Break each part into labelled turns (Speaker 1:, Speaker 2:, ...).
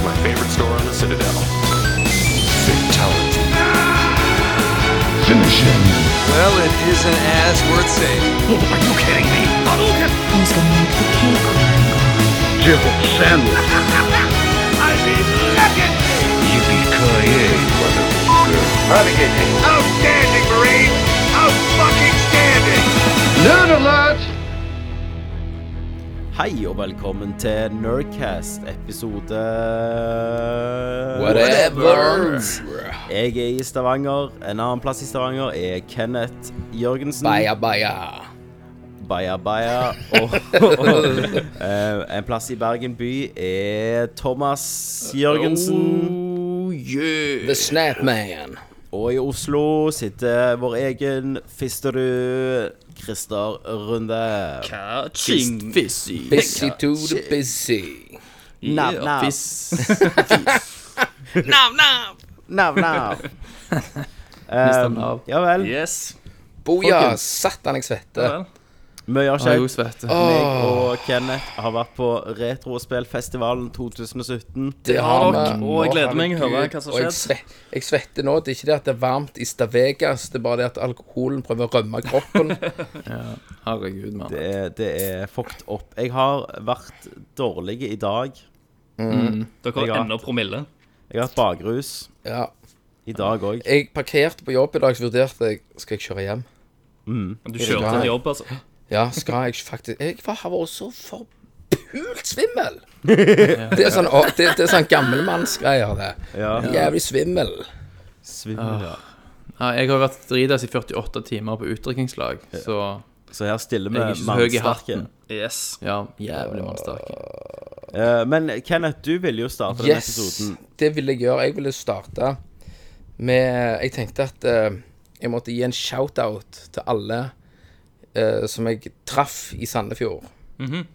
Speaker 1: store on the Citadel. Fatality.
Speaker 2: Finish him.
Speaker 3: Well, it isn't as worth saving.
Speaker 4: Who's gonna make the cake?
Speaker 2: Jill Sandwich. Yippee-ki-yay, motherfucker.
Speaker 5: Outstanding, Marine! Out fucking standing!
Speaker 2: Nerd alert!
Speaker 6: Hei og velkommen til Nerdcast episode Jeg er i Stavanger. En annen plass i Stavanger er Kenneth Jørgensen.
Speaker 7: Baya, baya.
Speaker 6: Baya, baya. Og, og eh, en plass i Bergen by er Thomas Jørgensen.
Speaker 7: The Snapman.
Speaker 6: Og i Oslo sitter vår egen Fisterud Christer Runde.
Speaker 8: Catching Fizzy.
Speaker 7: Busy to the busy.
Speaker 6: Nav, nav. Nav, nav.
Speaker 8: Mister
Speaker 6: Um,
Speaker 8: nav.
Speaker 6: Ja vel.
Speaker 8: Yes.
Speaker 7: Boja,
Speaker 8: Folkens.
Speaker 7: satan, jeg svetter.
Speaker 8: Vel.
Speaker 6: Vi har
Speaker 8: Jeg er jo
Speaker 6: ikke
Speaker 8: svette.
Speaker 6: meg og Kenneth har vært på Retrospillfestivalen 2017.
Speaker 7: Det
Speaker 8: har
Speaker 7: vi.
Speaker 8: dere, og jeg
Speaker 7: Å,
Speaker 8: gleder meg å
Speaker 7: herregud.
Speaker 8: høre hva som
Speaker 7: Og jeg
Speaker 8: skjedde.
Speaker 7: svet- Jeg svetter nå. Det er ikke det at det er varmt i Stavegas, det er bare det at alkoholen prøver å rømme kroppen.
Speaker 8: Herregud, mann.
Speaker 6: Det er, det er fucked opp. Jeg har vært dårlig i dag.
Speaker 8: Dere
Speaker 6: Jeg
Speaker 8: har
Speaker 6: har-
Speaker 8: enda promille.
Speaker 6: Jeg har hatt bakrus
Speaker 7: Ja.
Speaker 6: i dag òg.
Speaker 7: Jeg parkerte på jobb i dag, så vurderte jeg skal jeg kjøre hjem.
Speaker 8: Du kjørte til jobb, altså.
Speaker 7: Ja, skal jeg faktisk Jeg var- har vært så forpult svimmel. Det er sånn, å, det, det er sånn gammelmannsgreier, det.
Speaker 6: Ja.
Speaker 7: Jævlig svimmel.
Speaker 6: Svimmel, ja.
Speaker 8: Nei, Jeg har vært dritas i 48 timer på utdrikningslag, så
Speaker 6: Så her stiller
Speaker 8: jeg er ikke
Speaker 6: vi
Speaker 8: så høy i
Speaker 6: mannsterke.
Speaker 8: hatten. Yes. Ja, jævlig mannsterk.
Speaker 6: Eh, Men Kenneth, du ville jo starte denne episoden.
Speaker 7: det ville jeg gjøre. Jeg ville starte med Jeg tenkte at eh, jeg måtte gi en shout-out til alle eh, som jeg traff i Sandefjord.
Speaker 6: Mhm.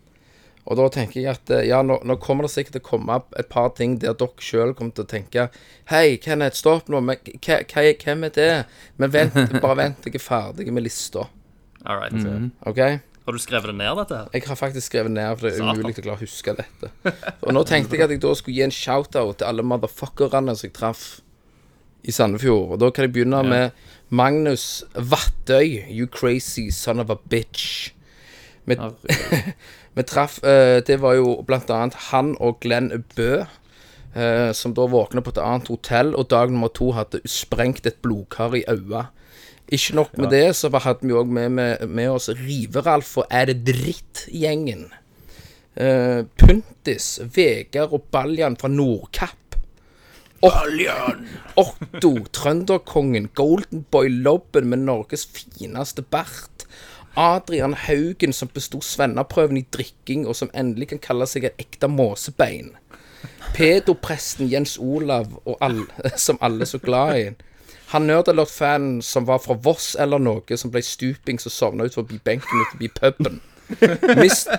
Speaker 7: Og da tenker jeg at eh, ja, nå, nå kommer det sikkert til å komme opp et par ting der dere sjøl kommer til å tenke Hei, Kenneth, stopp nå. Men hva- hva- hvem er det? Men vent, bare vent til jeg er ferdig med lista.
Speaker 8: All right.
Speaker 7: OK?
Speaker 8: Har du skrevet det ned, dette her?
Speaker 7: Jeg har faktisk skrevet ned, for det er umulig å klare å huske dette. Og nå tenkte jeg at jeg da skulle gi en shout-out til alle motherfuckerne som jeg traff i Sandefjord. Og da kan jeg begynne med Magnus Vattøy, you crazy son of a bitch. Vi, vi traff eh, Det var jo blant annet han og Glenn Bø. eh, som da våkna på et annet hotell, og dag nummer to hadde sprengt et blodkar i øyet. Ikke nok med det, så hadde vi òg med, med, med oss Riveralf og Er det dritt-gjengen. Eh, Puntis, Vegard og Baljan fra Nordkapp. Baljan! Otto, trønderkongen, Golden Boy Lobben med Norges fineste bart. Adrian Haugen som besto svenneprøven i drikking, og som endelig kan kalle seg et ekte måsebein. Pedopresten Jens Olav, og alle, som alle er så glad i. Han Nerdalert-fanen som var fra Voss eller noe, som ble stuping som sovna ut forbi benken ut forbi puben. Mis-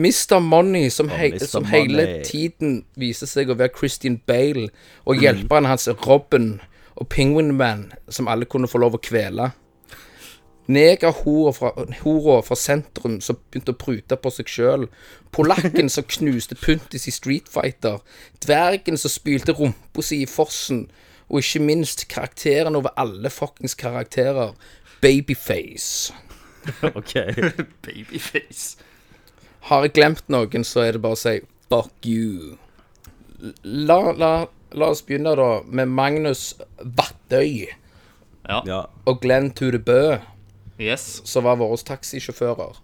Speaker 7: Mr. Money, som, hei,
Speaker 6: Mr.
Speaker 7: som
Speaker 6: Money.
Speaker 7: hele tiden viser seg å være Christian Bale, og hjelperen hans Robin og Penguin Man, som alle kunne få lov å kvele. Negerhora fra, hora fra sentrum som begynte å prute på seg sjøl. Polakken som knuste Puntis i Street Fighter. Dvergen som spylte rumpa si i fossen. Og ikke minst karakteren over alle fuckings karakterer. Babyface.
Speaker 6: OK.
Speaker 8: Babyface.
Speaker 7: Har jeg glemt noen, så er det bare å si fuck you. La, la, la oss begynne, da, med Magnus Vattøy
Speaker 6: Ja.
Speaker 7: og Glenn Ture Bø,
Speaker 8: Yes.
Speaker 7: som var våre taxisjåfører.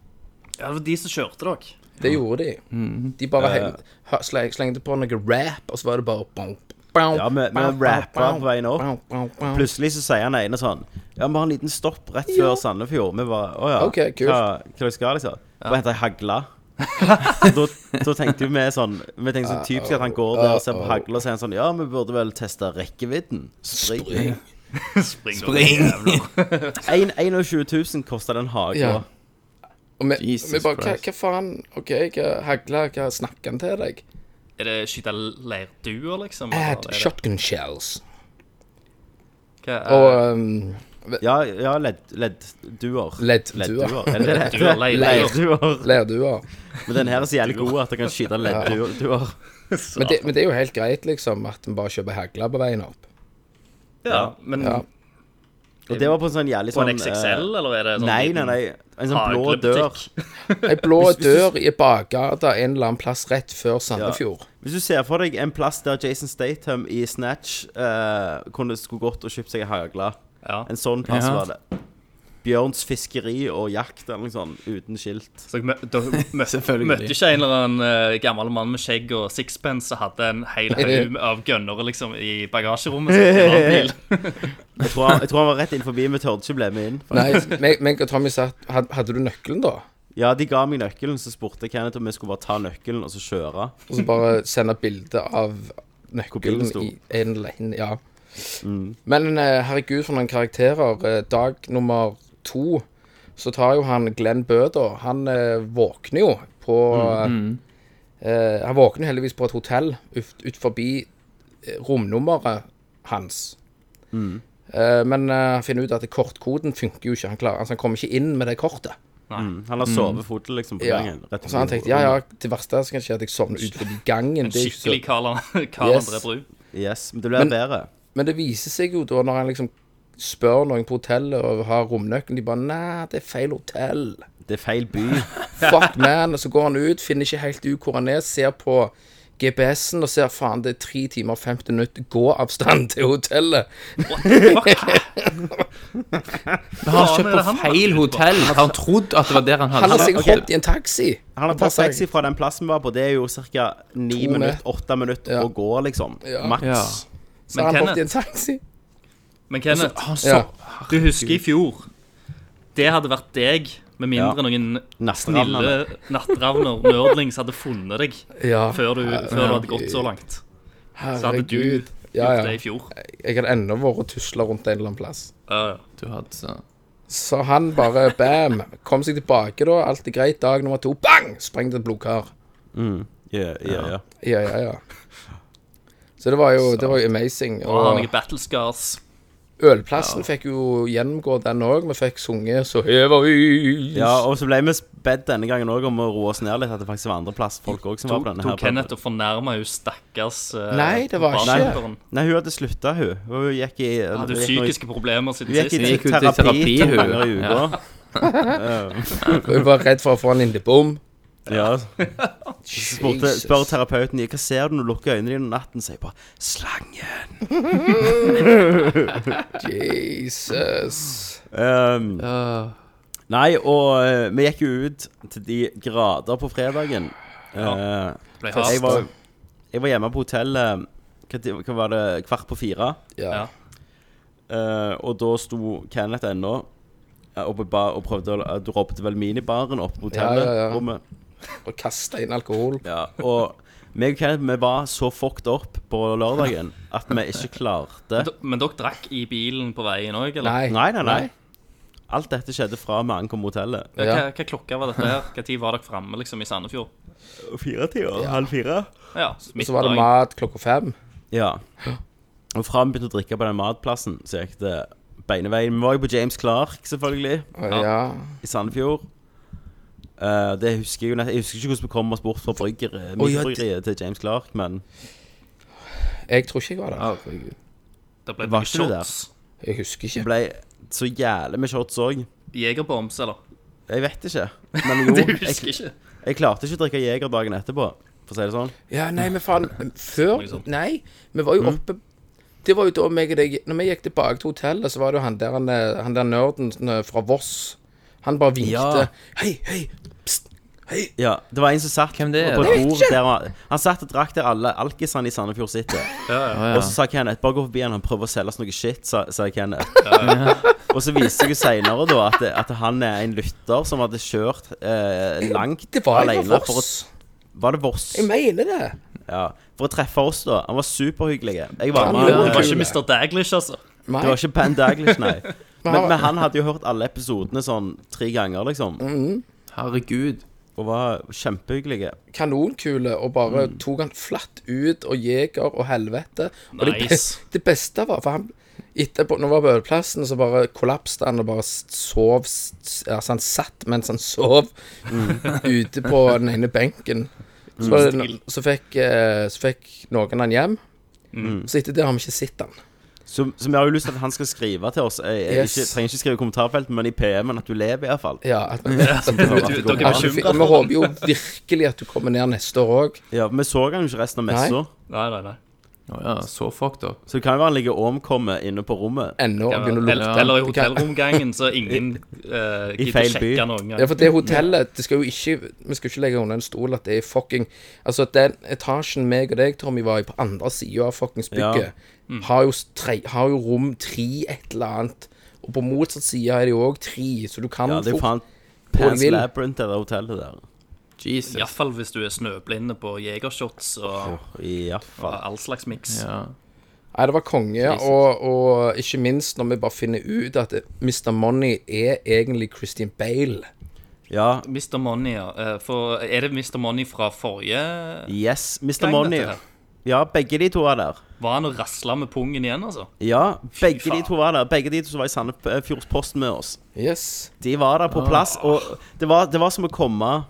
Speaker 8: Ja, det var de som kjørte dere.
Speaker 7: Det gjorde de.
Speaker 6: Mm-hmm.
Speaker 7: De bare heng, ha- sleng, slengte på noe rap, og så var det bare bom, bom,
Speaker 6: Ja, vi- vi
Speaker 7: bom,
Speaker 6: rappet
Speaker 7: bom,
Speaker 6: på veien opp.
Speaker 7: bom, bom, bom.
Speaker 6: Plutselig så sier han ene sånn Ja, vi har en liten stopp rett før Sandefjord. Vi bare Å ja.
Speaker 7: Ok, kult.
Speaker 6: hva, hva dere skal liksom? Bare hente ei hagle. da, da tenkte jo vi sånn Vi tenkte sånn typisk at han går der og ser på hagle og sier sånn Ja, vi burde vel teste rekkevidden. Spring.
Speaker 8: Spring. Spring.
Speaker 6: En- 21 000 kosta den hagen.
Speaker 7: Ja. Og vi,
Speaker 8: Jesus
Speaker 7: vi bare, hva,
Speaker 8: Christ.
Speaker 7: hva faen? OK, hva hagla, hva snakker han til deg?
Speaker 8: Er det skyte leirduer, liksom? eller
Speaker 7: Add
Speaker 8: er det-
Speaker 7: shotgun shells.
Speaker 8: Hva er-
Speaker 7: Og um,
Speaker 6: Ja, ja ledd- leddduer.
Speaker 7: Leddduer.
Speaker 6: Leddduer. Er
Speaker 8: eh,
Speaker 6: det det det heter?
Speaker 8: Leir-
Speaker 6: Leirduer.
Speaker 7: Leirduer.
Speaker 6: Men den her er så jævlig god at jeg kan skyte leddduer.
Speaker 7: Men, det- men det er jo helt greit, liksom, at en bare kjøper hagla på veien opp.
Speaker 6: Mm.
Speaker 1: Ja, men
Speaker 7: Ja.
Speaker 6: Og det var på en sånn jævlig
Speaker 1: på
Speaker 6: sånn
Speaker 1: en XXL,
Speaker 6: eh,
Speaker 1: eller er det sånn
Speaker 6: Nei, nei,
Speaker 1: liten
Speaker 6: nei. En sånn blå dør.
Speaker 1: haglebutikk?
Speaker 7: Ei blå dør i bakgata en eller annen plass rett før Sandefjord.
Speaker 6: Hvis du ser for deg en plass der Jason Statham i Snatch eh, kunne skulle gått og kjøpt seg en hagle
Speaker 1: Ja.
Speaker 6: En sånn plass
Speaker 8: Ja.
Speaker 6: var det. Bjørns fiskeri og jakt eller noe sånt, uten skilt.
Speaker 1: Så jeg mø- da mø-
Speaker 8: Selvfølgelig.
Speaker 1: møtte ikke en eller annen eh, gammel mann med skjegg og sixpence som hadde en hel haug med- av gønnere liksom, i bagasjerommet. Så det var en bil.
Speaker 6: Jeg tror han, jeg tror han var rett inn forbi, men tørde ikke bli med inn.
Speaker 7: Nei, meg, meg og Tommy satt had, Hadde du nøkkelen, da?
Speaker 6: Ja, de ga meg nøkkelen, så spurte Kenneth om vi skulle bare ta nøkkelen og så kjøre.
Speaker 7: Og så bare sende bilde av nøkkelen
Speaker 6: bilen sto. Mm.
Speaker 7: i en lane. Ja. Men eh, herregud, for noen karakterer. Eh, Dag nummer to så tar jo han Glenn Bøder. Han eh, våkner jo på
Speaker 6: Mm,
Speaker 7: eh, Han våkner heldigvis på et hotell ut, ut forbi eh, romnummeret hans.
Speaker 6: Mm.
Speaker 7: Eh, men eh, han finner ut at kortkoden funker jo ikke. Han, klarer, altså, han kommer ikke inn med det kortet.
Speaker 6: Mm. Han har sovefotet liksom på
Speaker 7: Ja.
Speaker 6: gangen. rett
Speaker 7: Så han tenkte ja, ja, det verste som kan skje, er at jeg sovner ut forbi gangen. Det er ikke så-
Speaker 1: Skikkelig Karl Karl
Speaker 7: Yes.
Speaker 1: André Bru.
Speaker 6: Yes, men det blir
Speaker 7: Men-
Speaker 6: bedre.
Speaker 7: Men det viser seg jo da, når han liksom spør noen på hotellet og har romnøkkelen, de bare Nei, det er feil hotell.
Speaker 6: Det er feil by.
Speaker 7: Fuck man. Og så går han ut, finner ikke helt ut hvor han er, ser på GPS-en og ser faen, det er tre timer og 50 minutter gåavstand til hotellet.
Speaker 8: Han har
Speaker 1: Faen, er det
Speaker 8: kjøpt på
Speaker 1: han har
Speaker 8: feil
Speaker 1: kjøpt på?
Speaker 8: hotell. Har han trodd at det var der han
Speaker 7: Han har
Speaker 8: hadde
Speaker 7: sikkert
Speaker 6: ok.
Speaker 7: hoppet i en taxi.
Speaker 6: Han har
Speaker 7: Og
Speaker 6: tatt
Speaker 7: bare
Speaker 6: taxi fra den plassen vi var på. Det er jo ca. ni
Speaker 7: To
Speaker 6: minutter, åtte minutter
Speaker 7: Ja.
Speaker 6: å gå, liksom.
Speaker 7: Ja.
Speaker 6: Maks.
Speaker 8: Ja.
Speaker 7: Så har han
Speaker 1: Men
Speaker 7: hoppet i en taxi.
Speaker 1: Men Kenneth,
Speaker 8: Altså, Han så
Speaker 7: Ja.
Speaker 1: du husker i fjor. Det hadde vært deg, med mindre noen snille
Speaker 6: Natteravnene.
Speaker 1: nattravner, nerdlings, hadde funnet deg
Speaker 7: Ja.
Speaker 1: før du, før du hadde gått så langt. Så hadde du
Speaker 7: Herregud.
Speaker 1: gjort
Speaker 7: Ja,
Speaker 1: det
Speaker 7: ja.
Speaker 1: i fjor.
Speaker 7: Jeg hadde ennå vært og tusla rundt en eller annen plass.
Speaker 1: Ja, ja.
Speaker 8: Du hadde så
Speaker 7: Så han bare bam, kom seg tilbake, da. Alt er greit. Dag nummer to, bang! Sprengte et blodkar.
Speaker 6: Ja, ja, ja.
Speaker 7: Ja, ja, ja. Så det var jo, det var jo amazing.
Speaker 1: Og har
Speaker 7: Og
Speaker 1: noen battle scars.
Speaker 7: Ølplassen fikk jo gjennomgå den òg. Vi fikk sunget 'Så hever vi'.
Speaker 6: ja, og så ble vi bedt denne gangen òg om å roe oss ned litt, at det faktisk var andreplass folk òg som var på denne
Speaker 1: Tok
Speaker 6: her.
Speaker 1: Kenneth og fornærma jo stakkars eh,
Speaker 7: Nei, det var ikke.
Speaker 1: bartenderen.
Speaker 6: Nei, hun hadde slutta, hun. Hun gikk i
Speaker 1: Han
Speaker 6: hun
Speaker 1: Hadde jo
Speaker 6: gikk noe-
Speaker 1: psykiske problemer siden
Speaker 6: Hun gikk i
Speaker 1: sist.
Speaker 8: gikk jo til terapi,
Speaker 6: terapi, to
Speaker 8: hun.
Speaker 6: ganger i uka.
Speaker 7: Hun var redd for å få en lindebom.
Speaker 6: Ja. Så Spurte, spør terapeuten hva ser du når du lukker øynene dine om natten, sier jeg bare 'slangen'.
Speaker 7: Jesus.
Speaker 6: Ehm,
Speaker 8: Øh,
Speaker 6: Nei, og eh, vi gikk jo ut til de grader på fredagen. Eh,
Speaker 1: Ble
Speaker 6: jeg,
Speaker 1: hardt.
Speaker 6: var, jeg var hjemme på hotellet eh, hva, tid- hva var det, kvart på fire.
Speaker 7: Ja.
Speaker 1: Ja.
Speaker 6: eh, og da sto Kenneth ennå eh, oppe i bar og prøvde å Du robbet vel minibaren oppe på
Speaker 7: Ja, ja,
Speaker 6: hotellet?
Speaker 7: ja.
Speaker 6: rommet.
Speaker 7: Og kasta inn alkohol.
Speaker 6: Ja, og meg og Kenneth vi var så fucked up på lørdagen at vi ikke klarte
Speaker 1: D- Men dere drakk i bilen på veien òg, eller?
Speaker 7: Nei.
Speaker 6: Nei, nei, nei. Alt dette skjedde fra vi ankom hotellet.
Speaker 1: Ja,
Speaker 7: Ja.
Speaker 1: Hva, hva klokka var dette her? Hva tid var dere framme liksom, i Sandefjord?
Speaker 6: Fire tider? Halv fire?
Speaker 1: Ja,
Speaker 7: Så var det
Speaker 1: midtdagen.
Speaker 7: mat klokka fem.
Speaker 6: Ja. Og fra vi begynte å drikke på den matplassen, så gikk det beineveien. Vi var jo på James Clark, selvfølgelig,
Speaker 7: Ja.
Speaker 6: i Sandefjord. Eh, det husker Jeg jo nett, Jeg husker ikke hvordan vi kom oss bort fra brygger,
Speaker 7: ja,
Speaker 6: mikrobryggeriet til James Clark, men
Speaker 7: Jeg tror ikke jeg var der.
Speaker 1: Det ble
Speaker 6: Var
Speaker 1: mye
Speaker 6: ikke du der?
Speaker 1: shots.
Speaker 7: Jeg husker
Speaker 6: det
Speaker 7: ikke.
Speaker 6: ble så jævlig med shots òg.
Speaker 1: Jegerbombs, eller?
Speaker 6: Jeg vet ikke. Men jo,
Speaker 1: Du husker
Speaker 6: jeg,
Speaker 1: ikke?
Speaker 6: jeg klarte ikke å drikke Jeger dagen etterpå, for å si det sånn.
Speaker 7: Ja, nei, men faen Før
Speaker 1: Liksom.
Speaker 7: Nei, vi var
Speaker 6: Mm.
Speaker 7: jo oppe Det var jo da meg og deg Når vi gikk tilbake til hotellet, så var det jo han der, han, eh, han der nerden eh, fra Voss. Han bare vinkte.
Speaker 6: Ja.
Speaker 7: Hei, hei, pst, hei.
Speaker 6: Ja, Det var en som satt
Speaker 8: Hvem det er?
Speaker 6: på
Speaker 8: Jeg
Speaker 6: et bord der han, han satt og drakk der alle alkisene i Sandefjord sitter. Og så sa Kenneth bare gå forbi han, han prøver å selge oss noe shit, sa, sa Kenneth. Og så viste det seg seinere da at, at han er en lytter som hadde kjørt eh, langt
Speaker 7: Det var jo
Speaker 6: alene for å
Speaker 7: Voss.
Speaker 6: Var det Voss?
Speaker 7: Jeg mener det.
Speaker 6: Ja. For å treffe oss, da. Han var superhyggelig. Jeg var
Speaker 7: Han
Speaker 6: med.
Speaker 7: var
Speaker 1: Det var ikke
Speaker 7: kule.
Speaker 1: Mr. Daglish, altså.
Speaker 7: Nei.
Speaker 6: Det var ikke Ben Daglish, nei. Men,
Speaker 7: han-
Speaker 6: men han hadde jo hørt alle episodene sånn tre ganger, liksom.
Speaker 7: Mm.
Speaker 8: herregud.
Speaker 6: Og var kjempehyggelig.
Speaker 7: Kanonkule og bare tok han flatt ut og jeger og helvete. Og det,
Speaker 1: Nice.
Speaker 7: be det beste var For han, Etterpå, når vi var på ølplassen, så bare kollapste han og bare sov s- Altså, han satt mens han sov ute på den ene benken. Så, var det, no- så, fikk, eh, så fikk noen han hjem. Så etter det har vi ikke sett han.
Speaker 6: Så, så vi har jo lyst til at han skal skrive til oss. Jeg, jeg
Speaker 7: Yes.
Speaker 6: ikke, trenger ikke skrive i kommentarfeltet, men i PM-en at du lever, iallfall.
Speaker 7: Ja, at vi vet at
Speaker 1: Du- du- Dere er
Speaker 7: at vi,
Speaker 1: bekymra
Speaker 7: vi
Speaker 1: for
Speaker 7: håper
Speaker 1: det?
Speaker 7: jo virkelig at du kommer ned neste år òg.
Speaker 6: Ja, vi så han jo ikke resten av messa,
Speaker 1: Nei, nei, nei.
Speaker 8: Å ja, så fucked up.
Speaker 6: så det kan jo være han ligger omkommet inne på rommet.
Speaker 7: Ennå og begynner å lukte.
Speaker 1: Eller, eller i
Speaker 7: Det kan-
Speaker 1: hotellromgangen, så ingen uh, gidder
Speaker 6: feil by.
Speaker 1: sjekke noen gang.
Speaker 7: Ja, for det hotellet det skal jo ikke, Vi skal ikke legge under en stol at det er fucking Altså, den etasjen meg og deg, Tommy, var i på andre sida av fuckings bygget,
Speaker 6: Mm.
Speaker 7: har, jo tre, har jo rom tre et eller annet. Og på motsatt side er det jo òg tre, så du kan
Speaker 6: Ja, det er jo faen
Speaker 7: fort
Speaker 6: Pans
Speaker 7: vil.
Speaker 6: Labyrinth, det der hotellet der.
Speaker 8: Jesus. Ja.
Speaker 1: Iallfall hvis du er snøblinde på jegershots og, og
Speaker 6: Iallfall.
Speaker 1: all slags miks.
Speaker 7: Nei, det var konge, og, og ikke minst når vi bare finner ut at Mr. Money er egentlig Christian Bale.
Speaker 6: Ja.
Speaker 1: Mr. Money, ja. Eh, For er det Mr. Money fra forrige
Speaker 6: Yes, Mr.
Speaker 1: gang,
Speaker 6: Money.
Speaker 1: dette her?
Speaker 6: Ja, begge de to var der.
Speaker 1: Var han og rasla med pungen igjen, altså?
Speaker 6: Ja, begge de
Speaker 1: faen.
Speaker 6: to var der. Begge de to som var i Sandefjordsposten med oss.
Speaker 7: Yes.
Speaker 6: De var der på
Speaker 1: Ah.
Speaker 6: plass, og det var, det var som å komme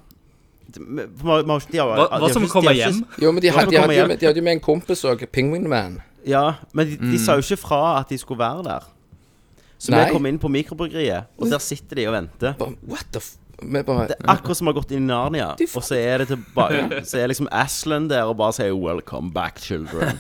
Speaker 6: det- vi- vi har- vi har ikke- de har-
Speaker 1: Hva,
Speaker 6: de har
Speaker 1: hva som
Speaker 6: ikke- de
Speaker 1: å
Speaker 6: har ikke-
Speaker 1: komme hjem?
Speaker 7: Jo, men de,
Speaker 6: Ja,
Speaker 7: had,
Speaker 6: men
Speaker 7: de,
Speaker 6: kom
Speaker 7: hadde, jo
Speaker 6: igjen.
Speaker 7: med, de hadde jo med en kompis òg, Penguin Man.
Speaker 6: Ja, men de, de
Speaker 1: Mm.
Speaker 6: sa jo ikke fra at de skulle være der. Så
Speaker 7: Nei.
Speaker 6: vi kom inn på mikrobryggeriet, og der sitter de og venter.
Speaker 7: Bare, What the f... Vi bare
Speaker 6: Det er akkurat som vi har gått inn i Narnia,
Speaker 7: De
Speaker 6: og så er det tilbake Så er liksom Aslan der og bare sier 'Welcome back, children'.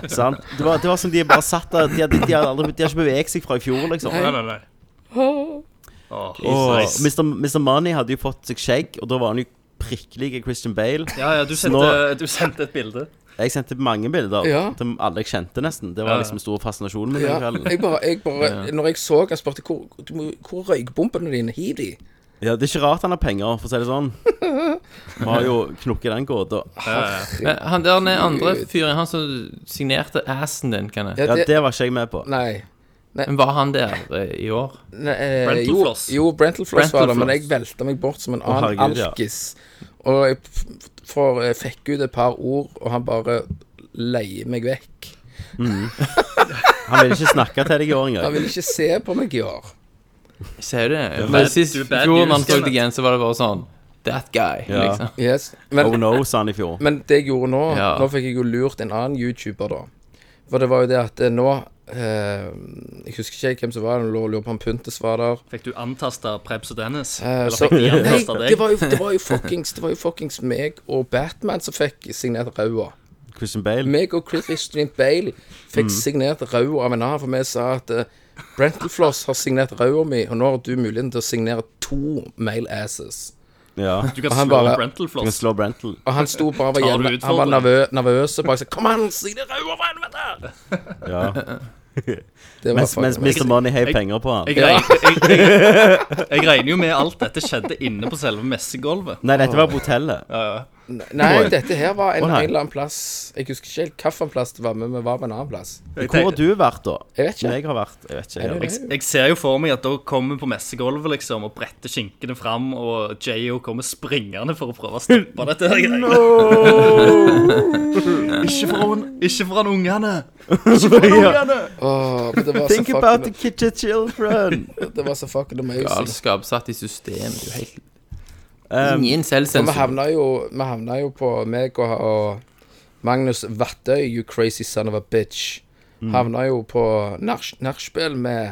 Speaker 6: Sant? Det var, det var som de bare satt der. De, hadde- de, hadde aldri, de har ikke beveget seg fra i fjor, liksom.
Speaker 1: Nei, nei, nei. Åh,
Speaker 6: Og
Speaker 1: nice.
Speaker 6: Mr. Mr. Money hadde jo fått seg skjegg, og da var han jo prikkelig i Christian Bale.
Speaker 1: Ja, ja, du sendte,
Speaker 6: Nå-
Speaker 1: du sendte et bilde.
Speaker 6: Jeg sendte mange bilder
Speaker 7: Ja.
Speaker 6: til alle jeg kjente, nesten. Det
Speaker 1: Ja.
Speaker 6: var liksom stor fascinasjon med den
Speaker 7: Ja,
Speaker 6: kvelden.
Speaker 7: jeg bare, jeg bare Når jeg så han spurte hvor, du må- hvor er røykbombene dine Hiv de
Speaker 6: Ja, Det er ikke rart han har penger, for å si det sånn. Vi har jo knukket den gåta.
Speaker 8: Men han der den andre fyren, han som signerte assen din, kan jeg
Speaker 6: Ja,
Speaker 7: det-
Speaker 6: det var ikke jeg med på.
Speaker 7: Nei,
Speaker 8: Men var han der eh, i år?
Speaker 7: nei eh,
Speaker 1: Brentelfloss.
Speaker 7: Jo, jo Brentelfloss var det Men jeg
Speaker 8: Brentelfloss.
Speaker 7: velta meg bort som en annen
Speaker 6: herregud, ja.
Speaker 7: alkis Og jeg f- får, jeg fikk ut et par ord Og han bare leier meg vekk
Speaker 6: Han ville ikke snakke til deg i år engang.
Speaker 7: Han vil ikke se på meg i år
Speaker 8: Ser du det?
Speaker 1: bad-
Speaker 8: Men Sist
Speaker 1: du er bad
Speaker 8: fjor
Speaker 1: news,
Speaker 8: han så
Speaker 1: Kenneth.
Speaker 8: deg igjen, så var det bare sånn That guy,
Speaker 6: Ja.
Speaker 8: liksom.
Speaker 7: yes.
Speaker 6: Oh
Speaker 7: men,
Speaker 6: no, sa han i fjor.
Speaker 7: men det jeg gjorde nå
Speaker 8: Ja.
Speaker 7: Nå fikk jeg jo lurt en annen YouTuber da For det var jo det at eh, nå eh, Jeg husker ikke hvem som var det Jeg lurer på om Puntes var der
Speaker 1: Fikk du antasta Prebz og Dennis?
Speaker 7: Eh,
Speaker 1: Eller
Speaker 7: så,
Speaker 1: fikk de
Speaker 7: nei,
Speaker 1: antasta
Speaker 7: det
Speaker 1: deg?
Speaker 7: var, jo, det, var jo fuckings, det var jo fuckings meg og Batman som fikk signert Raua.
Speaker 6: Christian Bale.
Speaker 7: Meg og Christian Bale
Speaker 1: Mm.
Speaker 7: fikk signert Raua av en annen, for vi sa at uh, Brentelfloss har signert Raua mi, og nå har du muligheten til å signere to male asses.
Speaker 6: Ja.
Speaker 1: Du kan
Speaker 7: han
Speaker 1: slå
Speaker 7: bare-
Speaker 6: Du
Speaker 1: en
Speaker 6: kan
Speaker 1: Brentalfloss.
Speaker 6: slå Brental.
Speaker 7: Og han sto bare og var
Speaker 1: Tar du
Speaker 7: hjemme. Han var
Speaker 1: utfordringen?
Speaker 7: nervø nervøs og bare sa 'Kom an, signer Raua, for helvete!'
Speaker 6: Ja.
Speaker 7: Det var
Speaker 6: Mens,
Speaker 7: fucking-
Speaker 6: mens Mr. Money heiv penger på han.
Speaker 1: Jeg regner, jeg, jeg, jeg regner jo med alt dette skjedde inne på selve messegulvet.
Speaker 6: Nei, dette var på hotellet.
Speaker 7: Nei, dette her var en,
Speaker 6: Å, nei.
Speaker 7: en eller annen plass Jeg husker ikke helt hvilken plass det var, men vi var på en annen plass.
Speaker 6: Hvor har du vært, da?
Speaker 7: Jeg vet ikke.
Speaker 6: Jeg har vært Jeg vet ikke. Jeg,
Speaker 1: Jeg, jeg ser jo for meg at da kommer vi på messegulvet liksom, og bretter skinkene fram, og J.O. kommer springende for å prøve å stoppe dette. her greiene. ikke foran, ikke foran ungene! Ikke foran ungene!
Speaker 7: Åh, men det var så
Speaker 6: Think about the
Speaker 7: fucking,
Speaker 6: kitchen children.
Speaker 7: det var så fucking amazing.
Speaker 8: Galskap satt i systemet. Du er helt
Speaker 6: Um,
Speaker 8: Ingen
Speaker 7: Men vi
Speaker 8: selvsensor.
Speaker 7: havna jo, vi havna jo på meg og, og Magnus Vattøy, you crazy son of a bitch. Havna jo på nach- nachspiel med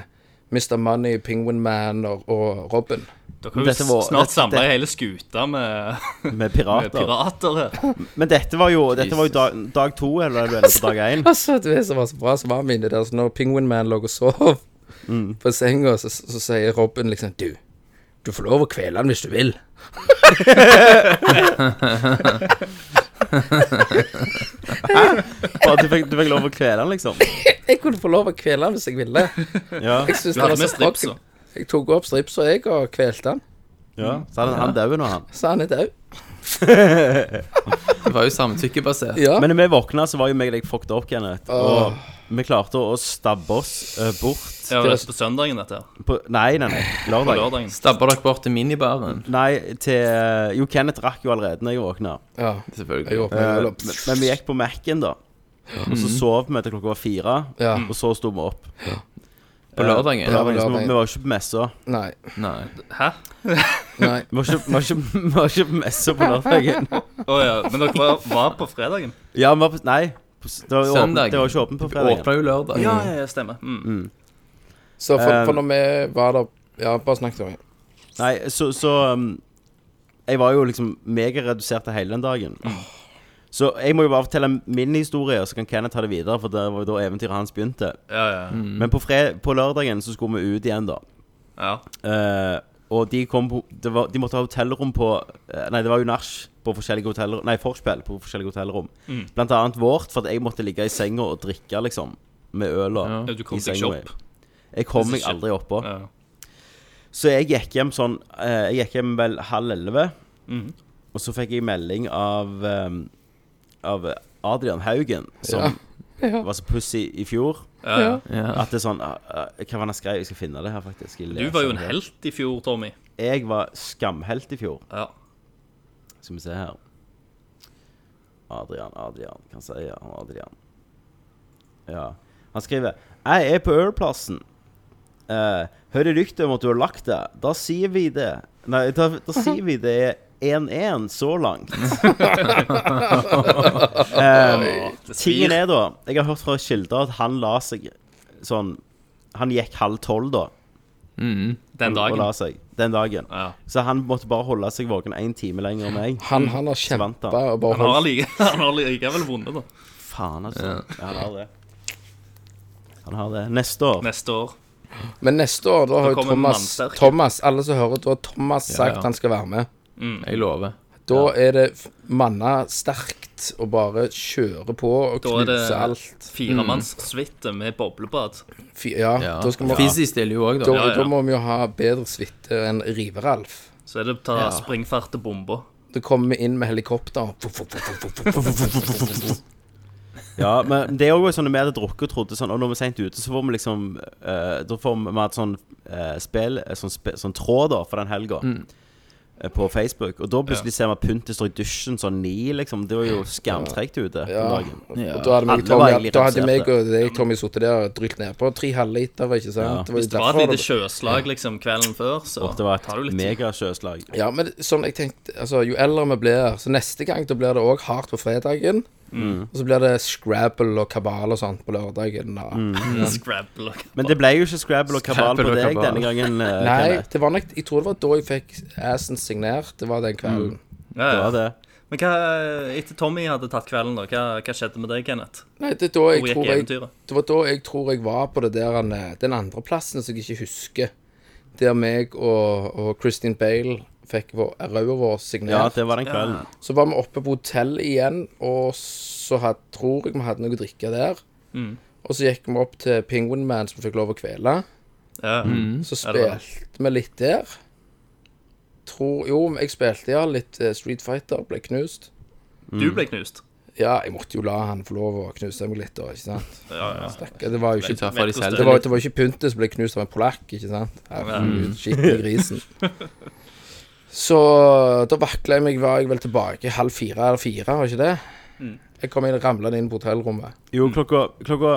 Speaker 7: Mr. Money, Penguin Man og, og Robin.
Speaker 1: Da kan vi
Speaker 6: Dette var-
Speaker 1: snart samle
Speaker 6: dette-
Speaker 1: hele skuta med,
Speaker 6: med
Speaker 1: med
Speaker 6: pirater.
Speaker 1: pirater her.
Speaker 6: Men dette var jo, dette var jo dag, dag to, eller er du enig på dag én?
Speaker 7: Altså, det som var så bra, så var vi inne der, så når Penguin Man lå og sov på senga, så, så sier Robin liksom Du, du får lov å kvele han hvis du vil.
Speaker 6: Bare at Du, fikk- du fikk lov å kvele den, liksom?
Speaker 7: Jeg kunne få lov å kvele han hvis jeg ville.
Speaker 6: Ja.
Speaker 7: Jeg synes
Speaker 1: Du
Speaker 7: det var
Speaker 1: hadde med
Speaker 7: så
Speaker 1: stripsa.
Speaker 7: fucking Jeg tok opp stripsa, jeg, og kvelte han.
Speaker 6: ja. Så han, han døde nå, han.
Speaker 7: Så han er død.
Speaker 8: Det var jo samtykkebasert.
Speaker 7: Ja.
Speaker 6: Men når vi våkna, så var jo meg og deg fucked up, Kenneth. Og vi klarte å stabbe oss eh, bort
Speaker 1: Ja, det er på søndagen, dette her.
Speaker 6: på Nei, nei, nei.
Speaker 1: På
Speaker 6: Lørdag.
Speaker 1: lørdagen.
Speaker 8: Stabber dere bort til minibaren?
Speaker 6: Nei, til eh, Jo, Kenneth rakk jo allerede når jeg våkna.
Speaker 7: ja. Jeg
Speaker 8: Selvfølgelig.
Speaker 7: åpner øl
Speaker 6: Eh,
Speaker 7: opp.
Speaker 6: men, men vi gikk på Mac-en, da. Og så sov vi til klokka var fire,
Speaker 7: Ja.
Speaker 6: og så sto vi opp.
Speaker 8: På lørdagen?
Speaker 6: Ja, men
Speaker 7: Ja,
Speaker 6: liksom,
Speaker 7: lørdagen.
Speaker 6: vi var jo ikke på messa.
Speaker 7: Nei.
Speaker 8: Nei.
Speaker 1: Hæ?
Speaker 7: Nei.
Speaker 6: Vi var ikke, vi var ikke, vi var ikke på messa på lørdagen.
Speaker 1: Å ja. Men dere var, var på fredagen?
Speaker 6: Ja, vi var på Nei. på s- Det var, jo åpent,
Speaker 8: Søndag.
Speaker 6: det var ikke åpent på fredagen.
Speaker 8: Åpna jo lørdag.
Speaker 1: Ja, ja, ja stemmer. Mm.
Speaker 7: Så for,
Speaker 6: Eh,
Speaker 7: for når vi var der Ja, bare snakk til meg.
Speaker 6: Nei, så, så um, Jeg var jo liksom megaredusert hele den dagen. Så jeg må jo bare fortelle min historie, og så kan Kenneth ta det videre. For det var jo da eventyret hans begynte.
Speaker 1: Ja, ja.
Speaker 8: Mm.
Speaker 6: Men på, fred, på lørdagen så skulle vi ut igjen, da.
Speaker 1: ja.
Speaker 6: Eh, og de, kom på, det var, de måtte ha hotellrom på eh, Nei, det var jo nach på forskjellige hotellrom Nei, forspill på forskjellige hotellrom.
Speaker 8: Mm.
Speaker 6: Blant annet vårt, for at jeg måtte ligge i senga og drikke, liksom. Med øl og
Speaker 8: Ja.
Speaker 1: Ja, Du kom
Speaker 6: i
Speaker 1: deg
Speaker 6: senga
Speaker 1: ikke
Speaker 6: mi.
Speaker 1: opp.
Speaker 6: Jeg kom meg
Speaker 1: Ikke-
Speaker 6: aldri oppå.
Speaker 1: Ja.
Speaker 6: Så jeg gikk hjem sånn eh, Jeg gikk hjem vel halv elleve.
Speaker 1: Mhm.
Speaker 6: Og så fikk jeg melding av eh, Av Adrian Haugen, som var så pussy i fjor.
Speaker 1: Ja, ja.
Speaker 8: Ja.
Speaker 6: At det er sånn eh, eh, Hva var det han skrev? Jeg skal finne det her, faktisk. Jeg
Speaker 1: Du
Speaker 6: leser
Speaker 1: var jo
Speaker 6: det
Speaker 1: en
Speaker 6: her.
Speaker 1: helt i fjor, Tommy.
Speaker 6: Jeg var skamhelt i fjor.
Speaker 1: Ja.
Speaker 6: Skal vi se her. Adrian, Adrian, kan si ja, han Adrian. Ja. Han skriver Jeg er på Ørplassen. Eh, hører rykte om at du har lagt deg. Da sier vi det. Nei, da, da sier vi det er 1-1 så langt. Eh,
Speaker 1: Det
Speaker 6: tingen
Speaker 1: svir.
Speaker 6: er da Jeg har hørt fra kilder at han la seg sånn Han gikk halv tolv da.
Speaker 1: Den
Speaker 6: og- Og la
Speaker 1: dagen.
Speaker 6: seg, den dagen.
Speaker 1: Ja.
Speaker 6: Så han måtte bare holde seg våken én time lenger enn meg.
Speaker 7: Han, han har
Speaker 6: Svante.
Speaker 7: kjempa og bare
Speaker 1: Mm. Han har
Speaker 7: holdt
Speaker 1: allike- han har likevel vunnet, da.
Speaker 6: Faen, altså. Han har det. Han har det. Neste år.
Speaker 1: Neste år.
Speaker 7: Men neste år, da har jo
Speaker 1: kommer
Speaker 7: Thomas
Speaker 1: mannsterke.
Speaker 7: Thomas, Alle som hører, da har Thomas sagt
Speaker 8: ja.
Speaker 7: han skal være med.
Speaker 8: Jeg lover.
Speaker 7: Da er det f- manna sterkt å bare kjøre på og
Speaker 1: Da er det
Speaker 7: knuse alt.
Speaker 6: Mm.
Speaker 1: firemannssuite med boblebad.
Speaker 7: Fy, ja,
Speaker 8: Ja.
Speaker 7: da skal vi ha
Speaker 8: Fizzy stiller jo òg,
Speaker 7: da,
Speaker 8: da.
Speaker 1: Ja, ja.
Speaker 7: da må vi jo ha bedre suite enn Riveralf.
Speaker 1: Så er det å ta
Speaker 8: Ja.
Speaker 1: springfart til bomba.
Speaker 7: Da kommer vi inn med helikopter.
Speaker 6: Ja, men det er jo sånn at vi hadde drukket og trodde sånn Og når vi er sent ute, så får vi liksom eh, Da får vi vi hadde sånn eh, spill eh, sånn, spe, sånn tråd da for den helga.
Speaker 1: Mm.
Speaker 6: eh, På Facebook. Og da plutselig ser vi at Pyntet står i dusjen sånn ni, liksom. Det var jo skamtregt ute den dagen.
Speaker 7: Og da hadde
Speaker 6: Alle
Speaker 7: meg,
Speaker 6: var
Speaker 7: Tommy,
Speaker 6: egentlig
Speaker 7: da hadde
Speaker 6: reduserte.
Speaker 7: meg og deg, Tommy, sittet der og drylt nedpå. Tre halvliter, ikke
Speaker 6: Ja.
Speaker 7: sant? Det var
Speaker 1: Hvis
Speaker 7: jo
Speaker 1: det var et
Speaker 7: derfor
Speaker 1: lite
Speaker 7: det-
Speaker 1: sjøslag liksom kvelden før, så
Speaker 6: Og det var
Speaker 1: tar det jo
Speaker 6: et
Speaker 1: litt tid.
Speaker 6: megasjøslag.
Speaker 7: Ja, men sånn, jeg tenkte Altså, jo eldre vi blir, så neste gang da blir det òg hardt på fredagen.
Speaker 6: Mm.
Speaker 7: Og så blir det Scrabble og kabal og sånt på lørdagen. Da.
Speaker 6: Mm,
Speaker 1: Scrabble og
Speaker 6: Men det ble jo ikke Scrabble og kabal på
Speaker 8: Scrabble og
Speaker 6: deg
Speaker 8: kabal.
Speaker 6: denne gangen. eh,
Speaker 7: Nei,
Speaker 6: Kenneth.
Speaker 7: det var nok, jeg tror det var da jeg fikk assen signert. Det var den kvelden.
Speaker 1: ja,
Speaker 6: Det
Speaker 1: ja.
Speaker 6: var det.
Speaker 1: Men hva, etter Tommy hadde tatt kvelden, da, hva, hva skjedde med deg, Kenneth?
Speaker 7: Nei, det, er da
Speaker 1: Hvor
Speaker 7: jeg
Speaker 1: gikk
Speaker 7: tror jeg,
Speaker 1: eventyret?
Speaker 7: det var da jeg tror jeg var på det der eh, Den andre plassen som jeg ikke husker. Der meg og, og Christine Bale fikk vår erauer vår
Speaker 6: Ja,
Speaker 7: signert.
Speaker 6: det var den kvelden.
Speaker 7: Så var vi oppe på hotell igjen, og så had, tror jeg vi hadde noe å drikke der. Og så gikk vi opp til Penguin Man, som vi fikk lov å kvele.
Speaker 1: Ja.
Speaker 6: Mm.
Speaker 7: Så
Speaker 1: Ja, det var det.
Speaker 7: spilte vi litt der. Tror Jo, jeg spilte, ja. Litt eh, Street Fighter. Ble knust.
Speaker 8: Mm.
Speaker 1: Du ble knust.
Speaker 7: Ja, jeg måtte jo la han få lov å knuse meg litt, da, ikke sant?
Speaker 1: Ja, ja.
Speaker 7: Stakkar. Det var jo
Speaker 8: Jeg
Speaker 7: ikke
Speaker 8: tar fra de
Speaker 1: Det
Speaker 8: selv.
Speaker 7: det var, det var ikke pyntet som ble knust av en polakk, ikke sant?
Speaker 6: Mm.
Speaker 7: Herregud, skitten i grisen. Så da vakla jeg meg, var jeg vel tilbake halv fire eller fire, var ikke det? Jeg kom inn og ramla inn på hotellrommet.
Speaker 6: Jo, klokka, klokka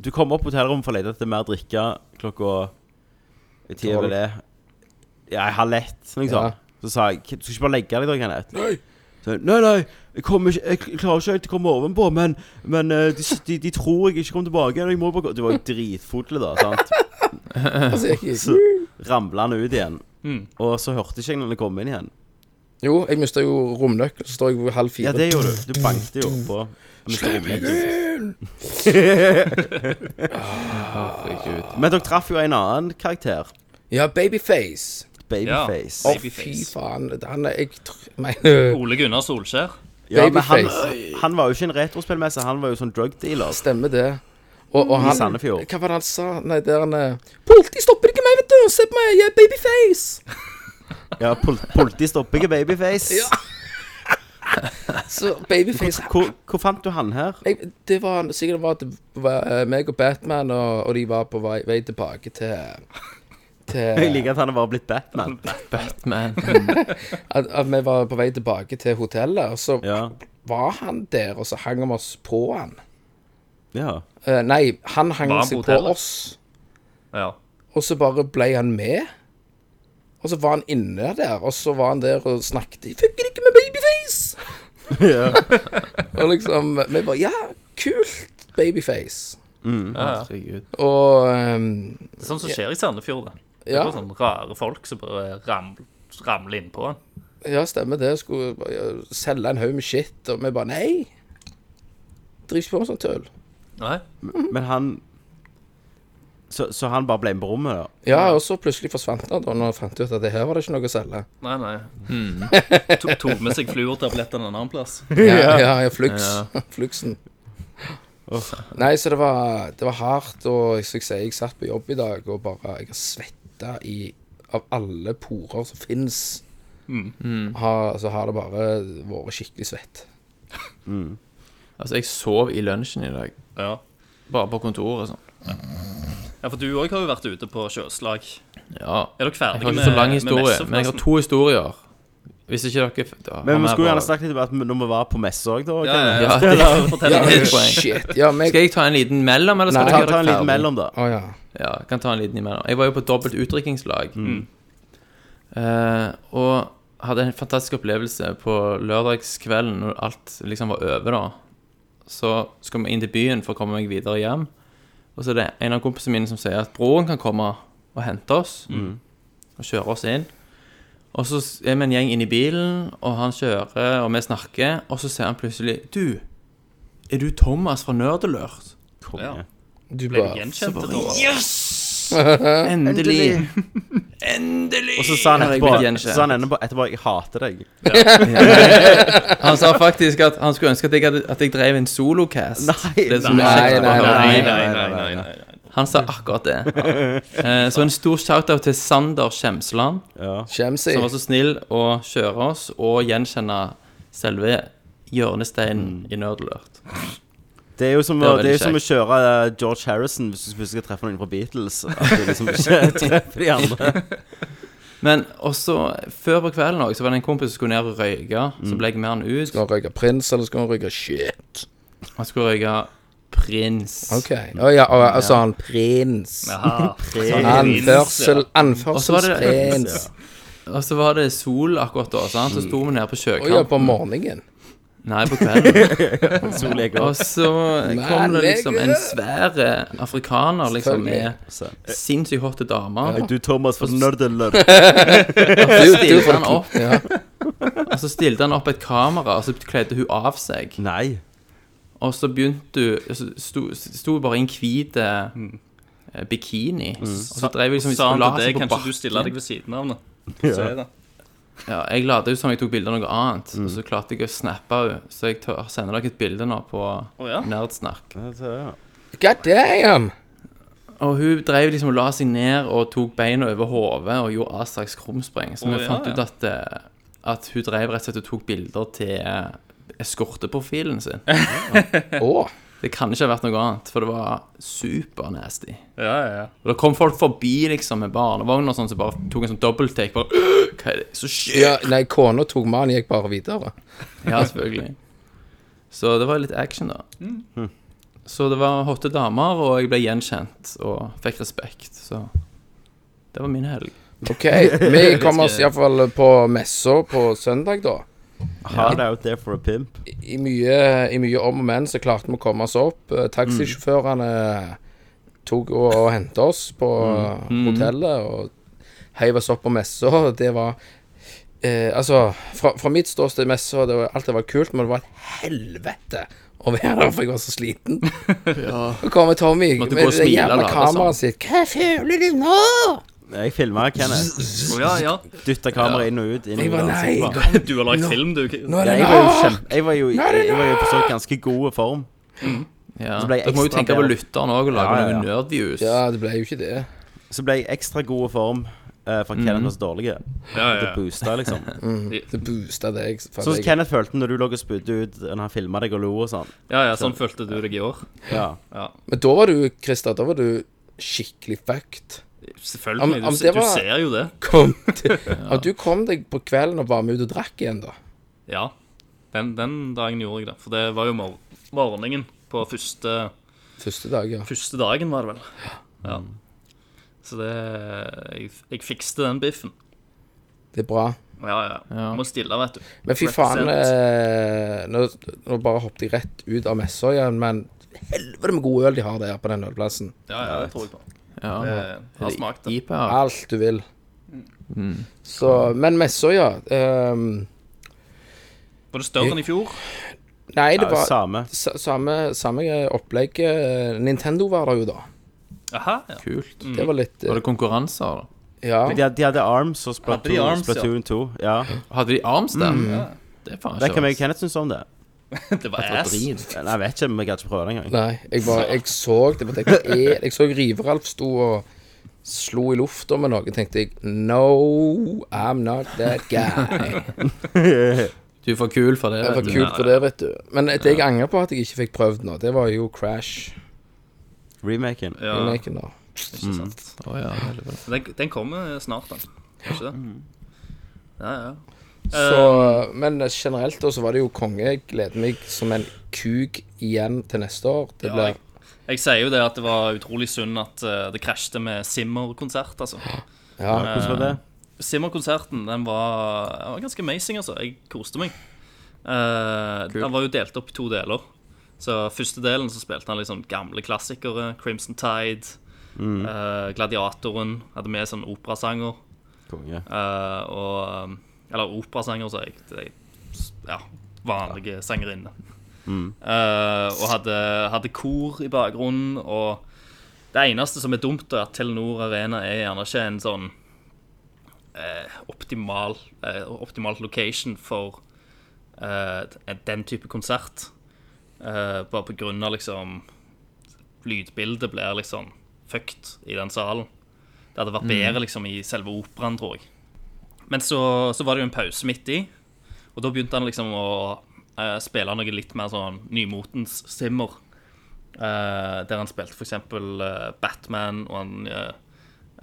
Speaker 6: Du kom opp på hotellrommet for å lete etter mer drikke klokka Jeg tider vel det. Ja, jeg har lett, liksom.
Speaker 7: Ja.
Speaker 6: Så sa jeg Du skal ikke bare legge deg, da, Kenneth?
Speaker 7: Nei.
Speaker 6: Så, nei, nei, jeg, kommer ikke, jeg klarer ikke helt å komme ovenpå, men, men eh, de, de, de tror jeg ikke kommer tilbake. igjen, og Jeg må bare gå. Du var jo dritfull da, sant?
Speaker 7: Altså, jeg, gikk-
Speaker 6: Så ramla han ut igjen.
Speaker 7: Mm.
Speaker 6: Og så hørte ikke jeg når han kom inn igjen.
Speaker 7: jo, jeg mista jo romnøkkelen, så står jeg ved halv fire.
Speaker 6: Ja, det gjorde du. Du banket jo på. Men så-
Speaker 8: Herregud.
Speaker 6: Men dere traff jo en annen karakter.
Speaker 7: Ja, Babyface.
Speaker 6: Babyface.
Speaker 1: Ja.
Speaker 7: Å, fy
Speaker 1: Babyface.
Speaker 7: faen. Han er Jeg tr- mener
Speaker 1: Ole Gunnar Solskjær.
Speaker 6: Ja, men han,
Speaker 7: Babyface.
Speaker 6: han var jo ikke en retrospillmesse, han var jo sånn drug dealer.
Speaker 7: Stemmer det. Og, og han,
Speaker 6: Sandefjord.
Speaker 7: hva var det han sa? Nei, der han eh, Politi stopper ikke meg, vet du! Se på meg, jeg er babyface!
Speaker 6: Ja, pol Politi stopper ikke babyface.
Speaker 7: Ja. Så babyface
Speaker 6: Hvor, hvor fant du han her?
Speaker 7: jeg, det var sikkert det var at det var eh, meg og Batman, og, og de var på vei, vei tilbake til
Speaker 6: Jeg
Speaker 7: til,
Speaker 6: liker at han har bare blitt Batman.
Speaker 8: Batman.
Speaker 7: at, at vi var på vei tilbake til hotellet, og så
Speaker 6: Ja.
Speaker 7: var han der, og så hang vi oss på han.
Speaker 6: Ja.
Speaker 7: Eh, nei, han hang
Speaker 1: Var han
Speaker 7: seg
Speaker 1: på
Speaker 7: på
Speaker 1: hotellet?
Speaker 7: oss,
Speaker 1: Ja.
Speaker 7: og så bare ble han med. Og så var han inne der, og så var han der og snakket Jeg fikk ikke med babyface! og liksom Vi bare Ja, kult, babyface.
Speaker 6: Mm.
Speaker 8: Herregud.
Speaker 7: Og ehm,
Speaker 1: Det er sånn som skjer i Sandefjord. Det, det
Speaker 7: Ja.
Speaker 1: er bare sånne rare folk som bare ramler, ramler innpå han.
Speaker 7: Ja, stemmer det. Skulle ja, selge en haug med shit, og vi bare Nei! Driver ikke på med sånt tøll.
Speaker 1: Nei?
Speaker 6: Men han så, så han bare ble med på rommet, da?
Speaker 7: Ja, og så plutselig forsvant han, da, når han fant ut at det her var det ikke noe å selge.
Speaker 1: Nei, nei.
Speaker 8: Mm.
Speaker 1: To, tok med seg fluortablettene en annen plass.
Speaker 7: Ja, ja, ja flux. Fluxen. Nei, så det var, det var hardt, og som jeg sier, jeg satt på jobb i dag og bare Jeg har svetta i Av alle porer som fins, har- så har det bare vært skikkelig svett.
Speaker 8: Altså, jeg sov i lunsjen i dag.
Speaker 1: Ja.
Speaker 8: Bare på kontoret og sånn.
Speaker 1: ja, for du òg har jo vært ute på sjøslag.
Speaker 8: Ja.
Speaker 1: Er dere
Speaker 8: Jeg
Speaker 1: ferdige
Speaker 8: har
Speaker 1: med
Speaker 8: ikke så lang historie, men
Speaker 1: med
Speaker 8: jeg har
Speaker 1: messeforresten?
Speaker 8: to historier. Hvis ikke dere da, har
Speaker 6: Men vi
Speaker 8: mer
Speaker 6: skulle
Speaker 8: å-
Speaker 6: gjerne snakket litt om at vi- når vi var på messe òg, da.
Speaker 1: ja, ja,
Speaker 6: Kenneth.
Speaker 1: ja.
Speaker 8: Ja, det-
Speaker 1: Fortell- Fortell om
Speaker 8: Ja,
Speaker 1: det.
Speaker 8: det- poeng.
Speaker 7: Shit. Ja, meg
Speaker 8: Skal jeg ta en liten mellom, eller skal
Speaker 7: Nei,
Speaker 8: dere
Speaker 6: Ta, ta en liten
Speaker 8: ferdig?
Speaker 6: mellom, da.
Speaker 7: Å ja.
Speaker 8: Ja, jeg kan ta en liten imellom. Jeg var jo på et dobbelt utdrikningslag. Eh, og hadde en fantastisk opplevelse på lørdagskvelden når alt liksom var over, da. Så skal vi inn til byen for å komme meg videre hjem. Og så er det en av kompisene mine som sier at broren kan komme og hente oss. Og kjøre oss inn. Og så er vi en gjeng inn i bilen, og han kjører, og vi snakker. Og så sier han plutselig Du, er du Thomas fra Nerdelurt?
Speaker 1: Ja.
Speaker 7: Du
Speaker 1: Ble du
Speaker 7: bare
Speaker 1: gjenkjent?
Speaker 8: Så bare-
Speaker 1: Thomas?
Speaker 8: Endelig!
Speaker 6: Og så sa han
Speaker 8: Her er jeg
Speaker 6: etterpå,
Speaker 8: blitt gjenkjent.
Speaker 6: så sa han etterpå, etterpå 'Jeg hater deg'.
Speaker 8: Han sa faktisk at han skulle ønske at jeg, hadde, at jeg drev en solocast.
Speaker 6: Nei,
Speaker 8: Det som er
Speaker 7: nei,
Speaker 8: kjekt å
Speaker 7: nei,
Speaker 8: høre.
Speaker 1: Nei, nei, nei. nei, nei, nei.
Speaker 8: Han sa akkurat det. Eh, Så en stor shout-out til Sander Skjemsland,
Speaker 7: Kjemsi.
Speaker 8: som var så snill å kjøre oss og gjenkjenne selve
Speaker 7: Mm.
Speaker 8: hjørnesteinen i Nerdlurt.
Speaker 6: Det er jo som,
Speaker 8: Det var
Speaker 6: å- det er jo
Speaker 8: veldig
Speaker 6: som å kjøre eh, George Harrison hvis du plutselig skal treffe noen fra Beatles. At du liksom ikke treffer de andre.
Speaker 8: Men også før på kvelden også, så var det en kompis som skulle ned og røyke.
Speaker 7: Mm.
Speaker 8: Så ble jeg med han ut.
Speaker 7: Skal han røyke prins, eller skal han røyke shit?
Speaker 8: Han skulle røyke Prins.
Speaker 7: Ok. Å ja, og, altså han prins.
Speaker 1: Aha.
Speaker 7: Sånn
Speaker 1: Prins, ja.
Speaker 7: Anførsel,
Speaker 8: Og så var det-
Speaker 7: anførselsprins.
Speaker 8: Og så var det sol akkurat da, sant? så sto vi nede på
Speaker 7: Å ja,
Speaker 8: sjøkanten.
Speaker 7: Mm. på morgenen.
Speaker 8: Nei, på kvelden.
Speaker 6: Solek
Speaker 8: Og
Speaker 6: og
Speaker 8: så kom det liksom en svær eh, afrikaner liksom med sinnssykt hotte damer.
Speaker 6: Du, Thomas fra
Speaker 8: Og
Speaker 6: Nerdelert.
Speaker 8: så stilte han opp Og så stilte han opp et kamera, og så kledde hun av seg.
Speaker 6: Nei.
Speaker 8: Og så begynte hun og så sto, sto hun bare i en hvit eh, bikini. Og så drev hun liksom
Speaker 1: Mm. Sa han
Speaker 8: la
Speaker 1: til
Speaker 8: seg
Speaker 1: deg,
Speaker 8: på
Speaker 1: kanskje du
Speaker 8: bakken.
Speaker 1: stiller deg ved siden av henne? Så er det.
Speaker 8: Ja, jeg la det ut som jeg tok bilde av noe annet,
Speaker 1: Mm.
Speaker 8: og så klarte jeg å snappe henne. Så jeg tør, sender dere et bilde nå på
Speaker 1: Å, ja?
Speaker 8: Nerdsnakk.
Speaker 7: God damn!
Speaker 8: Og hun drev liksom og la seg ned og tok beina over hodet og gjorde all slags krumspring. Så
Speaker 1: Å,
Speaker 8: vi
Speaker 1: ja,
Speaker 8: fant
Speaker 1: ja.
Speaker 8: ut at, eh, at hun drev rett og slett og tok bilder til eh, eskorteprofilen sin.
Speaker 7: Å,
Speaker 8: Det kan ikke ha vært noe annet, for det var supernasty.
Speaker 1: Ja, ja, ja.
Speaker 8: Og da kom folk forbi liksom med barnevogn og sånn, som bare tok en sånn dobbelttake. Bare «Øh, Hva er det som skjer?
Speaker 7: ja, nei, kona tok med han, gikk bare videre.
Speaker 8: Ja, selvfølgelig. Så det var litt action, da.
Speaker 1: Mm.
Speaker 8: Så det var hotte damer, og jeg ble gjenkjent og fikk respekt. Så det var min helg.
Speaker 7: OK, vi kom oss iallfall på messa på søndag, da.
Speaker 6: Hard out there for a pimp.
Speaker 7: I mye, I mye om og men så klarte vi å komme oss opp. Eh, Taxisjåførene tok og, og hentet oss på
Speaker 6: Mm.
Speaker 7: hotellet og heiv oss opp på messa. Det var eh, Altså, fra, fra mitt ståsted i messa, det var, alt det var kult, men det var et helvete å være der, for jeg var så sliten. Så kommer Tommy
Speaker 8: Måtte
Speaker 7: med
Speaker 8: gå og
Speaker 7: det
Speaker 8: smile og
Speaker 7: jævla
Speaker 8: late
Speaker 6: liksom.
Speaker 7: kameraet sitt. Hva føler du nå?
Speaker 6: Jeg filma Kenneth.
Speaker 1: Å, ja, ja.
Speaker 6: Dytta kameraet inn og ut. Inn og
Speaker 7: Jeg
Speaker 6: ut,
Speaker 7: var nei,
Speaker 6: ansiktet.
Speaker 7: nå-
Speaker 1: Du har lagd film, du.
Speaker 7: nå
Speaker 6: Ja,
Speaker 7: er det
Speaker 6: jeg var jo
Speaker 7: nok!
Speaker 6: kjempe... Jeg var jo, jeg, jeg var jo på så ganske god form.
Speaker 8: Ja.
Speaker 6: Så ble jeg
Speaker 8: Dere må jo
Speaker 6: ekstra
Speaker 8: tenke på
Speaker 6: bedre.
Speaker 8: lytteren òg og lage
Speaker 6: Ja, ja, ja.
Speaker 8: noen nerdviews.
Speaker 7: Ja, det ble jo ikke det.
Speaker 6: Så ble jeg ekstra god form eh, for Kenneth var så dårlig.
Speaker 1: Ja,
Speaker 6: Det
Speaker 1: Ah, ja.
Speaker 6: boosta, liksom.
Speaker 7: Det boosta deg. for
Speaker 6: Sånn som
Speaker 7: deg.
Speaker 6: Kenneth følte når du lå og spydde ut når han filma deg og lo og sånn.
Speaker 1: ja, ja, sånn følte du deg i år.
Speaker 6: Ja.
Speaker 7: Men da var du, Christer, da var du skikkelig fucked. Om-
Speaker 1: Selvfølgelig.
Speaker 7: om
Speaker 1: Du,
Speaker 7: det
Speaker 1: du
Speaker 7: var-
Speaker 1: ser jo det.
Speaker 7: Kom til, At du kom deg på kvelden og var med ut og drakk igjen, da.
Speaker 1: Ja. Den, den dagen gjorde jeg det. For det var jo mor morgenen på første,
Speaker 7: Første dag, ja.
Speaker 1: første dagen, var det vel. Ja. Så det Jeg, jeg fikste den biffen.
Speaker 7: Det er bra.
Speaker 1: Ja, ja.
Speaker 8: Ja.
Speaker 1: Må stille, vet du.
Speaker 7: Men fy faen
Speaker 1: Represent.
Speaker 7: eh, nå, nå bare hoppet jeg rett ut av messa igjen, men helvete med god øl de har der på den ølplassen.
Speaker 1: Ja, ja, det tror jeg på.
Speaker 8: Ja.
Speaker 1: Jeg har smakt det.
Speaker 8: IPA.
Speaker 7: Alt du vil. Så, men messa, ja. ehm,
Speaker 1: Var det større enn i fjor?
Speaker 7: nei,
Speaker 6: Det
Speaker 7: det
Speaker 6: er jo
Speaker 7: var
Speaker 6: samme.
Speaker 7: sa- samme, samme opplegg. eh, Nintendo var der jo, da.
Speaker 1: Aha, ja.
Speaker 8: Kult.
Speaker 6: Mm.
Speaker 7: Det var litt eh,
Speaker 8: Var det konkurranser? da?
Speaker 7: Ja.
Speaker 6: De, hadde- de hadde Arms og
Speaker 1: Hadde de
Speaker 6: Splatoon,
Speaker 1: Arms, ja.
Speaker 6: Splatoon 2. Ja.
Speaker 8: Hadde de arms der? Det er faen
Speaker 6: Vet
Speaker 8: ikke
Speaker 6: ikke hva jeg
Speaker 8: verst.
Speaker 6: og Kenneth syns om det.
Speaker 1: Det var ass.
Speaker 6: Nei, jeg vet ikke, men jeg gadd ikke prøve det engang.
Speaker 7: Nei, jeg, bare, jeg så det. men Jeg, jeg, jeg så Riveralf sto og slo i lufta med noe. Tenkte jeg No, I'm not that guy.
Speaker 8: Du er for kul for det.
Speaker 7: Det var
Speaker 8: vet du.
Speaker 7: kult for det, vet du. Men det jeg angrer på at jeg ikke fikk prøvd nå, det var jo Crash.
Speaker 6: Remaken.
Speaker 1: Ja,
Speaker 7: Remaken da.
Speaker 1: ikke sant.
Speaker 8: Å, ja, det er bra.
Speaker 1: Den, den kommer snart, da. Ikke det? Ja, ja.
Speaker 7: Så,
Speaker 1: Um.
Speaker 7: men generelt da, så var det jo konge. Jeg gleder meg som en kuk igjen til neste år. Det
Speaker 1: Ja,
Speaker 7: ble
Speaker 1: jeg, jeg sier jo det at det var utrolig synd at eh, det krasjte med Simmer-konsert, altså.
Speaker 7: ja,
Speaker 6: Hvordan var det?
Speaker 1: Simmer-konserten, den var, den var ganske amazing, altså. Jeg koste meg. Eh, Den var jo delt opp i to deler. Så første delen så spilte han liksom gamle klassikere. Crimson Tide, eh, Gladiatoren. Hadde med sånn operasanger.
Speaker 6: Konge.
Speaker 1: eh, og um, Eller operasanger, så jeg. Det, ja, vanlige sangerinne. Eh, og hadde, hadde kor i bakgrunnen. Og det eneste som er dumt, er at Telenor Arena er gjerne ikke en sånn eh, optimal eh, optimal location for eh, den type konsert. Eh, bare på grunn av liksom Lydbildet blir liksom fucked i den salen. Det hadde vært bedre liksom i selve operaen, tror jeg. Men så, så var det jo en pause midt i, og da begynte han liksom å eh, spille noe litt mer sånn nymotens simmer. Eh, der han spilte f.eks. Uh, Batman og han eh,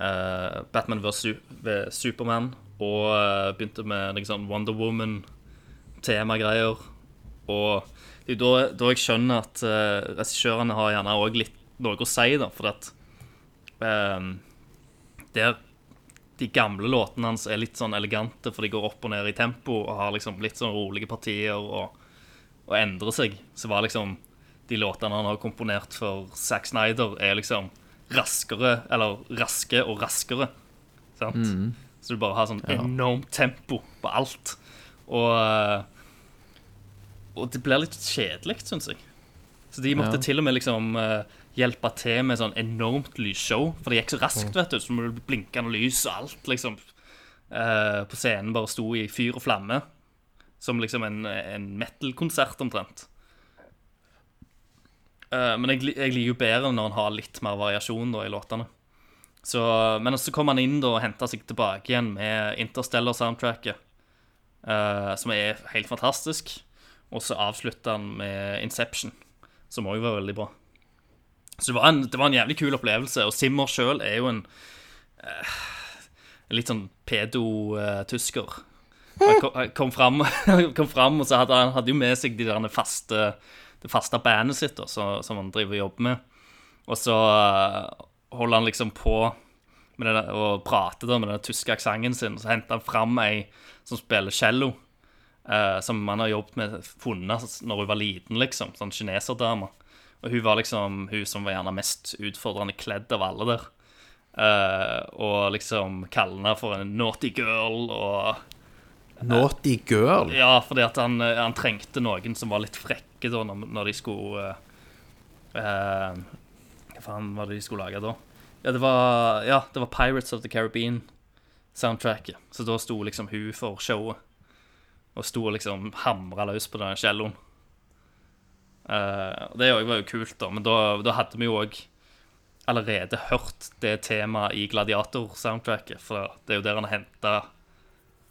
Speaker 1: eh, Batman vs. Su ved Superman. Og eh, begynte med noe sånn Wonder Woman-temagreier. Og det er jo da, da jeg skjønner at eh, regissørene har gjerne òg litt noe å si, da, fordi at eh, der de gamle låtene hans er litt sånn elegante, for de går opp og ned i tempo og har liksom litt sånn rolige partier og, og endrer seg. Så var liksom de låtene han har komponert for Zack Snyder, er liksom raskere, eller raske og raskere. Sant? Så du bare har sånn enormt tempo på alt. Og, eh, og det blir litt kjedelig, syns jeg. Så de måtte
Speaker 8: Ja.
Speaker 1: til og med liksom eh, hjelpe til med sånn enormt lysshow. For det gikk så raskt, vet du. Så med blinkende lys og alt, liksom. eh, på scenen bare sto i fyr og flamme. Som liksom en, en metal-konsert, omtrent. Eh, men jeg, li- jeg liker jo bedre når en har litt mer variasjon da, i låtene. Så, men så kom han inn da, og henta seg tilbake igjen med Interstellar-soundtracket. eh, som er helt fantastisk. Og så avslutta han med Inception, som òg var veldig bra. Så det var, en, det var en jævlig kul opplevelse. Og Simmer sjøl er jo en eh, en litt sånn pedo-tysker. Han kom, han kom, fram, han kom fram, og så hadde han hadde jo med seg de der faste, det faste bandet sitt, da, så, som han driver og jobber med. Og så eh, holder han liksom på med det der, og prater da, med den tyske aksenten sin. Så henter han fram ei som spiller cello, eh, som han har jobbet med funnet når hun var liten, liksom. Sånn kineserdame. Og hun var liksom hun som var gjerne mest utfordrende kledd av alle der. Eh, og liksom kaller henne for en naughty girl og
Speaker 8: Naughty girl.
Speaker 1: ja, fordi at han, eh, han trengte noen som var litt frekke da, når, når de skulle eh, eh, Hva faen var det de skulle lage da? Ja, det var, ja, det var Pirates of the Caribbean-soundtracket. Så da sto liksom hun for showet. Og sto og liksom hamra løs på den celloen. Eh, og det var jo- var jo kult, da, men da, da hadde vi jo òg allerede hørt det temaet i Gladiator-soundtracket, for det er jo der han henta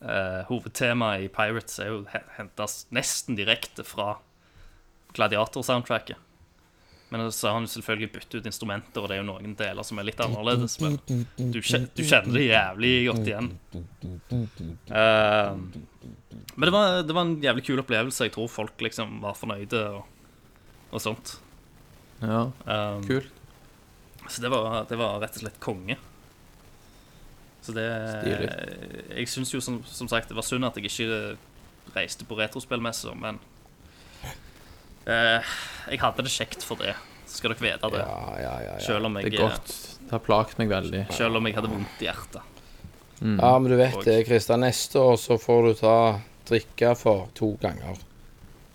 Speaker 1: Eh, hovedtemaet i Pirates er jo hentes nesten direkte fra Gladiator-soundtracket. Men så har han jo selvfølgelig byttet ut instrumenter, og det er jo noen deler som er litt annerledes. Men du, kje- du kjenner det jævlig godt igjen. Eh, Men det var, det var en jævlig kul opplevelse. Jeg tror folk liksom var fornøyde og, og sånt.
Speaker 8: Ja,
Speaker 1: Um,
Speaker 8: kult.
Speaker 1: Så det var, det var rett og slett konge. Så det Jeg syns jo som, som sagt det var synd at jeg ikke reiste på retrospillmesser, men eh, Jeg hadde det kjekt for det. Så skal dere vite det.
Speaker 7: Ja, ja, ja, ja.
Speaker 1: Selv om
Speaker 8: Det
Speaker 1: jeg,
Speaker 8: er godt. Det har plaget meg veldig.
Speaker 1: selv om jeg hadde vondt i hjertet.
Speaker 7: ja, men du vet
Speaker 1: Og-
Speaker 7: det, Kristian. Neste år så får du ta drikke for to ganger.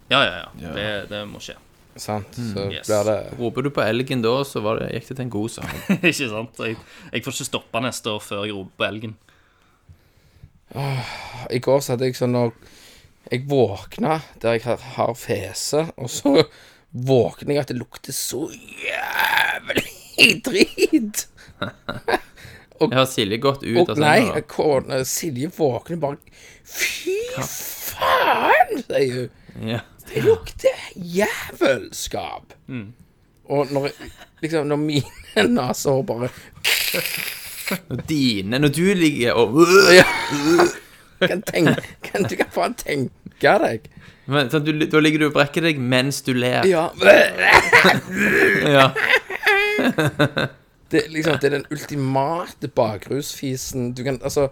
Speaker 1: Ja, ja, ja. Det, det må skje.
Speaker 7: Sant? Så
Speaker 1: Mm. Yes.
Speaker 7: blir det
Speaker 8: Roper du på elgen da, så var det, gikk det til en god sak.
Speaker 1: ikke sant? Jeg, jeg får ikke stoppa neste år før jeg roper på elgen.
Speaker 7: I går så hadde jeg sånn når jeg våkna der jeg har- har fese, og så våkner jeg at det lukter så jævlig drit.
Speaker 8: Jeg har Silje gått ut
Speaker 7: Og
Speaker 8: av senga.
Speaker 7: nei,
Speaker 8: da.
Speaker 7: kona Silje våkner bare Fy faen, sier hun.
Speaker 8: Ja. Mm.
Speaker 7: Det lukter jævelskap. Og når, jeg- liksom, når mine naser bare
Speaker 8: Når dine Når du ligger og
Speaker 7: kan tenke, kan, Du kan faen tenke deg.
Speaker 8: men, sånn, du, Da ligger du og brekker deg mens du ler.
Speaker 7: Ja,
Speaker 8: Ja.
Speaker 7: det, er liksom, det er den ultimate bakrusfisen. Du kan, altså,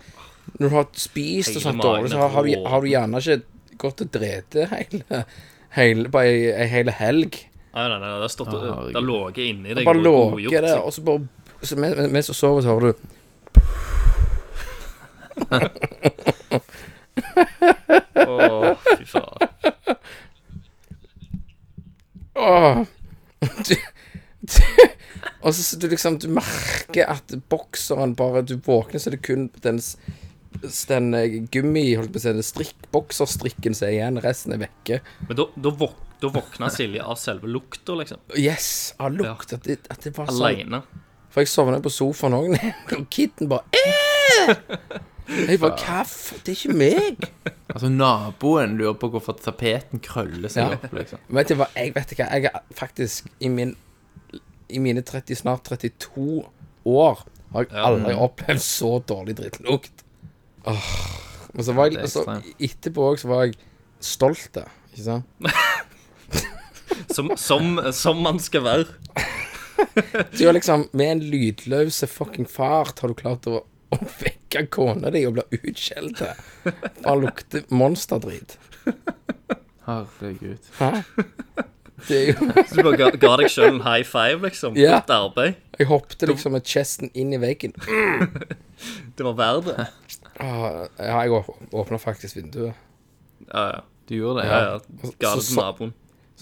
Speaker 7: når du har spist og
Speaker 1: Hele
Speaker 7: sånt
Speaker 1: magen
Speaker 7: dårlig, så
Speaker 1: er
Speaker 7: har, har, du,
Speaker 1: rå.
Speaker 7: har du gjerne ikke gått og drete hele, hele, på ei, ei hele helg.
Speaker 1: Nei, nei, nei, det har stått
Speaker 8: Å,
Speaker 1: Det har ligget inni deg.
Speaker 7: Bare
Speaker 1: og godgjort
Speaker 7: låker det,
Speaker 1: seg.
Speaker 7: og så bare så mens, mens du sover, så hører du
Speaker 1: Å, fy faen.
Speaker 7: Åh. Du, du, og så, så du liksom Du merker at bokseren bare Du våkner, så er det kun den, s- s- den eh, gummi Holdt på å si den strikk, bokserstrikken som er igjen. Resten er vekke.
Speaker 1: Men da, da, våk, da våkna Silje av selve lukta, liksom.
Speaker 7: Yes! Av lukt. At, det, at det var sånn.
Speaker 1: Aleine.
Speaker 7: For jeg sovna på sofaen òg, og kitten bare «Æ!» Jeg bare Hva f... Det er ikke meg.
Speaker 8: Altså, naboen lurer på hvorfor tapeten krøller seg
Speaker 7: Ja.
Speaker 8: opp, liksom.
Speaker 7: Vet du hva, jeg vet ikke, jeg er faktisk i, min, i mine 30, snart 32 år har jeg aldri opplevd så dårlig drittlukt. Åh. Men så var jeg,
Speaker 8: det er
Speaker 7: altså,
Speaker 8: ekstremt.
Speaker 7: etterpå òg så var jeg stolt, da. Ikke sant?
Speaker 1: Som, som, som man skal være.
Speaker 7: Så jeg liksom, med en lydløse fucking fart har du klart å, å vekke kona di og bli utskjelt. da. Bare lukter monsterdrit.
Speaker 8: Herregud.
Speaker 7: Hæ? Det er jo
Speaker 1: Så du bare ga, ga deg sjøl en high five, liksom.
Speaker 7: Ja.
Speaker 1: Godt arbeid.
Speaker 7: Jeg hoppet liksom med kjesten inn i veggen.
Speaker 1: Det var verdt
Speaker 7: Åh,
Speaker 1: det.
Speaker 7: Ah, Ja, jeg åp- åpna faktisk vinduet.
Speaker 1: Ja, ja.
Speaker 8: Du gjorde det?
Speaker 1: ja, ja. Ga det
Speaker 7: Så-
Speaker 1: til naboen.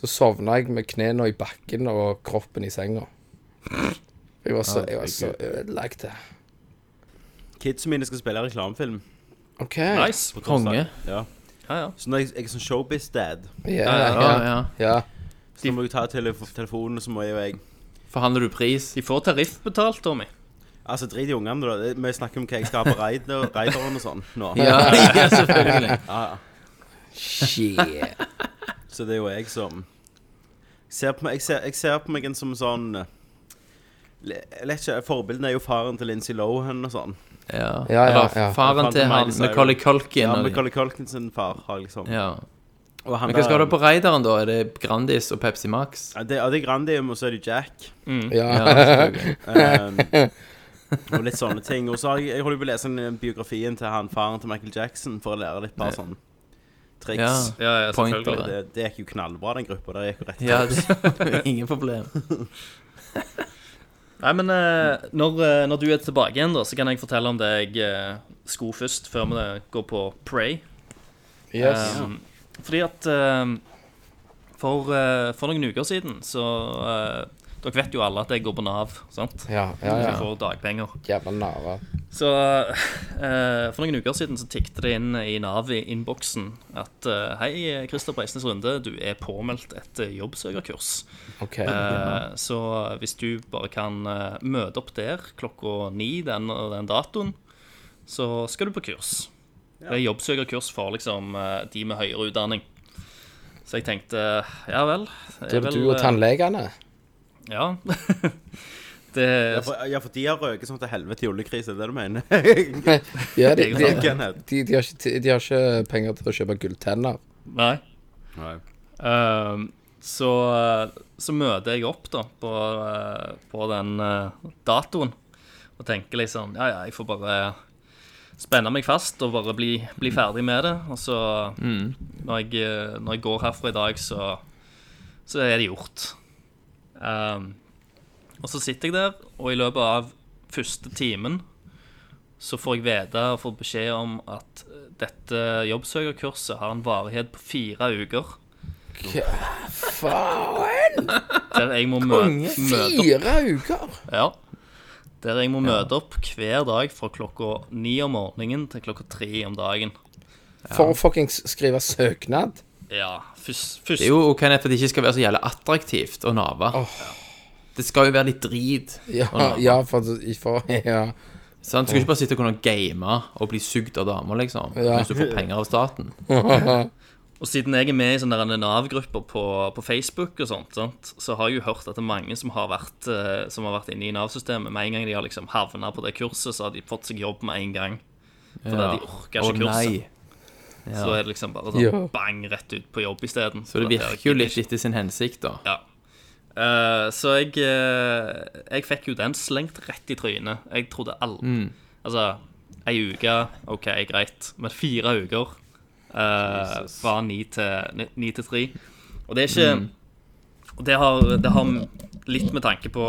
Speaker 7: Så sovna jeg med knærne i bakken og kroppen i senga. Jeg var så, jeg var så ødelagt.
Speaker 6: Kidsa mine skal spille reklamefilm.
Speaker 7: OK.
Speaker 1: Nice. på torsdag.
Speaker 8: Konge.
Speaker 6: Ja.
Speaker 1: Ja, ja.
Speaker 6: Så når jeg, jeg er sånn showbiz-dad,
Speaker 7: Ja,
Speaker 8: Ja,
Speaker 7: ja,
Speaker 8: ja.
Speaker 7: ja.
Speaker 6: så må jeg ta tele telefonen, så må jeg og jeg
Speaker 8: Forhandler du pris?
Speaker 1: De får tariff betalt, Tommy.
Speaker 6: Altså, drit i ungene, da. Det- Vi snakker om hva jeg skal ha på raid- raideren og sånn nå.
Speaker 8: Ja, ja selvfølgelig.
Speaker 7: Shit.
Speaker 6: Så det er jo jeg som ser på meg, jeg, ser, jeg ser på meg en som sånn eh, le- Jeg vet ikke, Forbildene er jo faren til Lincy Lohan og sånn.
Speaker 8: Ja.
Speaker 7: ja, ja.
Speaker 8: Eller faren
Speaker 6: Faren til
Speaker 8: til han
Speaker 6: Miley Cyrus.
Speaker 8: Macaulay Culkin.
Speaker 6: Ja,
Speaker 8: og de-
Speaker 6: Michael Colkin sin far har liksom
Speaker 8: Ja.
Speaker 6: Og han
Speaker 8: Men hva skal du
Speaker 6: der-
Speaker 8: ha på raideren, da? Er det Grandis og Pepsi Max?
Speaker 6: Ja, det, ja, det er Grandium, og så er det Jack.
Speaker 1: Mm.
Speaker 8: Ja,
Speaker 7: Ja.
Speaker 8: selvfølgelig.
Speaker 6: Um, og litt sånne ting. Og så har jeg, jeg holder på å lese en, eh, biografien til han faren til Michael Jackson for å lære litt bare sånn triks.
Speaker 1: Ja, ja,
Speaker 8: Pointer.
Speaker 1: selvfølgelig.
Speaker 6: Det, det gikk jo knallbra, den gruppa. Der gikk jo rett
Speaker 8: ja det, ingen problem.
Speaker 1: Nei, men eh, når, eh, når du er tilbake igjen, da, så kan jeg fortelle om det jeg eh, sko først, før vi går på Pray.
Speaker 7: Yes.
Speaker 1: Um, fordi at um, for, eh, for noen uker siden så eh, Dere vet jo alle at jeg går på Nav, sant?
Speaker 7: Ja, ja, ja.
Speaker 1: Jeg får dagpenger.
Speaker 7: Jævla nara.
Speaker 1: Så eh, for noen uker siden så tikket det inn i Nav i innboksen at eh, Hei, Christer Breisnes Runde, du er påmeldt et eh, jobbsøkerkurs.
Speaker 7: OK.
Speaker 1: Eh, Så hvis du bare kan eh, møte opp der klokka ni den og den datoen, så skal du på kurs. Det er jobbsøkerkurs for liksom eh, de med høyere utdanning. Så jeg tenkte ja vel.
Speaker 7: Da er det du og
Speaker 1: eh,
Speaker 7: tannlegene.
Speaker 1: Ja. Det,
Speaker 6: Ja, for, ja, for de har røket sånn til helvete i oljekrise, er det det du mener?
Speaker 7: Ja, de, de,
Speaker 1: Egentlig.
Speaker 6: Kenneth?
Speaker 7: de, de, har ikke, de har ikke penger til å kjøpe gulltenner.
Speaker 1: nei.
Speaker 6: Nei.
Speaker 1: Ehm, så, eh, så møter jeg opp da på, eh, på den eh, datoen og tenker liksom Ja, ja, jeg får bare spenne meg fast og bare bli, bli ferdig med det. Og så, når, jeg, eh, når jeg går herfra i dag, så, så er det gjort. Ehm, og så sitter jeg der, og i løpet av første timen så får jeg vite og får beskjed om at eh, dette jobbsøkerkurset har en varighet på fire uker.
Speaker 7: Faen!
Speaker 1: Der jeg må mø- møte opp
Speaker 7: Fire uker!
Speaker 1: ja. Der jeg må møte opp hver dag fra klokka ni om morgenen til klokka tre om dagen.
Speaker 7: For å fuckings skrive søknad.
Speaker 1: Ja, først, først
Speaker 8: Det er jo ok Kenneth, at det ikke skal være så jævlig attraktivt å nave. Det skal jo være litt drit.
Speaker 7: Ja, ja for, for ja.
Speaker 8: Sant? Du skal ikke bare sitte og kunne game og bli sugd av damer, liksom.
Speaker 7: Ja.
Speaker 8: Hvis du får penger av staten.
Speaker 1: Og siden jeg er med i sånne der Nav-grupper på, på Facebook og sånt, sant? så har jeg jo hørt at det er mange som har vært, eh, som har vært inne i Nav-systemet. Med en gang de har liksom havna på det kurset, så har de fått seg jobb med en gang. Fordi
Speaker 8: Ja.
Speaker 1: de orker ikke
Speaker 8: Å,
Speaker 1: kurset.
Speaker 8: nei. Ja.
Speaker 1: Så er det liksom bare sånn
Speaker 7: Ja.
Speaker 1: bang rett ut på jobb isteden.
Speaker 8: Så det virker jo litt etter sin hensikt, da.
Speaker 1: Ja. Eh, så jeg, eh, jeg fikk jo den slengt rett i trynet. Jeg trodde all
Speaker 8: Mm.
Speaker 1: Altså, ei uke, OK, greit. Men fire uker eh, fra ni til, ni- ni til tre. Og det er ikke
Speaker 8: Mm.
Speaker 1: Og det har, det har litt med tanke på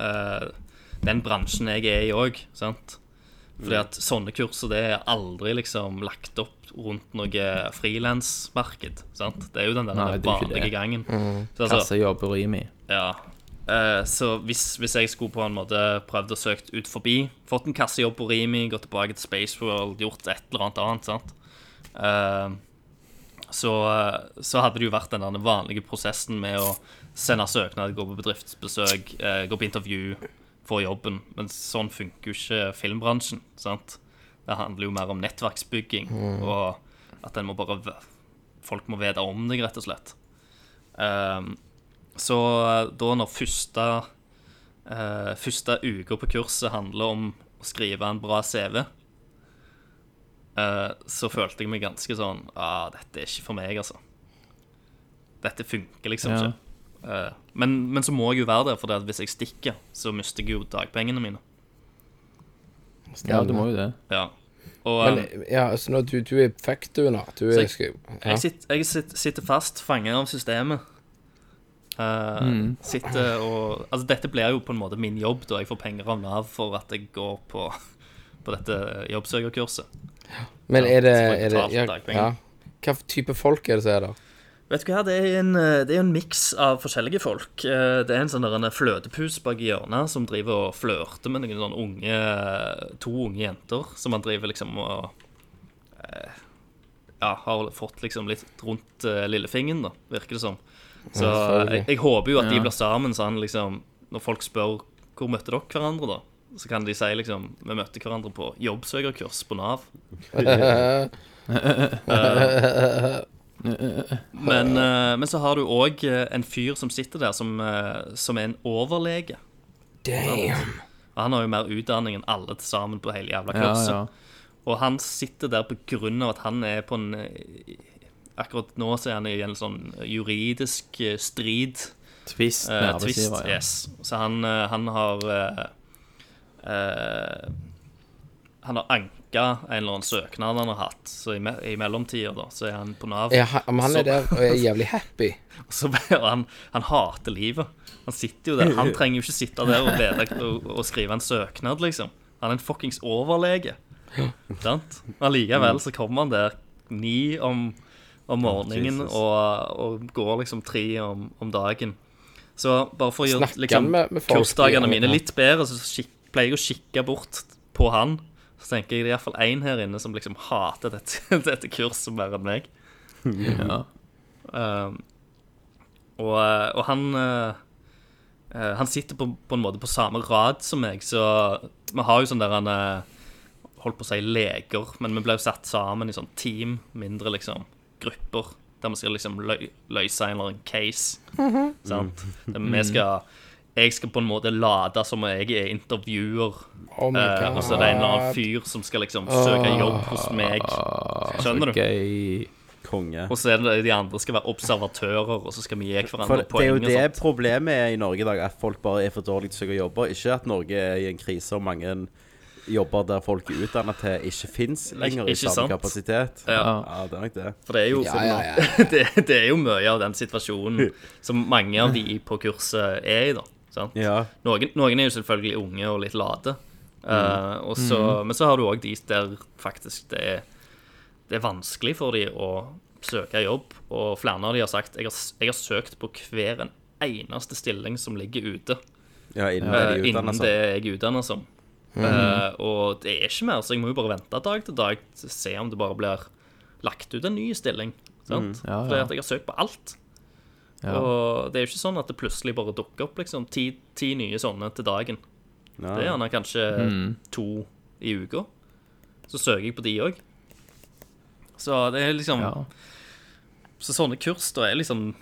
Speaker 1: eh, den bransjen jeg er i òg, sant.
Speaker 8: Mm.
Speaker 1: Fordi at sånne kurser det er aldri liksom lagt opp rundt noe frilansmarked. sant? Det er jo den der
Speaker 8: Nei, det er jo ikke
Speaker 1: vanlige
Speaker 8: det. Mm.
Speaker 1: gangen. Så altså,
Speaker 8: Kassejobb og Rimi.
Speaker 1: ja. Eh, så hvis, hvis jeg skulle på en måte prøvd å søke ut forbi, fått en kassejobb på Rimi, gått tilbake til Spaceworld, gjort et eller annet annet, sant? Eh, så, eh, så hadde det jo vært den der vanlige prosessen med å sende søknad, gå på bedriftsbesøk, eh, gå på intervju, få jobben. Men sånn funker jo ikke filmbransjen, sant? Det handler jo mer om nettverksbygging, og at en må bare v- Folk må vite om deg, rett og slett. Eh, så da når første eh, Første uka på kurset handler om å skrive en bra CV, eh, så følte jeg meg ganske sånn ah, Dette er ikke for meg, altså. Dette funker liksom
Speaker 8: Ja.
Speaker 1: ikke. Eh, men, men så må jeg jo være der, for hvis jeg stikker, så mister jeg jo dagpengene mine.
Speaker 8: Ja, du må jo det.
Speaker 1: Ja. Og,
Speaker 7: Men,
Speaker 1: eh,
Speaker 7: ja, så nå, du, du er fucked, du, nå. Du er,
Speaker 1: Så
Speaker 7: skri- ja.
Speaker 1: Jeg, sitter, jeg sitter, sitter fast, fanget av systemet. Eh, Sitter og Altså, dette blir jo på en måte min jobb, da jeg får penger av Nav for at jeg går på, på dette jobbsøkerkurset.
Speaker 7: Men
Speaker 1: Ja,
Speaker 7: er det,
Speaker 1: så får jeg
Speaker 7: er det
Speaker 1: betalt
Speaker 7: ja, ja.
Speaker 1: dagpenger.
Speaker 7: Hva for type folk er det som er der?
Speaker 1: Vet du hva, det er en, eh, det er en miks av forskjellige folk. Eh, Det er en sånn der en fløtepus bak i hjørnet som driver og flørter med noen sånne unge To unge jenter som han driver liksom og eh, Ja, har fått liksom litt rundt eh, lillefingeren, da, virker det som. Så jeg, jeg håper jo at de
Speaker 8: Ja.
Speaker 1: blir sammen, så han liksom Når folk spør hvor møtte dere hverandre, da, så kan de si liksom Vi møtte hverandre på jobbsøkerkurs på Nav.
Speaker 8: eh,
Speaker 1: Men, eh, men så har du òg en fyr som sitter der, som, eh, som er en overlege.
Speaker 7: Damn!
Speaker 1: Og han har jo mer utdanning enn alle til sammen på hele jævla
Speaker 8: Ja,
Speaker 1: kurset.
Speaker 8: ja.
Speaker 1: Og han sitter der på grunn av at han er på en eh, Akkurat nå så er han i en sånn juridisk eh, strid.
Speaker 8: Twist med
Speaker 1: Eh, twist,
Speaker 8: arbeidsgiver. Ja.
Speaker 1: yes. Så han, eh, han har eh, eh, Han har anka en eller annen søknad han har hatt, så i, me i mellomtida da, så er han på Nav.
Speaker 7: Ja, han, men han
Speaker 1: Så-
Speaker 7: er der og er jævlig happy.
Speaker 1: Så, og han, han hater livet. Han sitter jo der. Han trenger jo ikke sitte der og, vite, og, og skrive en søknad, liksom. Han er en fuckings overlege. Sant? Men allikevel så kommer han der ni om, om morgenen
Speaker 6: Jesus.
Speaker 1: og, og går liksom tre om, om dagen. Så bare for å gjøre
Speaker 7: Snakker
Speaker 1: liksom,
Speaker 7: han med- med folk?
Speaker 1: kursdagene mine
Speaker 7: Ja.
Speaker 1: litt bedre, så skik, pleier jeg å kikke bort på han. Så tenker jeg det er iallfall én her inne som liksom hater dette, dette kurset mer enn meg.
Speaker 8: Ja.
Speaker 1: Um, og, og han eh, eh, Han sitter på, på en måte på samme rad som meg, så vi har jo sånn der han eh, Holdt på å si leger, men vi ble jo satt sammen i sånn team, mindre liksom grupper,
Speaker 6: Mm.
Speaker 1: der vi skal liksom lø løse en eller annen case. Sant? Der vi skal jeg skal på en måte late som jeg er intervjuer,
Speaker 7: Oh my
Speaker 1: eh, og så er det en eller annen fyr som skal liksom
Speaker 6: Ah.
Speaker 1: søke jobb hos meg. Skjønner du?
Speaker 8: Gøy.
Speaker 6: Konge.
Speaker 1: Og så er det de andre skal være observatører, og så skal vi gi
Speaker 6: For
Speaker 1: hverandre
Speaker 6: det er jo
Speaker 1: poeng. og
Speaker 6: det
Speaker 1: sånt.
Speaker 6: problemet er i Norge i dag, at folk bare er for dårlige til å søke jobber. Ikke at Norge er i en krise og mange jobber der folk er utdannet til, ikke fins lenger i
Speaker 1: Ikke
Speaker 6: samme
Speaker 1: sant?
Speaker 6: kapasitet.
Speaker 1: Ja.
Speaker 6: ja, det er nok det.
Speaker 1: For det er jo
Speaker 7: Ja, ja, ja.
Speaker 1: det, det er jo mye av den situasjonen som mange av de på kurset er i, da. Sant?
Speaker 6: Ja.
Speaker 1: Noen, noen er jo selvfølgelig unge og litt late. eh, og så,
Speaker 6: Mm.
Speaker 1: Men så har du òg de der faktisk det er, det er vanskelig for de å søke jobb. Og flere av de har sagt jeg har, s- jeg har søkt på hver en eneste stilling som ligger ute.
Speaker 6: Ja, innen
Speaker 1: eh,
Speaker 6: de er
Speaker 1: innen
Speaker 6: utdannet Mm.
Speaker 1: det
Speaker 6: sånn.
Speaker 1: jeg er utdannet som. Eh, og det er ikke mer, så jeg må jo bare vente dag til dag til å se om det bare blir lagt ut en ny stilling.
Speaker 6: Mm,
Speaker 1: Sant?
Speaker 8: Ja,
Speaker 1: Fordi
Speaker 8: Ah, ja.
Speaker 1: at jeg har søkt på alt.
Speaker 8: Ja.
Speaker 1: Og det er jo ikke sånn at det plutselig bare dukker opp liksom, ti, ti nye sånne til dagen.
Speaker 6: Ja.
Speaker 1: Det er gjerne kanskje
Speaker 8: Mm.
Speaker 1: to i uka. Så søker jeg på de òg. Så det er liksom
Speaker 8: Ja.
Speaker 1: Så sånne kurs da er liksom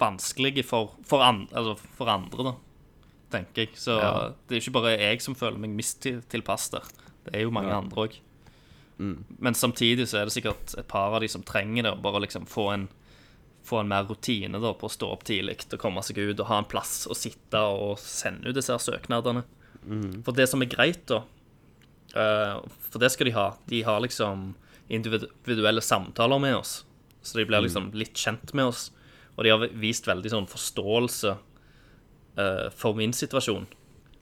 Speaker 1: vanskelige for, for, an, altså for andre, da, tenker jeg. Så
Speaker 8: Ja.
Speaker 1: det er ikke bare jeg som føler meg mistilpass der. Det er jo mange andre òg. Men samtidig så er det sikkert et par av de som trenger det, og bare liksom få en få en mer rutine da på å stå opp tidlig og komme seg ut og ha en plass å sitte og sende ut disse her søknadene.
Speaker 6: Mm.
Speaker 1: For det som er greit, da eh, For det skal de ha. De har liksom individuelle samtaler med oss. Så de blir
Speaker 6: Mm.
Speaker 1: liksom litt kjent med oss. Og de har vist veldig sånn forståelse eh, for min situasjon.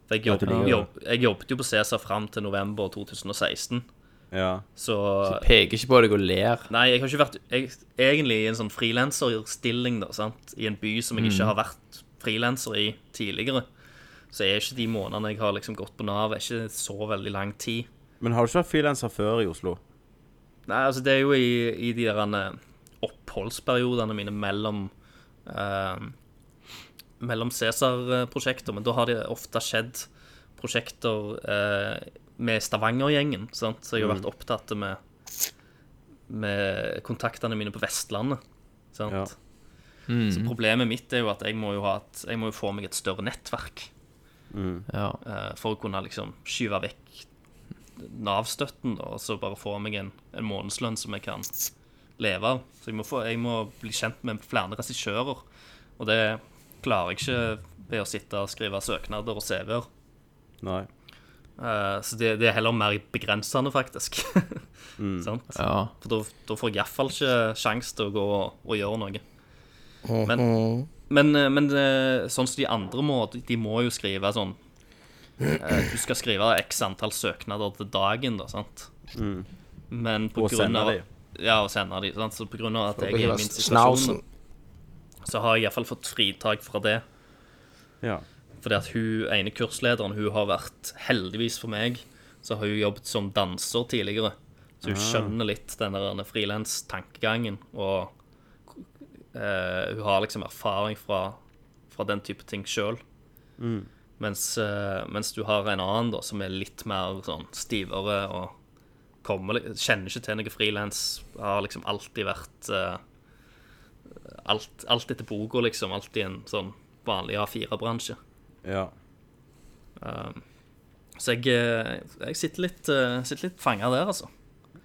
Speaker 1: For jeg,
Speaker 6: Ja, du
Speaker 1: jobb,
Speaker 6: liker det.
Speaker 1: jobb, jeg jobbet jo på Cæsar fram til november 2016,
Speaker 6: Ja.
Speaker 1: så
Speaker 8: Peker ikke på deg og ler.
Speaker 1: Nei, jeg har ikke vært jeg, egentlig i en sånn frilanserstilling, da, sant. I en by som jeg ikke har vært frilanser i tidligere. Så er ikke de månedene jeg har liksom gått på Nav, er ikke så veldig lang tid.
Speaker 6: Men har du ikke vært frilanser før i Oslo?
Speaker 1: Nei, altså det er jo i, i de der eh, oppholdsperiodene mine mellom eh, Mellom Cæsar-prosjekter, men da har det ofte skjedd prosjekter eh, med Stavanger-gjengen. sant? Så jeg har vært opptatt med, med kontaktene mine på Vestlandet. sant?
Speaker 6: Ja.
Speaker 1: Så problemet mitt er jo at jeg må jo, ha et, jeg må jo få meg et større nettverk
Speaker 8: Ja.
Speaker 1: eh, for å kunne liksom skyve vekk Nav-støtten, da, og så bare få meg en, en månedslønn som jeg kan leve av. Så jeg må, få, jeg må bli kjent med flere regissører, og det klarer jeg ikke ved å sitte og skrive søknader og CV-er.
Speaker 6: Nei.
Speaker 1: Eh, så det, det er heller mer begrensende, faktisk. Sant?
Speaker 8: ja.
Speaker 1: For da, da får jeg iallfall ikke sjanse til å gå og, og gjøre noe. Men, men, eh, men eh, sånn som de andre må, de- de må jo skrive sånn eh, Du skal skrive x antall søknader til dagen, da, sant? Men
Speaker 6: Mm.
Speaker 1: på
Speaker 6: Og
Speaker 1: grunn
Speaker 6: sende
Speaker 1: av
Speaker 6: de.
Speaker 1: Ja, og sende de. Sant? Så på grunn av at jeg er i min situasjon,
Speaker 7: Snausen.
Speaker 1: så har jeg iallfall fått fritak fra det.
Speaker 6: Ja.
Speaker 1: Fordi at hun ene kurslederen hun har vært, heldigvis for meg, så har hun jobbet som danser tidligere. Så hun skjønner litt den der frilans-tankegangen. Og eh, hun har liksom erfaring fra, fra den type ting sjøl. Mens, eh, mens du har en annen da, som er litt mer sånn stivere og kommer, li- kjenner ikke til noe frilans. Har liksom alltid vært eh, alt, alt etter boka, liksom. Alltid en sånn vanlig A4-bransje.
Speaker 6: Ja.
Speaker 1: Så jeg, eh, jeg sitter litt, eh, sitter litt fanga der, altså.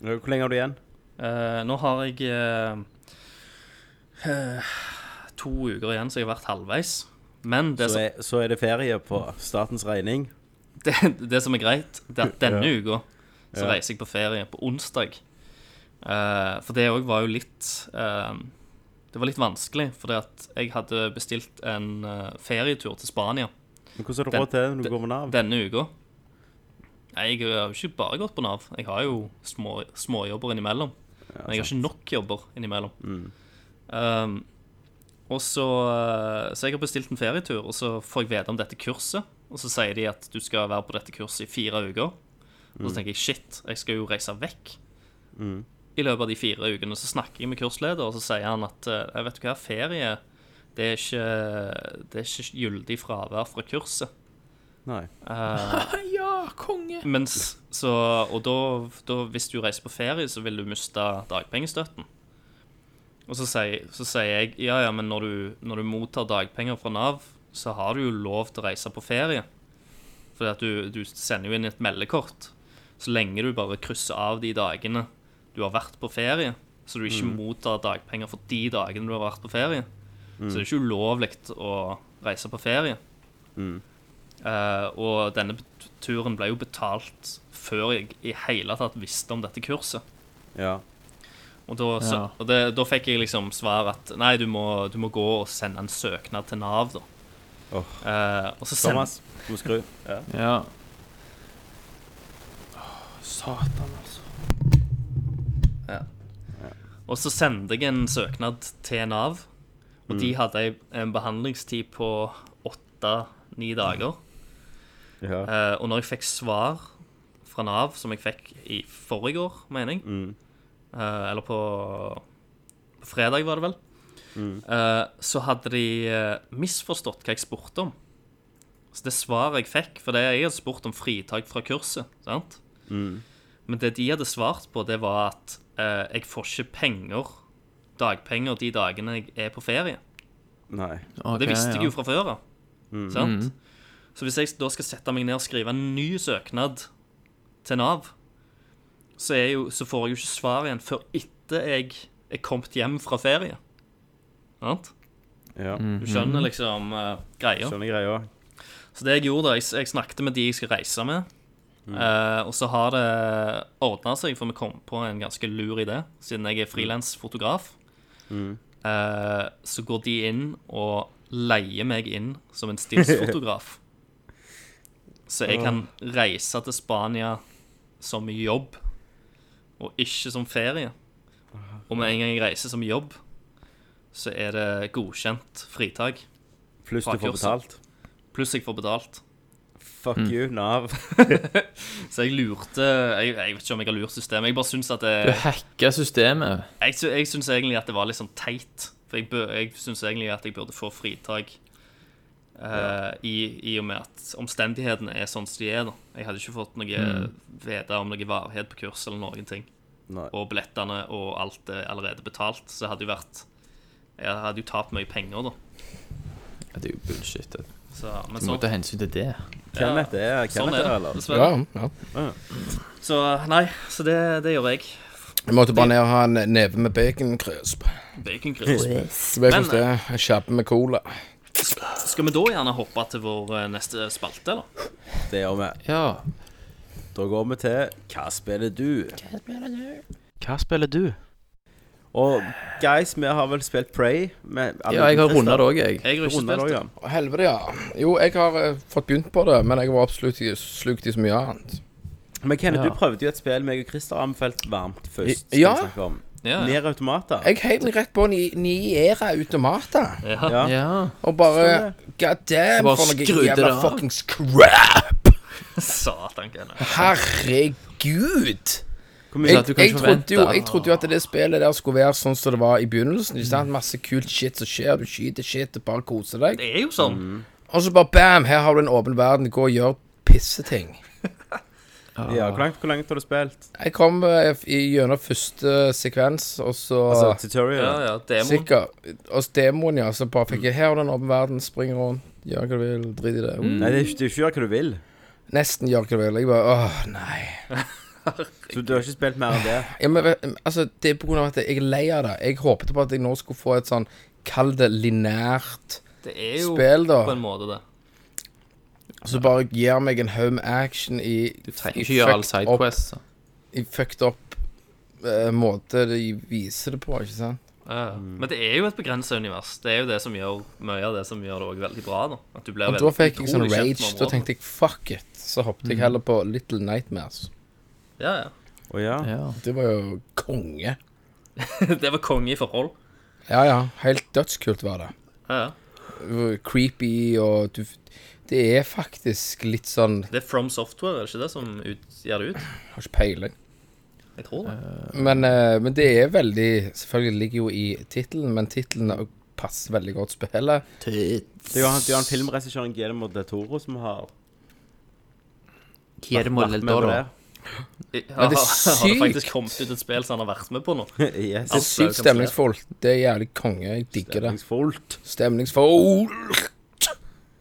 Speaker 6: Hvor lenge har du igjen?
Speaker 1: Eh, Nå har jeg eh, eh, to uker igjen, så jeg har vært halvveis. Men det,
Speaker 6: Så
Speaker 1: som,
Speaker 6: er, så er det ferie på statens regning.
Speaker 1: det, det som er greit, det er at denne uka så
Speaker 6: Ja.
Speaker 1: reiser jeg på ferie på onsdag. Eh, for det òg var jo litt eh, Det var litt vanskelig, fordi at jeg hadde bestilt en eh, ferietur til Spania.
Speaker 6: Men hvordan har du
Speaker 1: Den-
Speaker 6: råd til det når du går med Nav?
Speaker 1: denne uka. Nei, jeg har jo ikke bare gått på Nav. Jeg har jo små- småjobber innimellom. men jeg har ikke nok jobber innimellom. Um, og så, eh, så jeg har bestilt en ferietur, og så får jeg vite om dette kurset. Og så sier de at du skal være på dette kurset i fire uker. Og så tenker jeg shit, jeg skal jo reise vekk. I løpet av de fire ukene så snakker jeg med kursleder, og så sier han at eh, jeg vet du hva, ferie det er ikke, det er ikke gyldig fravær fra kurset.
Speaker 6: Nei.
Speaker 8: ja, konge!
Speaker 1: Eh, Mens, så, og da, da, hvis du reiser på ferie, så vil du miste dagpengestøtten. Og så sier, så sier jeg ja, ja, men når du, når du mottar dagpenger fra Nav, så har du jo lov til å reise på ferie. Fordi at du, du sender jo inn et meldekort. Så lenge du bare krysser av de dagene du har vært på ferie, så du ikke mottar dagpenger for de dagene du har vært på ferie, så det er ikke ulovlig å reise på ferie. Eh, og denne bet- turen ble jo betalt før jeg i hele tatt visste om dette kurset.
Speaker 6: Ja.
Speaker 1: Og, da, så,
Speaker 8: Ja.
Speaker 1: og det, da fikk jeg liksom svar at nei, du må, du må gå og sende en søknad til Nav, da.
Speaker 6: Åh.
Speaker 1: Eh, og så send,
Speaker 6: Thomas, du må skru.
Speaker 8: Ja. Åh, Satan, altså.
Speaker 1: Og så sendte jeg en søknad til Nav, og de hadde ei- en behandlingstid på åtte-ni dager.
Speaker 6: Ja.
Speaker 1: Eh, og når jeg fikk svar fra Nav, som jeg fikk i forrige år, mener jeg, eh, eller på, på fredag var det vel, eh, så hadde de eh, misforstått hva jeg spurte om. Så det svaret jeg fikk, for det jeg hadde spurt om fritak fra kurset, sant? Men det de hadde svart på, det var at eh, jeg får ikke penger, dagpenger, de dagene jeg er på ferie.
Speaker 6: Nei.
Speaker 1: Og det
Speaker 8: Ok,
Speaker 1: visste
Speaker 8: ja. Mm.
Speaker 1: jeg jo fra før av. Sant? Så hvis jeg da skal sette meg ned og skrive en ny søknad til Nav, så, er jo, så får jeg jo ikke svar igjen før etter jeg er kommet hjem fra ferie. Sant?
Speaker 6: Ja.
Speaker 1: Du
Speaker 8: Mhm.
Speaker 1: skjønner liksom eh, greia.
Speaker 6: Skjønner greia.
Speaker 1: Så det jeg gjorde, da, jeg, jeg snakket med de jeg skal reise med. eh, og så har det ordna seg, for vi kom på en ganske lur idé, siden jeg er frilansfotograf. eh, så går de inn og leier meg inn som en stilsfotograf. så jeg kan reise til Spania som jobb, og ikke som ferie. Og med en gang jeg reiser som jobb, så er det godkjent fritak.
Speaker 6: Pluss du får betalt.
Speaker 1: Pluss jeg får betalt.
Speaker 6: Fuck
Speaker 1: Mm.
Speaker 6: you, Nav.
Speaker 1: Så jeg lurte Jeg, jeg vet ikke om jeg har lurt systemet. Jeg bare syns at det,
Speaker 8: Du hacker systemet.
Speaker 1: jeg, sy- jeg syns egentlig at det var litt sånn teit. For jeg, bør- jeg syns egentlig at jeg burde få fritak. eh, i, I og med at omstendighetene er sånn som de er. da Jeg hadde ikke fått noe vite om noe varighet på kurs eller noen ting.
Speaker 6: Nei.
Speaker 1: Og billettene og alt er allerede betalt. Så det hadde jo vært Jeg hadde jo tapt mye penger, da.
Speaker 8: Ja, Det er jo bullshit. det.
Speaker 1: Så, men
Speaker 8: Du må
Speaker 1: så,
Speaker 8: ta hensyn til det.
Speaker 6: Kenneth er
Speaker 1: sånn
Speaker 6: Kenneth,
Speaker 1: er
Speaker 6: er,
Speaker 1: det,
Speaker 6: eller?
Speaker 1: dessverre.
Speaker 7: ja.
Speaker 1: Så nei, så det, det gjør jeg.
Speaker 7: Jeg måtte bare ned og ha en neve med baconkrøsp.
Speaker 1: Baconcrisp.
Speaker 7: Så ble jeg
Speaker 1: Men-
Speaker 7: først det. En kjappe med cola.
Speaker 1: Skal vi da gjerne hoppe til vår eh, neste spalte, eller?
Speaker 6: Det gjør vi.
Speaker 8: Ja.
Speaker 6: Da går vi til Hva spiller du? Hva spiller du? Og guys, vi har vel spilt Prey med alle
Speaker 8: ja, jeg har
Speaker 6: uten
Speaker 8: runda det
Speaker 6: Christer.
Speaker 8: òg, jeg.
Speaker 1: Jeg har ikke
Speaker 6: Rundet det
Speaker 1: spilt
Speaker 6: også,
Speaker 1: det.
Speaker 6: ja.
Speaker 7: Å, Helvete, ja. Jo, jeg har eh, fått begynt på det, men jeg var absolutt ikke slukt i så mye annet.
Speaker 6: Men Kenneth,
Speaker 8: Ja.
Speaker 6: du prøvde jo et spill meg og Christer har anbefalt varmt først.
Speaker 7: I- ja.
Speaker 6: skal vi snakke om.
Speaker 1: Ja, ja.
Speaker 6: Nier Automata.
Speaker 7: Jeg heiv meg rett på ni, Niera Automata,
Speaker 1: Ja.
Speaker 6: Ja.
Speaker 8: Ja.
Speaker 7: og
Speaker 6: Stemmer.
Speaker 7: bare God damn,
Speaker 8: bare
Speaker 7: for noe
Speaker 8: skrudde det
Speaker 7: jævla
Speaker 8: av.
Speaker 7: fuckings crap!
Speaker 1: Satan, Kenneth.
Speaker 7: Herregud!
Speaker 6: Hvor mye
Speaker 7: Jeg,
Speaker 8: du kan
Speaker 7: jeg,
Speaker 8: ikke
Speaker 7: trodde jo,
Speaker 8: forvente.
Speaker 7: jeg trodde jo at det spillet der skulle være sånn som det var i begynnelsen. Ikke sant? Masse kult shit som skjer, du skyter shit og bare koser deg.
Speaker 1: Det er jo sånn.
Speaker 7: Og så bare bam, her har du en åpen verden, gå og gjør pisseting.
Speaker 6: ja, hvor, langt, hvor langt har du spilt?
Speaker 7: Jeg kom eh, f- i- gjennom første sekvens, og så
Speaker 6: Altså,
Speaker 1: Ja,
Speaker 6: tutorial?
Speaker 1: ja, demon.
Speaker 7: Sikker. Og så demoen, ja. Så bare fikk jeg her og den åpen verden, spring rundt, gjør hva du vil, drit i det.
Speaker 1: Mm.
Speaker 6: Nei, det er ikke- det er ikke å gjøre hva du vil.
Speaker 7: Nesten gjør hva du vil. Jeg bare åh, nei.
Speaker 6: Så du har ikke spilt mer enn det?
Speaker 7: Ja, men, vet- altså, det er på grunn av at jeg er lei av det. Jeg håpet på at jeg nå skulle få et sånn, kall det lineært
Speaker 1: Det er jo
Speaker 7: spill, da.
Speaker 1: på en måte det.
Speaker 7: Så bare gir meg en home action i Du
Speaker 8: Trenger ikke gjøre all sidequest. så.
Speaker 7: I fucked up eh, måte de viser det på, ikke sant?
Speaker 1: Ja, ja.
Speaker 7: Mm.
Speaker 1: Men det er jo et begrenset univers. Det er jo det som gjør mye av det som gjør det også veldig bra. da At du blir
Speaker 7: Og da
Speaker 1: veldig
Speaker 7: fikk jeg sånn
Speaker 1: utrolig kjent Mm.
Speaker 7: rage.
Speaker 1: med
Speaker 7: Da
Speaker 1: området.
Speaker 7: tenkte jeg fuck it. Så hoppet jeg heller på Little Nightmares.
Speaker 1: Ja, ja.
Speaker 6: Å ja.
Speaker 8: Ja.
Speaker 7: Det var jo konge.
Speaker 1: Det var konge i forhold.
Speaker 7: Ja ja, helt dødskult var det.
Speaker 1: Ja, ja.
Speaker 7: Det var Creepy og du Det er faktisk litt sånn
Speaker 1: Det er From Software, er det ikke det som ut, gjør det ut?
Speaker 7: jeg Har ikke peiling.
Speaker 1: Jeg tror det.
Speaker 7: Men, eh, men det er veldig Selvfølgelig ligger jo i tittelen, men tittelen passer veldig godt spillet.
Speaker 6: Det er jo han, det er jo han filmregissøren Guillermo del Toro som har
Speaker 8: Guillermo
Speaker 6: vært
Speaker 8: del
Speaker 6: med på
Speaker 8: Toro.
Speaker 6: det.
Speaker 1: Har, har det
Speaker 7: sykt.
Speaker 1: faktisk kommet ut et spill som han har vært med på nå?
Speaker 6: Yes.
Speaker 7: Det er
Speaker 6: liksom
Speaker 7: sykt
Speaker 6: sånn,
Speaker 1: kan man si.
Speaker 7: stemningsfullt. Det er jævlig konge. Jeg digger det.
Speaker 6: Stemningsfullt.
Speaker 7: Stemningsfullt.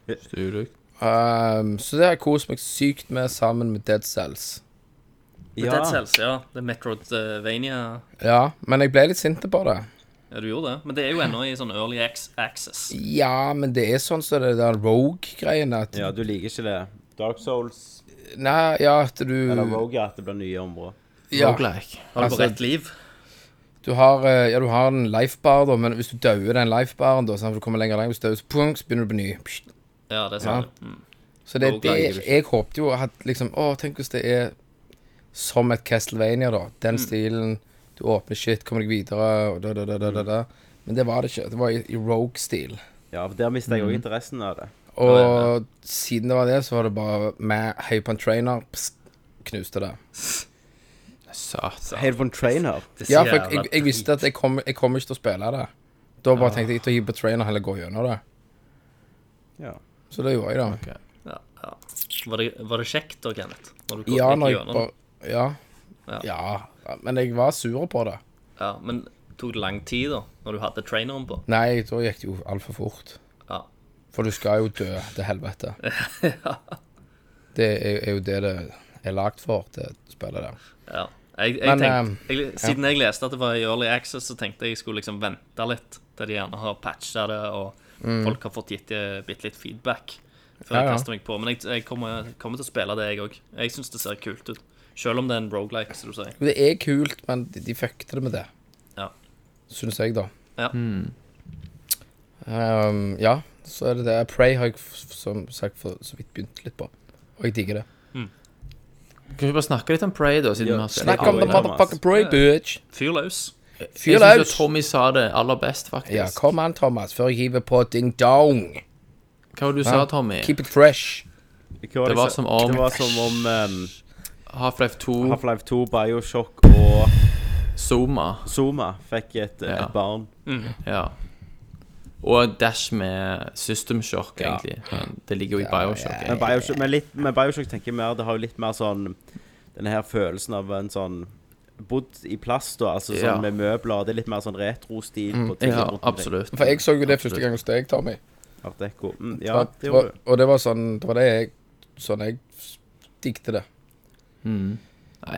Speaker 7: Ehm, så det har jeg kost meg sykt med sammen med Dead Cells.
Speaker 1: Ja. Dead Cells, ja. Det er Metroidvania.
Speaker 7: Ja, men jeg ble litt sint på det.
Speaker 1: Ja, du gjorde det. Men det er jo ennå i sånn early ac- access.
Speaker 7: Ja, men det er sånn som det der Rogue-greiene. At
Speaker 6: Ja, du liker ikke det. Dark Souls
Speaker 7: Nei, ja, at du
Speaker 6: eller Rogue at det blir nye områder.
Speaker 7: ja,
Speaker 8: Roguelike.
Speaker 1: Har du
Speaker 7: altså-
Speaker 1: på rett liv?
Speaker 7: du har, eh, ja, du har en lifebar, da, men hvis du dauer den lifebaren, da, sånn at du kommer lenger og lenger, hvis du dauer, så, pung, så begynner du på ny. Pst.
Speaker 1: Ja, det sa
Speaker 7: Ja.
Speaker 1: du. Mm.
Speaker 7: Så det er
Speaker 1: Rogue
Speaker 7: det
Speaker 1: liker du ikke.
Speaker 7: jeg håpte jo at liksom Å, tenk hvis det er som et Castlevania, da. Den
Speaker 1: Mm.
Speaker 7: stilen. Du åpner shit, kommer deg videre, og da, da, da, da, da, da. Men det var det ikke. Det var i, i Rogue-stil.
Speaker 6: Ja, for der mister jeg
Speaker 8: Mhm.
Speaker 6: òg interessen av det.
Speaker 7: Og
Speaker 1: Ja,
Speaker 7: siden det var det, så var det bare med høy på en trainer, pst, knuste det.
Speaker 8: Satan.
Speaker 6: Hater von Trainer.
Speaker 1: Det er så
Speaker 7: Ja, for jeg,
Speaker 1: jævla Ah.
Speaker 7: jeg, jeg visste at jeg kom, jeg kom ikke til å spille det. Da bare tenkte jeg til å hive på trainer og heller gå gjennom det.
Speaker 6: Ja.
Speaker 7: Så det gjorde jeg, da.
Speaker 1: drit. Ja, ja. Var, det, var det kjekt da, Kenneth? Når du
Speaker 7: Ja,
Speaker 1: gikk
Speaker 7: når jeg
Speaker 1: gjennom?
Speaker 7: bare ja.
Speaker 1: Ja.
Speaker 7: ja. Men jeg var sur på det.
Speaker 1: Ja, men tok det lang tid, da? Når du hadde traineren på?
Speaker 7: Nei, da gikk det jo altfor fort.
Speaker 1: Ja.
Speaker 7: For du skal jo dø til helvete. Det er, er jo det det er lagd for, det spillet der.
Speaker 1: ja. Jeg, jeg
Speaker 7: Men, ehm,
Speaker 1: tenkte, jeg, siden jeg leste at det var i Early Access, så tenkte jeg jeg skulle liksom vente litt til de gjerne har patcha det, og folk har fått gitt eh, bitte litt feedback.
Speaker 7: Mm.
Speaker 1: Før
Speaker 7: Ja,
Speaker 1: jeg
Speaker 7: ja.
Speaker 1: kaster meg på. Men jeg, jeg kommer, kommer til å spille det, jeg òg. Jeg syns det ser kult ut. Selv om det er en rogelike, som du sier.
Speaker 7: Det er kult, men de, de fuckte det med det.
Speaker 1: Ja.
Speaker 7: Syns jeg, da.
Speaker 1: Ja.
Speaker 8: Hmm.
Speaker 7: Ehm, ja, så er det det. Prey har jeg f- som sagt for så vidt begynt litt på. Og jeg digger det.
Speaker 8: Kan vi bare snakke litt om Prey, da? Siden
Speaker 6: Ja,
Speaker 8: vi har spilt
Speaker 7: Snakk om
Speaker 8: det
Speaker 7: the
Speaker 8: nå?
Speaker 7: motherfucking Prey, bitch!
Speaker 1: Fyr løs.
Speaker 7: Fyr
Speaker 8: Jeg syns
Speaker 7: løs!
Speaker 8: Tommy sa det aller best, faktisk.
Speaker 7: Ja, kom an, Thomas, før jeg hiver på ding dong.
Speaker 8: Hva var det du sa, Tommy?
Speaker 7: Keep it fresh.
Speaker 8: Det var som om- Oh.
Speaker 6: Det var som om um,
Speaker 8: Half-Life 2,
Speaker 6: Half-Life 2, Bioshock og
Speaker 8: Zoma.
Speaker 6: Zoma fikk et,
Speaker 8: Ja.
Speaker 6: et barn.
Speaker 8: Ja. Og Dash med System Shock, egentlig. Men det ligger jo i Bioshock. egentlig.
Speaker 6: Men Bioshock, men litt, men Bioshock tenker jeg mer Det har jo litt mer sånn denne her følelsen av en sånn Bodd i plast, da. Altså sånn
Speaker 8: Ja. Mm.
Speaker 6: med møbler. Det er litt mer sånn retro-stil på ting.
Speaker 8: Ja,
Speaker 6: rundt omkring.
Speaker 8: absolutt.
Speaker 7: For jeg så jo det første gang hos deg, Tommy.
Speaker 6: Art Deco. Mm,
Speaker 7: Det
Speaker 6: ja,
Speaker 7: var,
Speaker 6: det
Speaker 7: det
Speaker 6: gjorde
Speaker 7: var,
Speaker 6: du.
Speaker 7: og det var sånn Det var det jeg Sånn jeg digte det.
Speaker 8: Nei,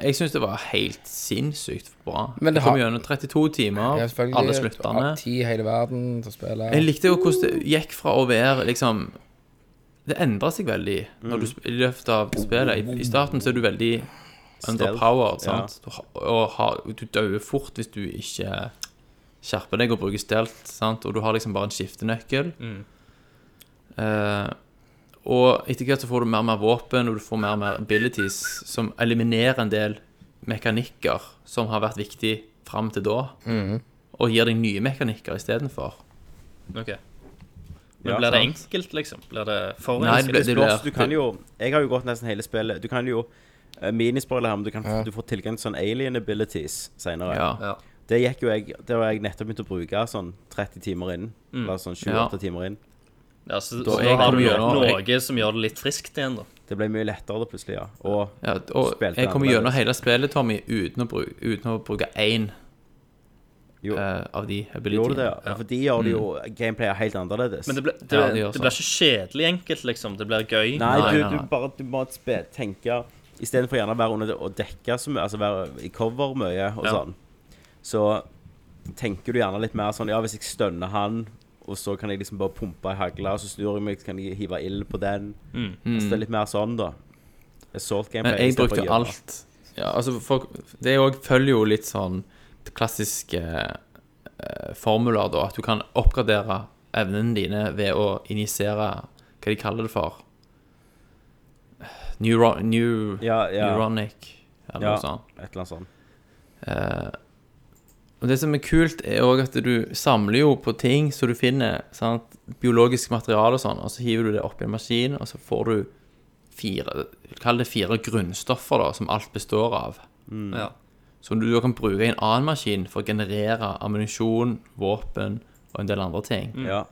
Speaker 8: Jeg syns det var helt sinnssykt bra.
Speaker 7: Men det
Speaker 8: det kom
Speaker 7: har-
Speaker 8: gjennom 32 timer,
Speaker 7: Jeg er
Speaker 8: alle
Speaker 7: selvfølgelig
Speaker 8: sluttene.
Speaker 7: ti i hele verden til å spille.
Speaker 8: Jeg likte jo hvordan det gikk fra å være liksom Det endra seg veldig når du, sp- i løpet av spillet. I, I starten så er du veldig underpowered,
Speaker 6: ja.
Speaker 8: sant. Du, ha- og har- du dør fort hvis du ikke skjerper deg og bruker stelt, sant. Og du har liksom bare en skiftenøkkel. Eh, og etter hvert så får du mer og mer våpen, og du får mer og mer abilities som eliminerer en del mekanikker som har vært viktig fram til da, og gir deg nye mekanikker istedenfor.
Speaker 1: OK. Men
Speaker 6: Ja,
Speaker 1: blir det
Speaker 6: sant.
Speaker 1: enkelt, liksom? Blir det for
Speaker 8: Nei,
Speaker 1: enkelt?
Speaker 8: det blir-
Speaker 6: Spørs, du kan jo Jeg har jo gått nesten hele spillet. Du kan jo eh, Minispoiler her, men du, kan,
Speaker 7: Ja.
Speaker 6: du får tilgang til sånn alien abilities seinere.
Speaker 8: Ja.
Speaker 1: Ja.
Speaker 6: Det gikk jo jeg Det var jeg nettopp begynt å bruke sånn 30 timer inn. Eller sånn 28
Speaker 8: Ja.
Speaker 6: timer inn.
Speaker 1: ja, så,
Speaker 8: Da
Speaker 1: så
Speaker 8: er
Speaker 1: da
Speaker 8: jeg
Speaker 1: har du
Speaker 8: kommer
Speaker 1: noe,
Speaker 8: gjennom-
Speaker 1: noe som gjør det litt friskt igjen, da.
Speaker 6: Det ble mye lettere da plutselig, ja. Og
Speaker 8: Ja, og
Speaker 6: Spilte
Speaker 8: jeg kommer
Speaker 6: annerledes.
Speaker 8: gjennom hele spillet, Tommy, uten å bruke, uten å bruke én
Speaker 6: jo,
Speaker 8: eh, av de
Speaker 6: gjorde du det?
Speaker 8: abilityene.
Speaker 6: Ja. For de gjør det jo gameplayet helt annerledes.
Speaker 1: Men det, ble, det,
Speaker 8: Ja, det
Speaker 1: det,
Speaker 8: gjør så.
Speaker 1: blir ikke kjedelig enkelt, liksom. Det blir gøy.
Speaker 6: Nei,
Speaker 8: Nei,
Speaker 6: du,
Speaker 8: nei, nei.
Speaker 6: du bare du må spe, tenke Istedenfor gjerne å være under det og dekke så mye, altså være i cover mye og
Speaker 1: Ja.
Speaker 6: sånn, så tenker du gjerne litt mer sånn Ja, hvis jeg stønner han, og så kan jeg liksom bare pumpe ei hagle, og så snur jeg meg, så kan jeg hive ild på den. Altså, det er litt mer sånn, da. Assault gameplay.
Speaker 8: Mm. Men jeg
Speaker 6: istedenfor å
Speaker 8: brukte
Speaker 6: gjøre-
Speaker 8: alt. Ja, altså, folk, det er jo- følger jo litt sånn klassiske eh, formuler, da. At du kan oppgradere evnene dine ved å injisere hva de kaller det for Neuro, new,
Speaker 6: Ja, ja.
Speaker 8: Neuronic, eller
Speaker 6: Ja,
Speaker 8: noe sånt.
Speaker 6: et eller annet sånt.
Speaker 8: Og det som er kult, er òg at du samler jo på ting som du finner. Sant? Biologisk materiale og sånn, og så hiver du det oppi en maskin, og så får du fire Kall det fire grunnstoffer, da, som alt består av.
Speaker 1: Ja.
Speaker 8: Som du da kan bruke i en annen maskin
Speaker 6: Mm.
Speaker 8: Mm. for å generere ammunisjon, våpen og en del andre ting.
Speaker 6: Ja.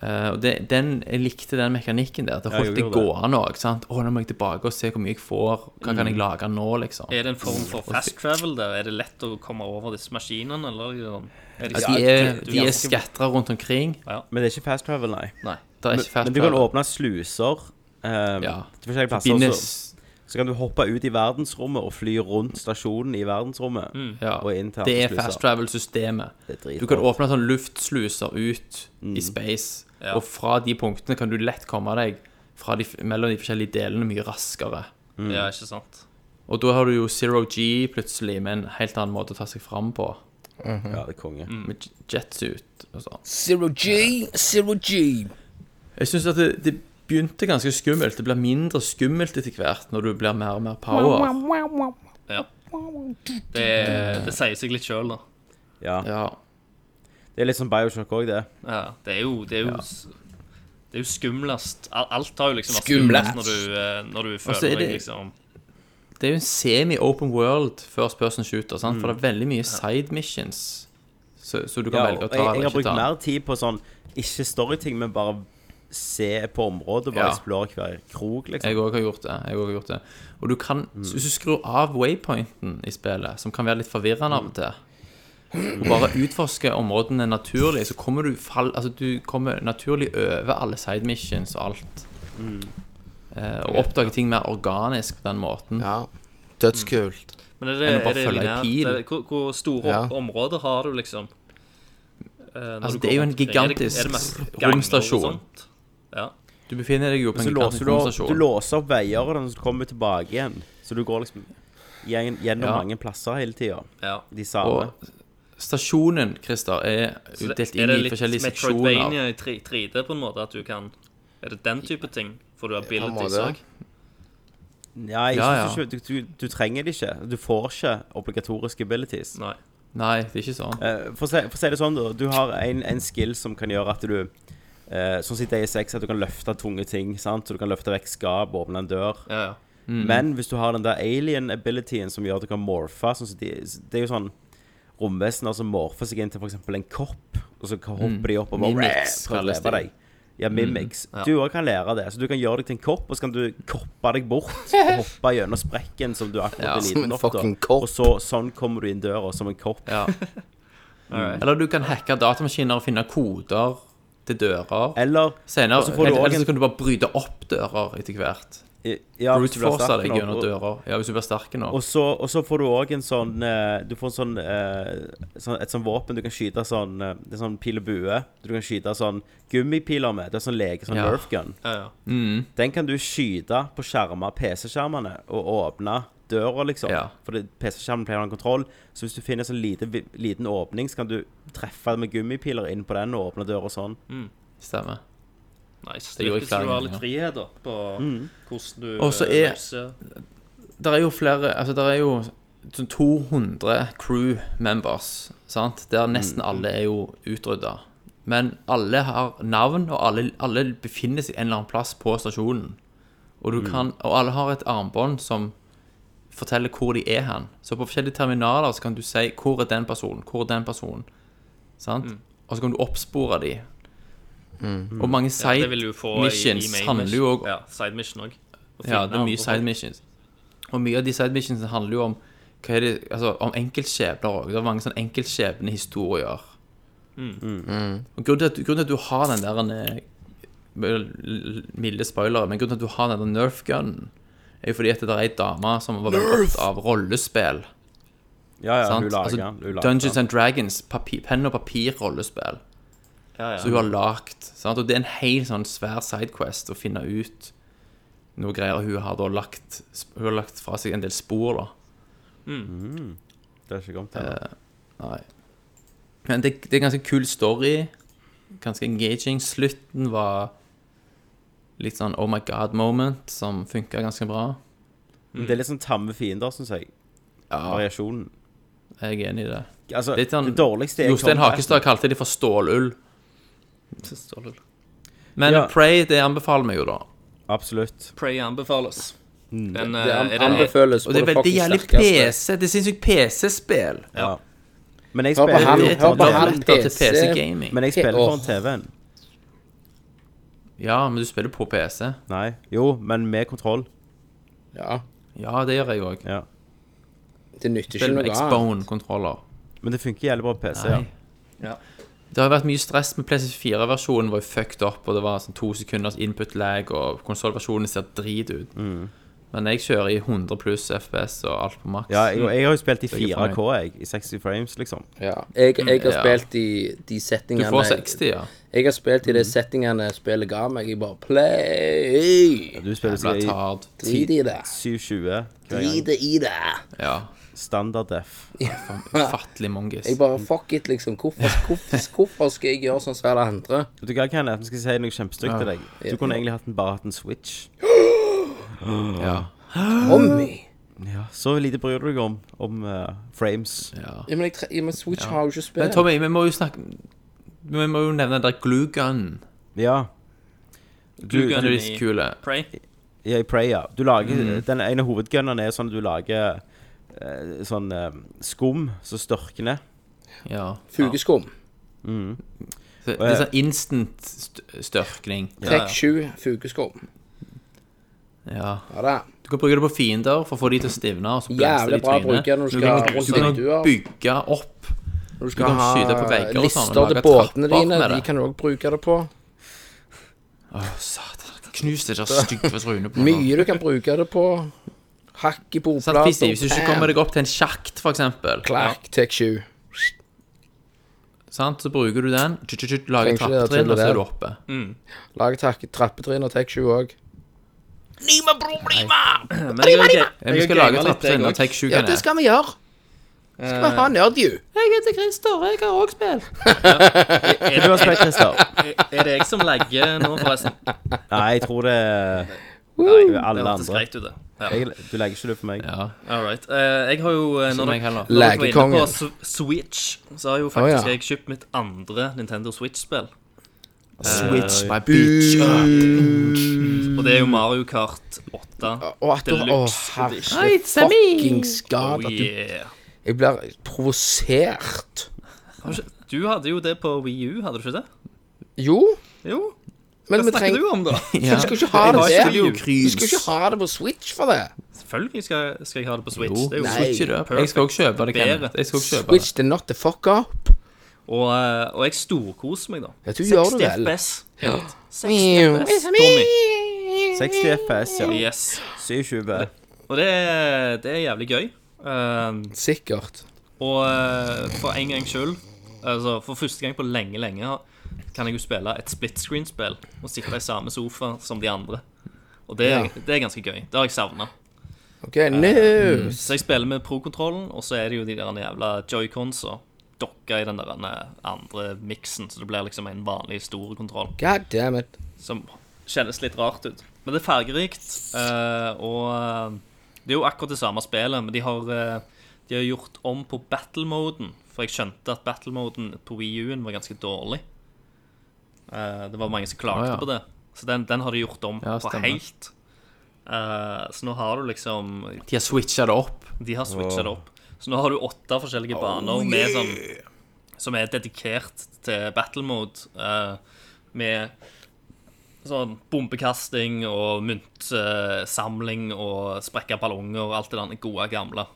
Speaker 8: Eh, og det, den, jeg likte den mekanikken der. Det
Speaker 6: Ja, jeg
Speaker 8: holdt det
Speaker 6: gjorde det.
Speaker 8: gående òg. Å, nå må jeg tilbake og se hvor mye jeg får. Hva kan jeg
Speaker 6: Mm.
Speaker 8: lage nå, liksom?
Speaker 1: Er det en form for fast travel der? Er det lett å komme over disse maskinene, eller er det sånn? Er
Speaker 8: Ja, Altså, de er,
Speaker 1: du-
Speaker 8: de er skatra rundt omkring.
Speaker 6: Men det er ikke fast travel, nei.
Speaker 1: Nei.
Speaker 8: Det er
Speaker 6: Men,
Speaker 8: ikke fast
Speaker 6: men du kan
Speaker 8: travel.
Speaker 6: åpne sluser eh,
Speaker 8: Ja.
Speaker 6: til forskjellige plasser. og
Speaker 8: Bindes
Speaker 6: Så, så kan du hoppe ut i verdensrommet og fly rundt stasjonen i verdensrommet.
Speaker 8: ja.
Speaker 6: Og inn til
Speaker 8: Det er
Speaker 6: sluser.
Speaker 8: fast travel-systemet.
Speaker 6: Det er dritbra. Mm.
Speaker 8: Du kan åpne sånn luftsluser ut i space, og fra de punktene kan du lett komme deg fra de, mellom de forskjellige delene mye raskere.
Speaker 1: Ja, ikke sant.
Speaker 8: Og da har du jo zero G plutselig, med en helt annen måte å ta seg fram på.
Speaker 6: Ja, det er konge.
Speaker 8: Med j- jetsuit og sånn.
Speaker 7: Zero G, zero G.
Speaker 8: Jeg syns at det, det begynte ganske skummelt. Det blir mindre skummelt etter hvert når du blir mer og mer power.
Speaker 1: Ja. Det,
Speaker 8: Mm.
Speaker 1: er- det sier seg litt sjøl, da.
Speaker 6: Ja.
Speaker 8: Ja.
Speaker 6: Det er litt som Bioshock òg, det.
Speaker 1: Ja, det er jo Det er jo, s- det er jo skumlest. Al- Alt har jo liksom vært
Speaker 7: Skumlest.
Speaker 1: skumlest når du, eh, når du
Speaker 8: Og så Altså, er
Speaker 1: føler deg
Speaker 8: det-
Speaker 1: liksom
Speaker 8: Det er jo en semi-open world first person shooter, sant? for det er veldig mye side missions. Så, så du kan
Speaker 6: Mm. Ja, og
Speaker 8: velge å
Speaker 6: jeg,
Speaker 8: ta
Speaker 6: jeg
Speaker 8: eller
Speaker 6: har
Speaker 8: ikke
Speaker 6: brukt
Speaker 8: ta.
Speaker 6: mer tid på sånn ikke storyting, men bare se på området. Bare
Speaker 8: Ja.
Speaker 6: explore hver krok, liksom.
Speaker 8: Jeg òg har gjort det. jeg også har gjort det Og du kan,
Speaker 6: Mm.
Speaker 8: så Hvis du skrur av waypointen i spillet, som kan være litt forvirrende
Speaker 6: Mm.
Speaker 8: av og til, og bare utforsker områdene naturlig, så kommer du fall, altså du kommer naturlig over alle side missions og alt.
Speaker 6: Mm.
Speaker 8: Eh, og oppdager ting mer organisk på den måten.
Speaker 7: Ja. Dødskult.
Speaker 1: Men er det,
Speaker 8: Eller bare
Speaker 1: er det
Speaker 8: følge ei
Speaker 1: lineært?
Speaker 8: pil.
Speaker 1: Er det- Hvor, hvor store
Speaker 7: Ja.
Speaker 1: områder har du, liksom? Eh, når
Speaker 8: Altså,
Speaker 1: du
Speaker 8: det er jo
Speaker 1: går
Speaker 8: en
Speaker 1: rundt omkring?
Speaker 8: gigantisk
Speaker 1: mest ganger og
Speaker 8: romstasjon.
Speaker 1: sånt? Ja.
Speaker 8: Du befinner deg jo på
Speaker 6: Så
Speaker 8: en
Speaker 6: låser
Speaker 8: gigantisk
Speaker 6: du, opp- du
Speaker 8: romstasjon.
Speaker 6: låser opp veier, og den kommer tilbake igjen. Så du går liksom gjen- gjennom
Speaker 8: Ja.
Speaker 6: mange plasser hele tida.
Speaker 1: ja.
Speaker 6: De samme.
Speaker 8: Og stasjonen, Christer, er
Speaker 1: Så det-
Speaker 8: delt
Speaker 1: er
Speaker 8: inn
Speaker 1: det
Speaker 8: i
Speaker 1: litt
Speaker 8: forskjellige seksjoner.
Speaker 1: Metroidvania i tre- 3D, på en måte? At du kan Er det den type ting? For du har
Speaker 7: en
Speaker 1: abilities
Speaker 7: måte.
Speaker 1: òg?
Speaker 6: Nei, jeg
Speaker 8: Ja,
Speaker 6: synes
Speaker 8: ja.
Speaker 6: Ikke, du, du, du trenger det ikke. Du får ikke obligatoriske abilities.
Speaker 1: Nei.
Speaker 8: Nei, det er ikke sånn.
Speaker 6: Eh, for, å si, for å si det sånn, da. Du har en, en skill som kan gjøre at du eh, Sånn som i DSX, at du kan løfte tunge ting. Sant? Så du kan løfte vekk skap, åpne en dør.
Speaker 1: Ja, ja.
Speaker 6: Men hvis du har den der alien-abilityen som gjør at du kan morfe sånn som de, Det er jo sånn romvesener som morfer seg inn til f.eks. en kopp, og så kan- hopper de opp og bare
Speaker 8: Mimics
Speaker 6: prøver å
Speaker 8: kalles
Speaker 6: drepe
Speaker 8: de.
Speaker 6: deg. Ja, mimics. Du òg kan lære det. Så du kan gjøre deg til en kopp, og så kan du koppe deg bort. Og hoppe gjennom sprekken som du akkurat
Speaker 8: Ja,
Speaker 6: er
Speaker 7: som en
Speaker 6: liten nok til.
Speaker 7: fucking kopp.
Speaker 6: Og så, sånn kommer du inn døra, som en kopp.
Speaker 8: Ja. Eller du kan hacke datamaskiner og finne koder til dører.
Speaker 6: Eller
Speaker 8: Senere,
Speaker 6: og så får du
Speaker 8: eller,
Speaker 6: også
Speaker 8: eller så
Speaker 6: en
Speaker 8: kan du bare bryte opp dører etter hvert.
Speaker 6: ja, hvis
Speaker 8: Brute
Speaker 6: du blir
Speaker 8: force
Speaker 6: sterk
Speaker 8: deg
Speaker 6: nok,
Speaker 8: gjennom
Speaker 6: og-
Speaker 8: dører. Ja, hvis du blir sterk nok.
Speaker 6: Og så, og så får du òg en sånn eh, Du får en sånn, eh, sånn Et sånn våpen du kan skyte sånn eh, Det er sånn pil og bue. Du kan skyte sånn gummipiler med. Det er sånn leke, sånn
Speaker 8: Ja.
Speaker 6: Nerf gun.
Speaker 1: ja, ja.
Speaker 6: Den kan du skyte på skjermer, PC-skjermene, og åpne døra, liksom.
Speaker 8: Ja.
Speaker 6: For det- PC-skjermen pleier å ha en kontroll. Så hvis du finner en sånn lite, vi- liten åpning, så kan du treffe med gummipiler inn på den og åpne døra sånn.
Speaker 8: Stemmer.
Speaker 1: Nice.
Speaker 8: Det
Speaker 1: Det
Speaker 8: gjorde jeg
Speaker 1: virker som
Speaker 8: flere
Speaker 1: du har
Speaker 8: ganger,
Speaker 1: litt
Speaker 8: ja.
Speaker 1: frihet da, på
Speaker 7: Mm.
Speaker 1: hvordan du
Speaker 8: Og så
Speaker 1: eh,
Speaker 8: er-
Speaker 1: løser-
Speaker 8: Der er jo flere Altså, der er jo sånn 200 crew members, sant? der nesten alle er jo utrydda. Men alle har navn, og alle, alle befinner seg en eller annen plass på stasjonen. Og, du kan, og alle har et armbånd som forteller hvor de er hen. Så på forskjellige terminaler så kan du si hvor er den personen, hvor er den personen. Sant? Og så kan du oppspore de. Og mange
Speaker 1: Ja,
Speaker 8: side
Speaker 1: det vil du få i- i
Speaker 8: missions
Speaker 1: main
Speaker 8: handler jo
Speaker 1: mission.
Speaker 8: òg
Speaker 1: Ja, side mission òg.
Speaker 8: ja, det er mye side missions. Og mye av de side missionsene handler jo om hva er det, altså, om enkeltskjebner òg. Det er mange sånne enkeltskjebnehistorier.
Speaker 6: Mm.
Speaker 8: Og grunnen til, at, grunnen til at du har den der eh, vel, Milde spoilere, men grunnen til at du har den der nerf gunnen, er jo fordi at det er ei dame som var veldig opptatt av rollespill.
Speaker 6: Ja, ja,
Speaker 8: sant?
Speaker 6: hun lager
Speaker 8: altså,
Speaker 6: den, hun lager sånn.
Speaker 8: Dungeons
Speaker 6: den.
Speaker 8: and Dragons, papir, penn og papir-rollespill.
Speaker 1: Ja, ja.
Speaker 8: Så hun har lagt sant? Og det er en helt sånn svær sidequest Å finne ut noe greier Hun har da lagt Hun har lagt fra seg en del spor da
Speaker 6: Det er ikke kommet til.
Speaker 8: Nei Men det, det er en ganske kul story Ganske engaging Slutten var litt sånn Oh my god moment Som funket ganske bra
Speaker 6: Men det er litt sånn tamme fiender, syns jeg. Variasjonen.
Speaker 8: Jeg er enig i det
Speaker 6: Altså,
Speaker 8: Litt
Speaker 6: det,
Speaker 8: sånn-
Speaker 6: dårligste er
Speaker 8: Jostein
Speaker 6: combaten.
Speaker 8: Hakestad kalte de for stålull
Speaker 1: Stålull.
Speaker 8: Men
Speaker 6: Ja.
Speaker 8: Prey, det anbefaler meg jo da
Speaker 6: Absolutt.
Speaker 1: Prey anbefales. Den, eh,
Speaker 7: Mm. Det
Speaker 1: er
Speaker 7: an-
Speaker 1: det-
Speaker 7: anbefales
Speaker 8: Og det er
Speaker 7: på
Speaker 8: veldig
Speaker 7: fucking
Speaker 8: jævlig PC
Speaker 7: sterkeste.
Speaker 8: Det synes jeg PC-spill
Speaker 6: Ja. Men jeg
Speaker 7: Hør på
Speaker 6: spiller
Speaker 7: han,
Speaker 6: jo
Speaker 8: Det er
Speaker 7: hør
Speaker 8: et
Speaker 7: på
Speaker 6: for
Speaker 7: han.
Speaker 6: TV-en.
Speaker 8: dobbelt til
Speaker 7: PC.
Speaker 8: PC-gaming
Speaker 6: Men jeg spiller
Speaker 7: Åh.
Speaker 6: foran TV-en.
Speaker 8: Ja, men du spiller på PC.
Speaker 6: Nei. Jo, men med kontroll.
Speaker 7: Ja.
Speaker 8: Ja, det gjør jeg òg.
Speaker 6: Ja.
Speaker 7: Det nytter ikke
Speaker 8: Spiller med
Speaker 7: noe annet.
Speaker 8: Xbone-kontroller.
Speaker 6: Men det funker jævlig bra på PC.
Speaker 8: Nei.
Speaker 6: Ja.
Speaker 1: Ja.
Speaker 8: Det har vært mye stress med PlayStation4-versjonen var jo fucked up, og det var sånn to sekunders input lag, og konsollversjonen ser drit ut.
Speaker 7: Mm.
Speaker 8: Men jeg kjører i 100 pluss FPS og alt på maks.
Speaker 6: Ja, jeg, og jeg har jo spilt i
Speaker 8: Jeg er
Speaker 6: 4K, jeg. I 60 frames, liksom.
Speaker 7: Ja. Jeg, jeg har
Speaker 8: Mm, Ja.
Speaker 7: spilt i de
Speaker 8: du
Speaker 7: settingene
Speaker 8: får 60, ja.
Speaker 7: Jeg har spilt i de settingene spillet ga meg. Jeg bare play!
Speaker 6: Du spiller så
Speaker 8: Blir
Speaker 6: i
Speaker 8: tard.
Speaker 7: Drit i det.
Speaker 6: 720 hver gang.
Speaker 7: Drit i det.
Speaker 8: Ja.
Speaker 6: Standard def.
Speaker 8: Ufattelig mongis.
Speaker 7: Jeg bare fuck it, liksom. Hvorfor, hvorfor, hvorfor skal jeg gjøre sånn som alle andre?
Speaker 6: Vet du hva, Kenneth, nå skal jeg si noe kjempestygt til deg. Du
Speaker 7: Ja.
Speaker 6: kunne egentlig hatt en, bare hatt en switch.
Speaker 8: Ja.
Speaker 7: Tommy!
Speaker 6: Ja, Så lite bryr du deg om, om eh, frames.
Speaker 8: ja.
Speaker 7: Ja, men, jeg, tre- ja, men Switch har jo ikke
Speaker 8: Men
Speaker 7: spill.
Speaker 8: Tommy, vi må jo snakke Vi må jo nevne den der glue gun.
Speaker 6: Ja.
Speaker 1: Glue
Speaker 8: Den
Speaker 1: gun
Speaker 8: er
Speaker 1: i
Speaker 8: litt kul.
Speaker 1: Prey.
Speaker 6: Ja, i Prey, ja. Du lager, Den ene hovedgunneren er sånn at du lager eh, sånn eh, skum som størkner.
Speaker 8: Ja.
Speaker 7: Fugeskum.
Speaker 8: Så Det er sånn instant st- størkning.
Speaker 7: Trekk 7 fugeskum.
Speaker 8: Ja.
Speaker 7: Ja da.
Speaker 8: Du kan bruke det på fiender for å få de til å stivne. og så blæste de
Speaker 7: Jævlig
Speaker 8: i
Speaker 7: bra å
Speaker 8: trynet.
Speaker 7: bruke når du
Speaker 8: Du
Speaker 7: skal
Speaker 8: kan-
Speaker 7: ha
Speaker 8: du
Speaker 7: rundt
Speaker 8: kan
Speaker 7: vinduer.
Speaker 8: bygge opp
Speaker 7: Når
Speaker 8: kan
Speaker 7: du skal
Speaker 8: skyte på
Speaker 7: ha
Speaker 8: vegger og sånn,
Speaker 7: lister
Speaker 8: lage
Speaker 7: til båtene
Speaker 8: trapper
Speaker 7: dine,
Speaker 8: med
Speaker 7: de
Speaker 8: det.
Speaker 7: kan du òg bruke det på.
Speaker 8: Å, satan. Knus det der stygge trynet på meg.
Speaker 7: Mye du kan bruke det på. Hakk i
Speaker 8: Sant, Fisti?
Speaker 7: bordplater.
Speaker 8: Sånn Hvis du ikke kommer deg opp til en sjakt, for eksempel,
Speaker 7: Klakk, tek 7.
Speaker 8: sant, så bruker du den, tju, tju, tju, lager
Speaker 7: Trenger ikke det Mm.
Speaker 8: trappetrinn, og så
Speaker 7: tullet
Speaker 8: er du oppe.
Speaker 7: Lag tak- trappetrinn og tek 7 òg.
Speaker 1: Men jeg, jeg, jeg,
Speaker 8: Ja, Vi skal
Speaker 1: gamer
Speaker 8: lage
Speaker 1: litt, jeg
Speaker 8: trappetrinn og
Speaker 1: også.
Speaker 8: take sju
Speaker 7: Ja, det skal vi gjøre. Skal
Speaker 8: Eh,
Speaker 7: vi ha nerdju?
Speaker 8: Jeg heter Christer, jeg har òg spill.
Speaker 6: Er du har spilt, Christer?
Speaker 1: Er det jeg som legger nå, forresten?
Speaker 6: Nei, jeg tror det er
Speaker 1: Nei,
Speaker 6: alle
Speaker 1: det hørtes
Speaker 6: andre.
Speaker 1: greit ut, det. Ja.
Speaker 6: Jeg, du legger ikke det for meg.
Speaker 8: Ja.
Speaker 1: All right. Eh, jeg har jo eh,
Speaker 8: Som
Speaker 1: Når
Speaker 8: jeg heller.
Speaker 1: dere når dere var inne på
Speaker 7: Legekongen.
Speaker 1: Sw- Switch, så har jo
Speaker 7: Å, ja.
Speaker 1: faktisk jeg kjøpt mitt andre Nintendo Switch-spill.
Speaker 8: Switch my bitch up.
Speaker 1: Og det
Speaker 8: Mm.
Speaker 1: er jo Mario Kart Oh, 8.
Speaker 7: Og at du Å,
Speaker 1: Deluxe
Speaker 7: herre fucking skad
Speaker 1: Oh
Speaker 7: at du
Speaker 1: yeah.
Speaker 7: Jeg blir provosert.
Speaker 1: Har du ikke- Du hadde jo det på Wii U, hadde du ikke det?
Speaker 7: Jo,
Speaker 1: Jo.
Speaker 7: men
Speaker 1: Hva
Speaker 7: vi
Speaker 1: snakker
Speaker 7: trenger
Speaker 1: du om, da?
Speaker 7: Du skal ikke ha det
Speaker 1: Jeg har
Speaker 7: der.
Speaker 1: ikke
Speaker 7: Du skal ikke ha det på Switch for det.
Speaker 1: Selvfølgelig skal, skal jeg ha det på Switch.
Speaker 8: Jo,
Speaker 1: det er jo
Speaker 7: Nei.
Speaker 8: switch it up. Jeg skal òg kjøpe det, Kenneth. Jeg skal også kjøpe det.
Speaker 7: Switch the not the fuck up.
Speaker 1: Og, eh, og jeg storkoser meg, da.
Speaker 7: Ja, du gjør det vel.
Speaker 1: FPS. Kenneth. 60
Speaker 7: Meow.
Speaker 1: FPS. Tommy.
Speaker 6: 60 FPS, ja.
Speaker 1: Yes.
Speaker 6: 27.
Speaker 1: Og det, er- det er jævlig gøy. Um,
Speaker 7: Sikkert.
Speaker 1: Og eh, for en gang skyld, altså for første gang på lenge, lenge, kan jeg jo spille et split screen-spill og sitte i samme sofa som de andre. Og det, er-
Speaker 7: Ja.
Speaker 1: det er ganske gøy. Det har jeg savna.
Speaker 7: OK,
Speaker 1: Eh,
Speaker 7: nå
Speaker 1: Så jeg spiller med pro-kontrollen, og så er det jo de der jævla joycons og dokka i den der ene andre miksen, så det blir liksom en vanlig stor kontroll
Speaker 7: God damn it.
Speaker 1: som kjennes litt rart ut. Men det er fargerikt, eh, og eh, det er jo akkurat det samme spillet, men de har, eh, de har gjort om på battle-moden. For jeg skjønte at battle-moden på Wii U-en var ganske dårlig. Eh, det var mange som klagde
Speaker 8: Å, ja.
Speaker 1: på det. Så den, den har de gjort om
Speaker 8: Ja,
Speaker 1: på
Speaker 8: stemmer.
Speaker 1: helt. Eh, så nå har du liksom
Speaker 8: De har switcha det opp.
Speaker 1: De har switcha det opp. Så nå har du åtte forskjellige baner med sånn, som er dedikert til battle-mode. eh, med sånn bombekasting og myntsamling og sprekka ballonger og alt det der gode gamle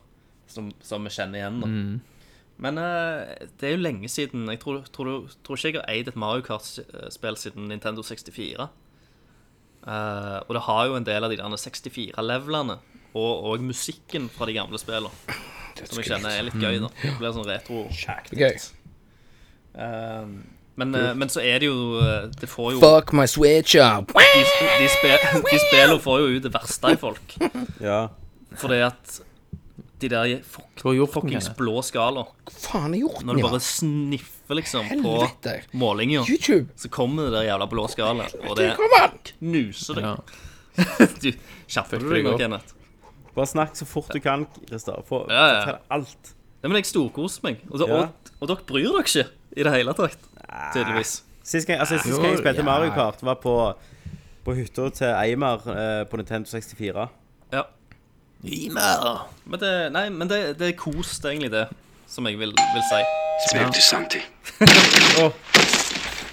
Speaker 1: som, som vi kjenner igjen. Da. Men eh, det er jo lenge siden Jeg tror, tror, du- tror ikke jeg har eid et Mario Kart-spill siden Nintendo 64. Eh, og det har jo en del av de der 64-levelene og, og musikken fra de gamle spillene. Som jeg kjenner er litt gøy. da Det blir sånn retro.
Speaker 7: Okay.
Speaker 1: Eh, men, eh, men så er det jo eh, Det får jo
Speaker 7: Fuck my Switch up.
Speaker 1: de, de, spe, de spiller får jo ut det verste i folk.
Speaker 6: Ja.
Speaker 1: Fordi at de der fuck,
Speaker 8: Hva har du gjort,
Speaker 1: fuckings
Speaker 8: Kenneth?
Speaker 1: blå skala
Speaker 7: Hva faen har jeg gjort
Speaker 1: Når du
Speaker 7: nå?
Speaker 1: bare sniffer liksom på
Speaker 7: Helvete.
Speaker 1: målinga,
Speaker 7: YouTube.
Speaker 1: så kommer det der jævla blå skala, og det
Speaker 7: Kom an!
Speaker 1: knuser deg.
Speaker 8: Ja.
Speaker 1: Du, Skjerper du deg nå,
Speaker 8: opp.
Speaker 1: Kenneth?
Speaker 6: Bare snakk så fort du kan, Christer. Få
Speaker 1: Ja, ja.
Speaker 6: fortell alt.
Speaker 1: Nei, men jeg storkoser meg. Og, så,
Speaker 6: Ja.
Speaker 1: og, og dere bryr dere ikke i det hele tatt. Tydeligvis.
Speaker 6: Sist gang, altså, sist gang jeg spilte Mario Kart, var på, på hytta til Eimar eh, på Nintendo 64.
Speaker 1: Ja. Men det, nei, men det, det er kos, det er egentlig det, som jeg vil, vil si.
Speaker 2: Smell to something.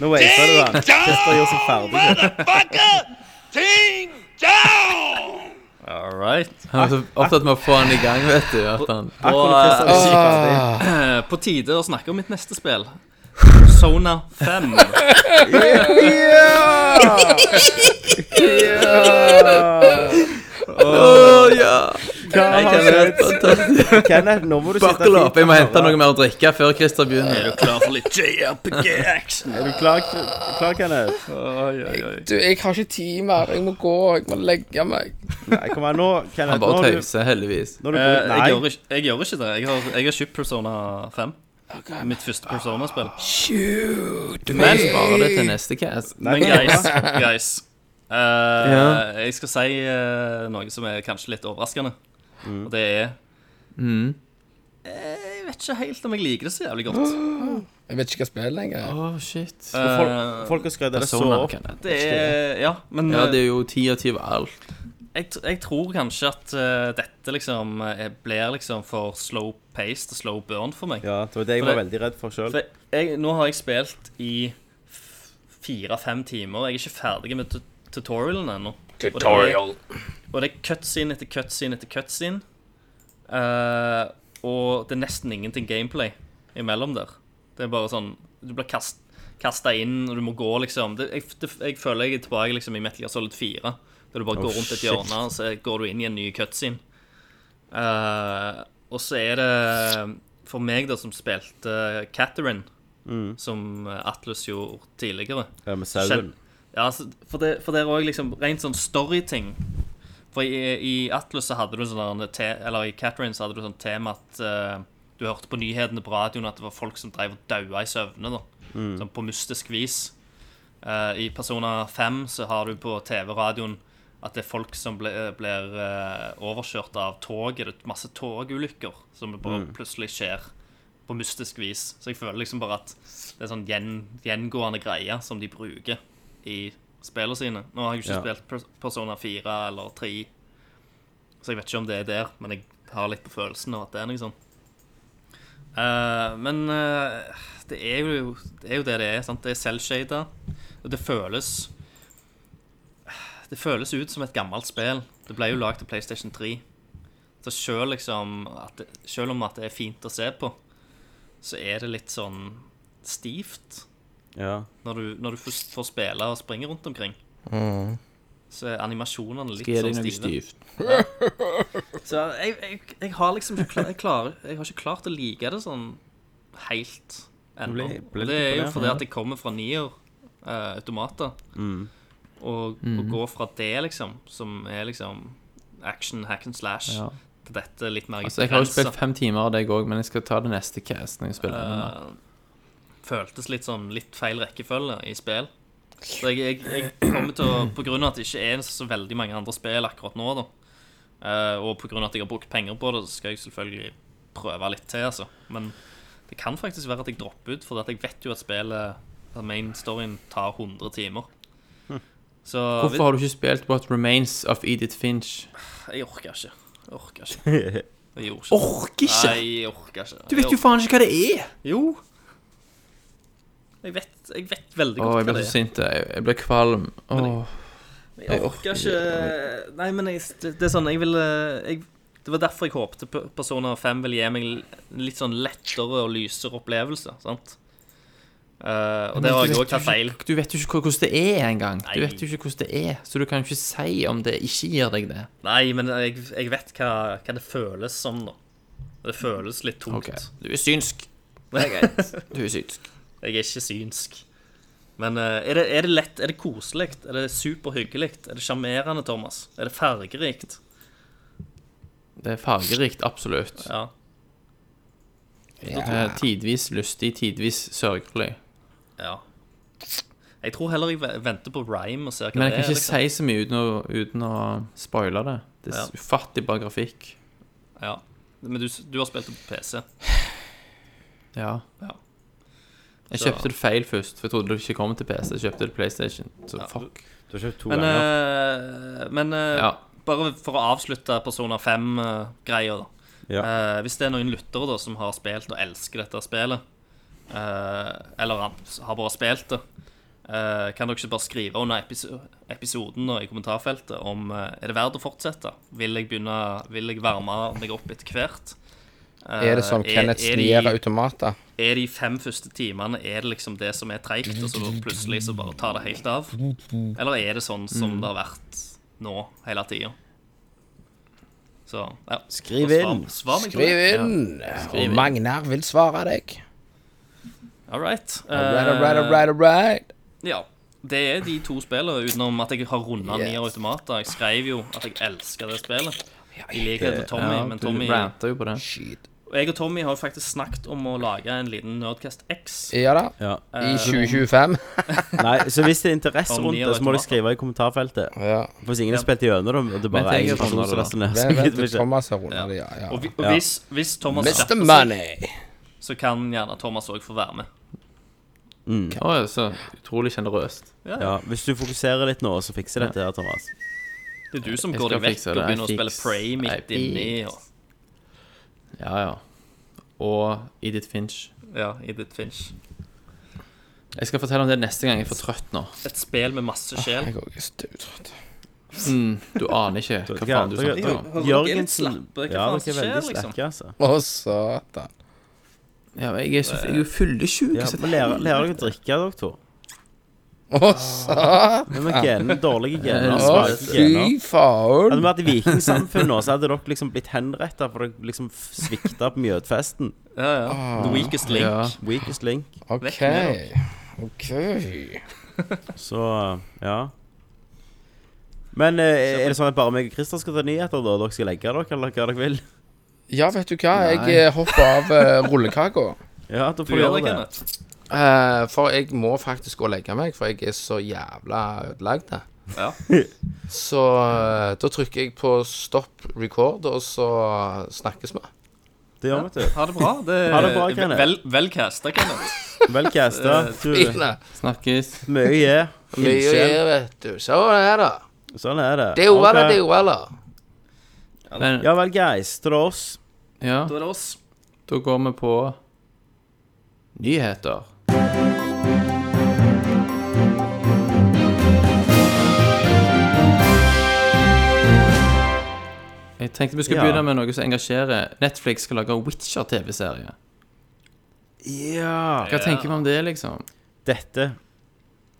Speaker 6: Nå wafer du den. Christer gjør seg ferdig.
Speaker 1: All right.
Speaker 8: Han er så opptatt med å få han i gang, vet du. At han
Speaker 1: Og
Speaker 6: Akkurat Christer gjør seg ferdig.
Speaker 1: eh, på tide å snakke om mitt neste spill. Sona 5.
Speaker 8: Å, ja!
Speaker 6: Hva har skjedd?
Speaker 8: Fantastisk.
Speaker 6: Kenneth, nå må du sitte
Speaker 8: Buckle up. Jeg må hente
Speaker 6: høre.
Speaker 8: noe mer å drikke før Christer
Speaker 1: Er
Speaker 8: begynner.
Speaker 1: du klar for litt JRPG-action?
Speaker 6: Er du klar, klar Kenneth?
Speaker 7: Du, jeg har ikke tid mer. Jeg må gå. Jeg må legge meg.
Speaker 6: Nei, kom her nå, Kenneth.
Speaker 8: Han bare
Speaker 6: nå har du-
Speaker 8: tøyser, heldigvis.
Speaker 6: nå har du brukt-
Speaker 1: Eh, jeg, gjør
Speaker 6: Nei.
Speaker 1: ikke, jeg gjør ikke det. Jeg har, jeg har kjøpt Persona 5. Mitt første Persona-spill.
Speaker 7: Shoot me.
Speaker 8: Jeg sparer det til neste cast.
Speaker 1: Men guys, guys eh,
Speaker 8: Ja.
Speaker 1: Jeg skal si eh, noe som er kanskje litt overraskende. Og det er
Speaker 8: Mm.
Speaker 1: eh, Jeg vet ikke helt om jeg liker det så jævlig godt.
Speaker 7: Jeg vet ikke hva spillet lenger.
Speaker 8: Åh, shit.
Speaker 1: Eh,
Speaker 6: Folk- Folk har skrevet det så
Speaker 8: Persona,
Speaker 6: opp.
Speaker 8: Kenneth.
Speaker 1: det er Ja, men eh,
Speaker 8: Ja, det er jo 10 av 10 av alt.
Speaker 1: Jeg, tr- jeg tror kanskje at eh, dette liksom eh, blir liksom for slow paced og slow burn for meg.
Speaker 6: Ja, det var det jeg
Speaker 1: For
Speaker 6: var
Speaker 1: det-
Speaker 6: veldig redd for sjøl.
Speaker 1: For jeg, nå har jeg spilt i fire-fem timer. Jeg er ikke ferdig med tu- tutorialen ennå. Tutorial. Og det er cutscene etter cutscene etter cutscene. Eh, og det er nesten ingenting gameplay imellom der. Det er bare sånn Du blir kast, kasta inn, og du må gå, liksom. Det, jeg, det, jeg føler jeg er tilbake liksom, i Metal Gear Solid 4. Der du bare går rundt et
Speaker 6: shit.
Speaker 1: hjørne, og så går du inn i en ny cutscene. Eh, og så er det For meg, da, som spilte Catherine, som Atlus gjorde tidligere
Speaker 6: Med sauen.
Speaker 1: Skjønn- Ja, altså, for, det, for det er òg liksom rent sånn storyting. For i, i Atlus så hadde du sånn der te, Eller i Catherine så hadde du sånn tema at eh, du hørte på nyhetene på radioen at det var folk som drev og daua i søvne. da Sånn på mystisk vis. Eh, I Persona 5 så har du på TV-radioen at det er folk som ble, blir eh, overkjørt av tog. Er det masse togulykker som bare plutselig skjer på mystisk vis. Så jeg føler liksom bare at det er sånn gjen, gjengående greier som de bruker i spillene sine. Nå har jeg jo ikke
Speaker 6: Ja.
Speaker 1: spilt Pers- Persona 4 eller 3, så jeg vet ikke om det er der, men jeg har litt på følelsen av at det er noe sånn. Eh, men eh, det, er jo, det er jo det det er. sant? Det er selvshada, og det føles Det føles ut som et gammelt spill. Det ble jo lagd til PlayStation 3. Så selv, liksom, at det, selv om at det er fint å se på, så er det litt sånn stivt
Speaker 6: Ja.
Speaker 1: når du, når du først får spille og springe rundt omkring. Mm. Så er animasjonene litt
Speaker 8: Skal jeg gi deg
Speaker 1: sånn
Speaker 8: noe
Speaker 1: stive.
Speaker 8: stivt.
Speaker 1: Så jeg, jeg, jeg har liksom ikke klar, jeg, klarer, jeg har ikke klart å like det sånn helt ennå.
Speaker 6: Ble- ble
Speaker 1: Og Det
Speaker 6: litt
Speaker 1: er jo
Speaker 6: imponert,
Speaker 1: fordi at jeg kommer fra nier eh, automater.
Speaker 8: Mm.
Speaker 1: Og å gå fra det, liksom, som er liksom action, hack and slash,
Speaker 8: Ja.
Speaker 1: til dette litt mer
Speaker 8: Altså, jeg har jo
Speaker 1: begrenset.
Speaker 8: spilt fem timer av deg òg, men jeg skal ta det neste cast når jeg spiller enda mer.
Speaker 1: føltes litt sånn litt feil rekkefølge i spill. Så jeg, jeg, jeg kommer til å På grunn av at det ikke er så veldig mange andre spill akkurat nå, da, eh, og på grunn av at jeg har brukt penger på det, så skal jeg selvfølgelig prøve litt til, altså. Men det kan faktisk være at jeg dropper ut, for at jeg vet jo at spillet at main storyen tar 100 timer. Så
Speaker 8: Hvorfor har du ikke spilt What Remains of Edith Finch?
Speaker 1: jeg orker ikke. Jeg orker ikke. Jeg gjorde ikke.
Speaker 8: Orker
Speaker 1: Nei, jeg orker ikke.
Speaker 8: Du vet jo faen ikke hva det er!
Speaker 1: Jo. Jeg vet, jeg vet veldig
Speaker 8: Å,
Speaker 1: godt
Speaker 8: jeg
Speaker 1: hva
Speaker 8: blir
Speaker 1: det
Speaker 8: så
Speaker 1: er.
Speaker 8: sint. Jeg, jeg blir kvalm. Åh.
Speaker 1: Men Jeg orker ikke Nei, men jeg, det det er sånn Jeg vil eh, jeg, Det var derfor jeg håpte P- Persona 5 ville gi meg en litt sånn lettere og lysere opplevelse, sant? Eh, og det har jeg òg tatt feil.
Speaker 8: Du vet jo ikke hvor- hvordan det er engang. Du
Speaker 1: Nei.
Speaker 8: vet jo ikke hvordan det er, så du kan jo ikke si om det ikke gir deg det.
Speaker 1: Nei, men jeg, jeg vet hva, hva det føles som, da. Det føles litt tungt.
Speaker 8: Ok. Du er synsk. Det er greit. Du er synsk.
Speaker 1: Jeg er ikke synsk. Men eh, er, det, er det lett? Er det koselig? Er det superhyggelig? Er det sjarmerende, Thomas? Er det fargerikt?
Speaker 8: Det er fargerikt, absolutt.
Speaker 1: Ja.
Speaker 8: Eh, Tidvis lystig, tidvis sørgelig.
Speaker 1: ja. Jeg tror heller jeg ve- venter på rhyme og ser hva
Speaker 8: Men jeg
Speaker 1: det
Speaker 8: kan
Speaker 1: er. liksom.
Speaker 8: ikke si så mye uten å, uten å spoile det. Det er
Speaker 1: Ja.
Speaker 8: s- ufattelig bra grafikk.
Speaker 1: Ja. Men du, s- du har spilt det på PC.
Speaker 8: Ja.
Speaker 1: Ja.
Speaker 8: Jeg
Speaker 1: Så-
Speaker 8: kjøpte det feil først, for jeg trodde det ikke kom til PC. Jeg kjøpte det PlayStation. Så
Speaker 1: Ja.
Speaker 8: fuck.
Speaker 6: Du har kjøpt to
Speaker 1: Men,
Speaker 6: ganger.
Speaker 1: eh, men eh,
Speaker 8: Ja.
Speaker 1: bare for å avslutte Persona 5-greia, da.
Speaker 6: Ja.
Speaker 1: Eh, hvis det er noen lyttere da som har spilt og elsker dette spillet, eh, eller han s- har bare spilt det, eh, kan dere ikke bare skrive under episo episoden og i kommentarfeltet om eh, Er det verdt å fortsette? Vil jeg begynne, vil jeg varme meg opp etter hvert? Eh,
Speaker 7: Er det som Kenneth
Speaker 1: er de-
Speaker 7: Snier automater?
Speaker 1: er de fem første timene Er det liksom det som er treigt, og så plutselig så bare tar det helt av? Eller er det sånn som det har vært nå hele tida? Så ja.
Speaker 6: Skriv
Speaker 1: Så svar-
Speaker 6: inn.
Speaker 1: Svar meg på
Speaker 7: Skriv
Speaker 1: det.
Speaker 7: inn, og Magnar vil svare deg.
Speaker 1: All right. Eh,
Speaker 7: Right, right, right, right.
Speaker 1: Ja. Det er de to spillene, utenom at jeg har runda
Speaker 7: Yes.
Speaker 1: nier automater. Jeg skrev jo at jeg elsker det spillet. I likhet med Tommy,
Speaker 8: Ja,
Speaker 1: men
Speaker 8: du
Speaker 1: Tommy
Speaker 8: ranta jo på det.
Speaker 7: Shit.
Speaker 1: Jeg og Tommy har jo faktisk snakket om å lage en liten Nerdcast X.
Speaker 7: Ja da.
Speaker 6: Ja.
Speaker 7: I 2025.
Speaker 6: Nei, så hvis det er interesse
Speaker 1: Om
Speaker 6: rundt
Speaker 1: nier
Speaker 6: det, så må dere
Speaker 1: automater.
Speaker 6: skrive i kommentarfeltet.
Speaker 7: Ja.
Speaker 6: Hvis ingen har spilt gjennom det, og det bare er
Speaker 8: tenk
Speaker 6: én
Speaker 8: at
Speaker 6: person
Speaker 8: sånn er
Speaker 6: som
Speaker 8: det
Speaker 6: laster ned, så
Speaker 7: Hvem vet
Speaker 6: gidder vi
Speaker 7: det
Speaker 6: ikke.
Speaker 7: Thomas er under? Ja, ja.
Speaker 1: Og, vi, og
Speaker 6: Ja.
Speaker 1: hvis, hvis Thomas
Speaker 7: Mr.
Speaker 1: skjerper seg,
Speaker 7: Money.
Speaker 1: så kan gjerne Thomas òg få være med.
Speaker 8: Å, ja, så utrolig sjenerøst.
Speaker 6: Ja, hvis du fokuserer litt nå, så fikser dette her, Thomas.
Speaker 1: Det er du som
Speaker 8: Jeg
Speaker 1: går
Speaker 8: skal
Speaker 1: deg vekk
Speaker 8: fikse
Speaker 1: og
Speaker 8: det. Jeg
Speaker 1: begynner å spille
Speaker 8: fiks-
Speaker 1: Prey
Speaker 8: jeg
Speaker 1: midt
Speaker 8: fiks.
Speaker 1: inni og
Speaker 8: Ja, ja. Og Edith Finch.
Speaker 1: Ja, i ditt finch.
Speaker 8: Jeg skal fortelle om det neste gang jeg er for trøtt nå.
Speaker 1: Et spill med masse sjel.
Speaker 7: Jeg er også dødtrøtt.
Speaker 8: Mm, Du aner ikke hva
Speaker 6: Ja,
Speaker 8: faen du
Speaker 6: dere-
Speaker 8: snakker om.
Speaker 6: dere-
Speaker 1: Slappe,
Speaker 6: Jørgensen
Speaker 1: hva faen
Speaker 6: Ja, dere
Speaker 1: som
Speaker 6: er
Speaker 1: skjer,
Speaker 6: veldig
Speaker 1: liksom?
Speaker 6: slakke, altså.
Speaker 7: Å, satan.
Speaker 8: Ja, men jeg er så jeg er jo fyllesjuk. så
Speaker 6: Ja,
Speaker 1: liksom?
Speaker 8: det-
Speaker 6: men lærer lærer dere å drikke, doktor?
Speaker 7: Å, satan.
Speaker 6: Men med genene, dårlige gener,
Speaker 8: Å,
Speaker 7: Å,
Speaker 6: svake gener
Speaker 7: fy faen.
Speaker 6: Hadde vi vært i vikingsamfunnet nå, så hadde dere liksom blitt henretta for dere liksom svikta på Mjødfesten.
Speaker 1: Ja, ja. The weakest link.
Speaker 8: Ah, Ja.
Speaker 6: Weakest link.
Speaker 7: OK.
Speaker 1: med
Speaker 7: OK.
Speaker 6: Så ja. Men eh, er det sånn at bare meg og Christer skal ta nyheter, da? Dere skal legge dere, eller hva dere vil?
Speaker 7: Ja, vet du hva? Jeg eh, hopper av eh, rullekaka.
Speaker 6: Ja, da
Speaker 1: Du
Speaker 6: får vi
Speaker 1: gjør
Speaker 6: gjøre
Speaker 1: det,
Speaker 6: det.
Speaker 1: Kenneth.
Speaker 7: Eh, for jeg må faktisk gå og legge meg, for jeg er så jævla ødelagt. da.
Speaker 1: Ja.
Speaker 7: Så eh, da trykker jeg på stopp record, og så snakkes vi.
Speaker 6: Det gjør vi,
Speaker 1: Ha det bra. Det,
Speaker 6: Ha det bra, Kenneth.
Speaker 1: Vel, vel casta, Kenneth.
Speaker 6: vet du. Vel casta. Du,
Speaker 7: Fine.
Speaker 8: Snakkes.
Speaker 6: Mye ja.
Speaker 7: Mye å gjøre, vet du. Sånn er det.
Speaker 6: Sånn er det.
Speaker 7: Det er jo
Speaker 6: Ok.
Speaker 7: eller det er jo eller.
Speaker 8: Men,
Speaker 6: Ja vel, guys. Til oss.
Speaker 8: ja,
Speaker 1: Da er det oss.
Speaker 8: da går vi på nyheter. Jeg tenkte vi skulle
Speaker 6: Ja.
Speaker 8: begynne med noe som engasjerer. Netflix skal lage Witcher-TV-serie.
Speaker 6: Ja.
Speaker 8: Hva tenker vi om det, liksom?
Speaker 6: Dette.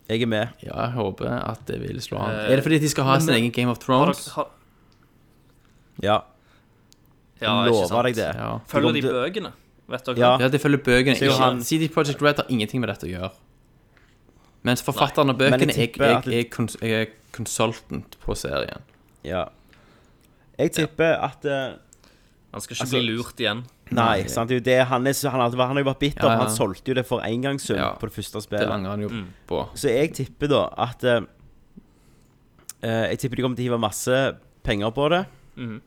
Speaker 6: Jeg er med.
Speaker 8: Ja, jeg håper at det vil slå an.
Speaker 1: Eh,
Speaker 8: Er det fordi de skal ha sin
Speaker 1: men-
Speaker 8: egen Game of
Speaker 1: Har
Speaker 8: Thrones?
Speaker 1: dere, har,
Speaker 6: Ja.
Speaker 1: ja, ikke
Speaker 6: Lover
Speaker 1: sant.
Speaker 6: deg det.
Speaker 8: Ja.
Speaker 1: Følger de bøkene? Vet dere
Speaker 6: Ja.
Speaker 8: Ja, de følger bøkene.
Speaker 6: Så Johan-
Speaker 8: Ikke, CD Projekt Red har ingenting med dette å gjøre. Mens forfatteren av bøkene
Speaker 6: Men jeg
Speaker 8: jeg,
Speaker 6: tipper
Speaker 8: jeg,
Speaker 6: at det-
Speaker 8: er kons jeg er consultant på serien.
Speaker 6: Ja. Jeg tipper at eh,
Speaker 1: Han skal ikke bli
Speaker 8: Altså-
Speaker 1: lurt igjen.
Speaker 6: Nei, sant, det er jo det han er, så han, har- han har jo vært bitter.
Speaker 8: Ja, ja.
Speaker 6: Han solgte jo det for engangssum
Speaker 8: Ja.
Speaker 6: på det første
Speaker 8: Det
Speaker 6: spillet.
Speaker 8: angrer han jo
Speaker 1: Mm.
Speaker 8: på.
Speaker 6: Så jeg tipper da at eh, eh, Jeg tipper de kommer til å hive masse penger på det.
Speaker 1: Mhm.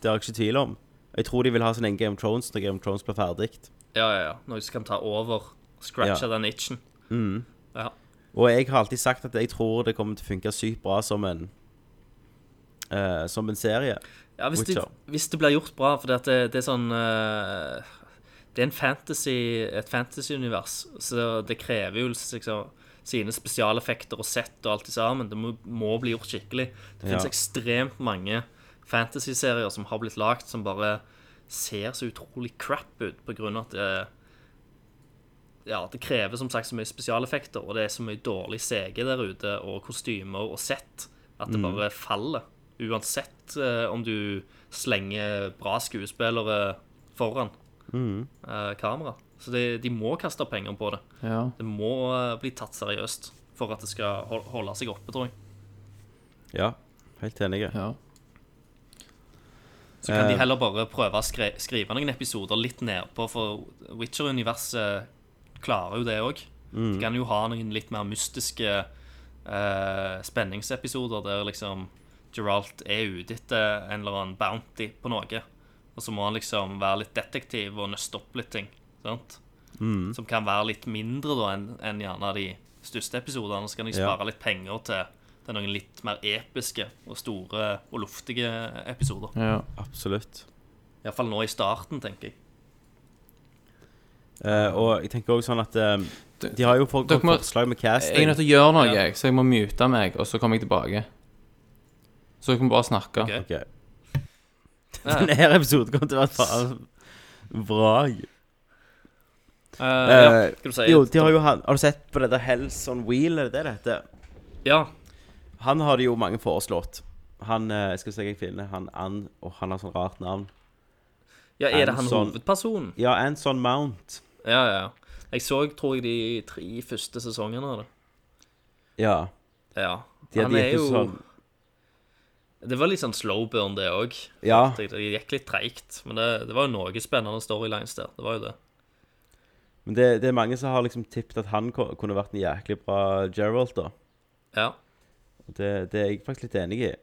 Speaker 6: Det har jeg ikke tvil om. Jeg tror de vil ha sin egen Game of Thrones når Game of Thrones blir ferdig.
Speaker 1: Ja, ja, ja. Noen som kan ta over. Scratche den itchen.
Speaker 6: Og jeg har alltid sagt at jeg tror det kommer til å funke sykt bra som en eh, Som en serie.
Speaker 1: Ja, hvis, det,
Speaker 6: Witcher.
Speaker 1: hvis det blir gjort bra, for det, at det, det er sånn eh, Det er en fantasy, et fantasy-univers, så det krever jo liksom sine spesialeffekter og sett og alt det sammen. Det må, må bli gjort skikkelig. Det finnes
Speaker 6: Ja.
Speaker 1: ekstremt mange fantasy-serier som har blitt lagt, som bare ser så utrolig crap ut på grunn av at det ja, det krever som sagt så mye spesialeffekter, og det er så mye dårlig CG der ute, og kostymer og sett, at det bare faller. Uansett eh, om du slenger bra skuespillere foran eh, kamera. Så det, de må kaste penger på det.
Speaker 8: Ja.
Speaker 1: Det må eh, bli tatt seriøst for at det skal hol- holde seg oppe, tror jeg.
Speaker 6: Ja, helt enig.
Speaker 8: ja.
Speaker 1: Så kan de
Speaker 6: Eh.
Speaker 1: heller bare prøve å skre skrive noen episoder litt nedpå, for Witcher-universet klarer jo det òg. De kan jo ha noen litt mer mystiske eh, spenningsepisoder der liksom Geralt er ute etter en eller annen bounty på noe, og så må han liksom være litt detektiv og nøste opp litt ting. Sant?
Speaker 6: Mm.
Speaker 1: Som kan være litt mindre da enn enn gjerne de største episodene. Så kan de
Speaker 6: Ja.
Speaker 1: spare litt penger til, til noen litt mer episke og store og luftige episoder.
Speaker 8: ja.
Speaker 6: Absolutt.
Speaker 1: Iallfall nå i starten, tenker jeg.
Speaker 6: Eh, og jeg tenker også sånn at eh, De har jo folk
Speaker 8: Dere må-
Speaker 6: forslag med
Speaker 8: Jeg er
Speaker 6: casting.
Speaker 8: nødt til å gjøre noe, jeg, så jeg må mute meg, og så kommer jeg tilbake. Så dere må bare snakke.
Speaker 1: Ok.
Speaker 6: Ok. Denne her episoden kommer til å være et faen vrag.
Speaker 1: Eh, ja,
Speaker 6: Eh,
Speaker 1: skal du si
Speaker 6: Jo, de har jo han- Har du sett på det der Hells on Wheel, er det det det heter?
Speaker 1: Ja.
Speaker 6: Han har det jo mange foreslått. Han eh, jeg skal se jeg finner han, han, og han har sånn rart navn.
Speaker 1: ja, er det han
Speaker 6: Anson.
Speaker 1: hovedpersonen?
Speaker 6: Ja, Anson Mount.
Speaker 1: Ja, ja. ja. Jeg så, tror jeg, de tre første sesongene av det.
Speaker 6: Ja.
Speaker 1: Ja.
Speaker 6: De
Speaker 1: han
Speaker 6: hadde
Speaker 1: er
Speaker 6: gitt
Speaker 1: jo
Speaker 6: ut sånn
Speaker 1: Det var litt sånn slow burn, det òg.
Speaker 6: Ja.
Speaker 1: Det gikk litt treigt, men det, det var jo noe spennende storylines der. Det var jo det.
Speaker 6: Men det, det er mange som har liksom tippet at han ko- kunne vært en jæklig bra Gerald, da.
Speaker 1: Ja.
Speaker 6: Og Det, det er jeg faktisk litt enig i.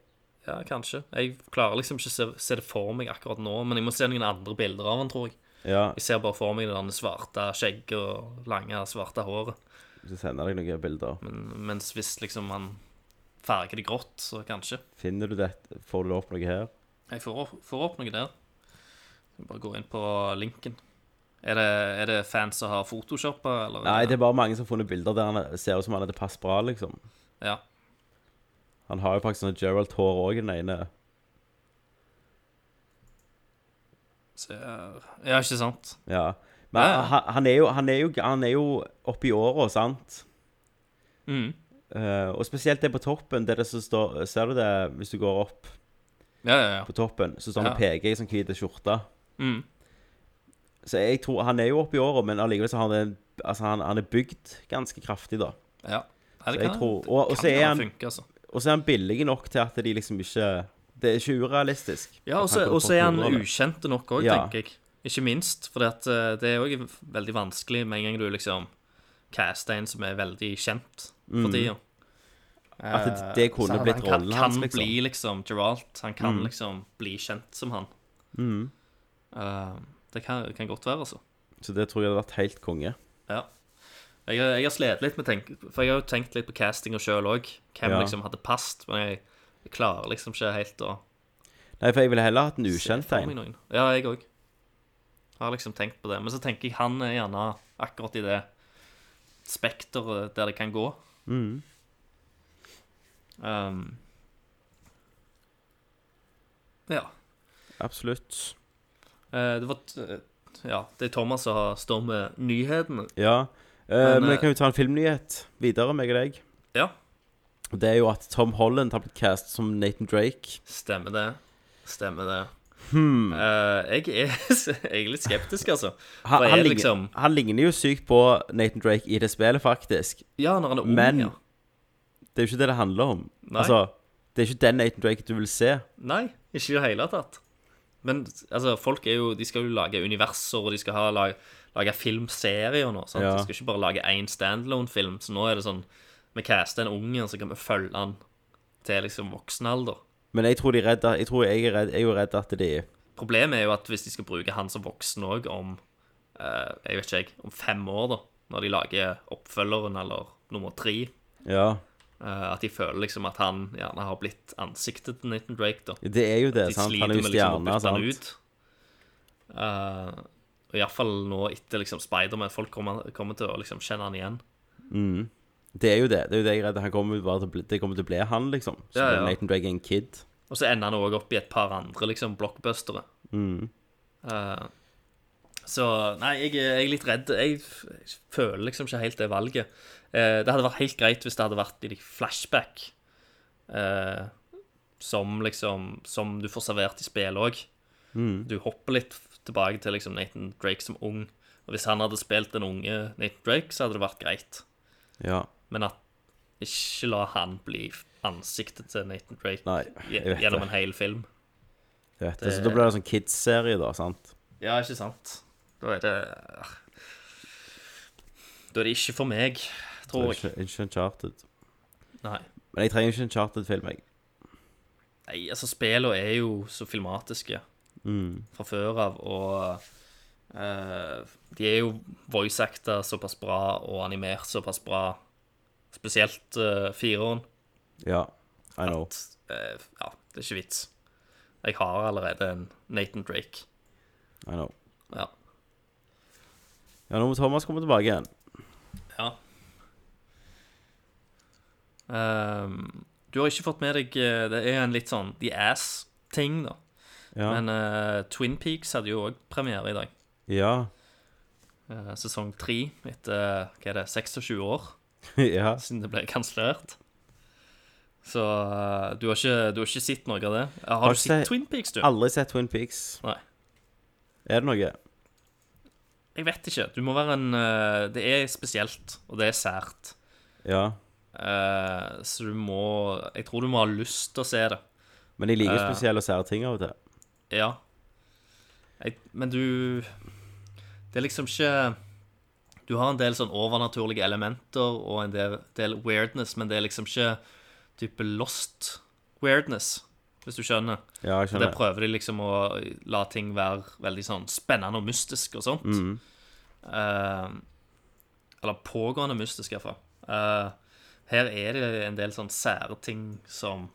Speaker 1: Ja, kanskje. Jeg klarer liksom ikke å se, se det for meg akkurat nå, men jeg må se noen andre bilder av han, tror jeg.
Speaker 6: Ja,
Speaker 1: Jeg ser bare for meg det der svarte skjegget og lange, svarte håret.
Speaker 6: så sender jeg deg noen bilder.
Speaker 1: Men, mens hvis liksom han farger det grått, så kanskje.
Speaker 6: Finner du dette, får du opp noe her?
Speaker 1: Jeg får, opp- får opp noe der. Skal bare gå inn på linken. Er det, er det fans som har photoshoppa, eller?
Speaker 6: Nei, det er bare mange som har funnet bilder der han ser ut som han hadde passet bra, liksom.
Speaker 1: Ja.
Speaker 6: Han har jo faktisk sånn Gerald-hår òg i den ene.
Speaker 1: Så, ja, ikke sant?
Speaker 6: Ja. Men
Speaker 1: Ja, ja.
Speaker 6: han, han, er jo, han, er jo, han er jo oppe i åra, sant?
Speaker 1: Mm.
Speaker 6: Eh, og spesielt det på toppen. Det er det som står, ser du det hvis du går opp
Speaker 1: Ja, ja, ja.
Speaker 6: på toppen? Så står han og peker i sånn hvit skjorte.
Speaker 1: Mm.
Speaker 6: Så jeg tror Han er jo oppe i åra, men allikevel så har han det Altså, han, han er bygd ganske kraftig, da.
Speaker 1: ja. Nei,
Speaker 6: Så
Speaker 1: det
Speaker 6: jeg
Speaker 1: kan,
Speaker 6: tror- og- og
Speaker 1: det
Speaker 6: så
Speaker 1: kan
Speaker 6: er
Speaker 1: jo
Speaker 6: han-
Speaker 1: funke, altså.
Speaker 6: Og så er han billig nok til at de liksom ikke Det er ikke urealistisk.
Speaker 1: Ja,
Speaker 6: At
Speaker 1: og så
Speaker 6: går
Speaker 1: og
Speaker 6: på
Speaker 1: så er han
Speaker 6: toppen av det.
Speaker 1: ukjent nok òg,
Speaker 6: Ja.
Speaker 1: tenker jeg. Ikke minst, for det er òg veldig vanskelig med en gang du liksom caster en som er veldig kjent
Speaker 6: Mm.
Speaker 1: for tida.
Speaker 6: At det, det kunne
Speaker 7: han-
Speaker 6: blitt
Speaker 1: Han
Speaker 6: rollen
Speaker 1: kan
Speaker 6: hans, liksom. Mm.
Speaker 1: bli liksom Geralt. Han kan liksom bli kjent som han. Eh, det kan, kan godt være, altså.
Speaker 6: Så det tror jeg hadde vært helt konge.
Speaker 1: Ja. Jeg, har- jeg har slitt litt med tenk, For jeg har jo tenkt litt på castinga sjøl òg. Hvem
Speaker 6: Ja.
Speaker 1: liksom hadde passet. Men jeg, jeg klarer liksom ikke helt å
Speaker 6: Nei, for jeg ville heller hatt en
Speaker 1: se
Speaker 6: ukjent
Speaker 1: for meg
Speaker 6: en.
Speaker 1: noen. Ja, jeg òg. Har liksom tenkt på det. Men så tenker jeg han er gjerne akkurat i det spekteret der det kan gå.
Speaker 6: Mm,
Speaker 1: Um, ja.
Speaker 6: Absolutt.
Speaker 1: Eh, Det var t- Ja, det er Thomas som har- står med nyhetene.
Speaker 6: Ja. Eh,
Speaker 1: Men,
Speaker 6: men
Speaker 1: eh,
Speaker 6: jeg kan jo ta en filmnyhet videre, meg og deg.
Speaker 1: Ja,
Speaker 6: Og Det er jo at Tom Holland har blitt cast som Nathan Drake.
Speaker 1: stemmer det. Stemmer det. Eh, jeg, er, jeg er litt skeptisk, altså.
Speaker 6: Han,
Speaker 1: For
Speaker 6: han,
Speaker 1: jeg
Speaker 6: ligner,
Speaker 1: liksom
Speaker 6: han ligner jo sykt på Nathan Drake i det spillet, faktisk.
Speaker 1: Ja, når han er ung,
Speaker 6: Men-
Speaker 1: ja.
Speaker 6: Det er jo ikke det det handler om.
Speaker 1: Nei.
Speaker 6: Altså, det er ikke den Nathan Drake du vil se.
Speaker 1: Nei, ikke i det hele tatt. Men altså, folk er jo De skal jo lage universer, og de skal ha lage, lage filmserier nå. Sant?
Speaker 6: Ja.
Speaker 1: De skal ikke bare lage én standalone-film. Så nå er det sånn Vi caster en unge, så kan vi følge han til liksom voksen alder.
Speaker 6: Men jeg tror de er redd at- Jeg tror jeg er redd Jeg er jo redd at de
Speaker 1: Problemet er jo at hvis de skal bruke han som voksen òg om eh, Jeg vet ikke, jeg, om fem år, da, når de lager oppfølgeren eller nummer tre,
Speaker 6: Ja.
Speaker 1: eh, at de føler liksom at han gjerne har blitt ansiktet til Nathan Drake, da.
Speaker 6: Det er jo det,
Speaker 1: De
Speaker 6: sant?
Speaker 1: sliter
Speaker 6: Han er jo
Speaker 1: med liksom å
Speaker 6: stjerne,
Speaker 1: bytte han
Speaker 6: sant?
Speaker 1: ut. Eh, og Iallfall nå etter liksom Spiderman. Folk kommer, kommer til å liksom kjenne han igjen.
Speaker 6: Det er jo det. Det er jo det jeg er redd Han kommer jo bare til å bli, Det kommer til å bli han, liksom. Så
Speaker 1: Ja, ja.
Speaker 6: Nathan Drake er en kid.
Speaker 1: Og så ender han òg opp i et par andre liksom blockbustere.
Speaker 6: Mm.
Speaker 1: Eh, så nei, jeg, er- jeg er litt redd. Jeg, f- jeg føler liksom ikke helt det valget. Eh, det hadde vært helt greit hvis det hadde vært i de flashback. eh, som liksom Som du får servert i spill òg.
Speaker 6: Mm.
Speaker 1: Du hopper litt f- tilbake til liksom Nathan Drake som ung. Og Hvis han hadde spilt den unge Nathan Drake, så hadde det vært greit.
Speaker 6: Ja.
Speaker 1: Men at ikke la han bli f- ansiktet til Nathan Drake
Speaker 6: Nei, jeg
Speaker 1: gje-
Speaker 6: vet
Speaker 1: gjennom
Speaker 6: det.
Speaker 1: en hel film.
Speaker 6: Jeg vet det. Så da blir det sånn kids-serie, da, sant?
Speaker 1: Ja, ikke sant? Da er det Da er det ikke for meg,
Speaker 6: Det
Speaker 1: tror
Speaker 6: er
Speaker 1: jeg.
Speaker 6: Ikke, ikke Uncharted.
Speaker 1: Nei.
Speaker 6: Men jeg trenger ikke en Charted-film, jeg.
Speaker 1: Nei, altså, spillene er jo så filmatiske
Speaker 6: Mm.
Speaker 1: fra før av, og eh, de er jo voice-acta såpass bra og animert såpass bra, spesielt uh, fireren.
Speaker 6: Ja, I know.
Speaker 1: Eh, ja, det er ikke vits. Jeg har allerede en Nathan Drake.
Speaker 6: I know.
Speaker 1: Ja.
Speaker 6: Ja, nå må Thomas komme tilbake igjen.
Speaker 1: Ja. Ehm, du har ikke fått med deg eh, Det er en litt sånn The Ass-ting, da.
Speaker 6: Ja.
Speaker 1: Men eh, Twin Peaks hadde jo òg premiere i dag.
Speaker 6: ja.
Speaker 1: Eh, sesong tre etter eh, hva er det, 26 år
Speaker 6: ja.
Speaker 1: siden det ble kansellert. Så eh, du, har ikke, du har ikke sett noe av det? Eh, Har,
Speaker 6: Har
Speaker 1: du
Speaker 6: ikke
Speaker 1: sett
Speaker 6: sett-
Speaker 1: Twin Peaks, du?
Speaker 6: Aldri sett Twin Peaks.
Speaker 1: Nei.
Speaker 6: Er det noe?
Speaker 1: Jeg vet ikke. Du må være en eh, Det er spesielt, og det er sært.
Speaker 6: Ja.
Speaker 1: Eh, så du må Jeg tror du må ha lyst til å se det.
Speaker 6: Men jeg liker
Speaker 1: Eh.
Speaker 6: spesielle og sære ting av og til.
Speaker 1: Ja. Jeg, men du Det er liksom ikke Du har en del sånn overnaturlige elementer og en del, del weirdness, men det er liksom ikke type lost weirdness, hvis du skjønner.
Speaker 6: Ja, jeg
Speaker 1: Der
Speaker 6: skjønner.
Speaker 1: prøver de liksom å la ting være veldig sånn spennende og mystisk
Speaker 6: Mm.
Speaker 1: og sånt. Eh, eller pågående mystisk, iallfall. Uh, her er det en del sånn sære ting som,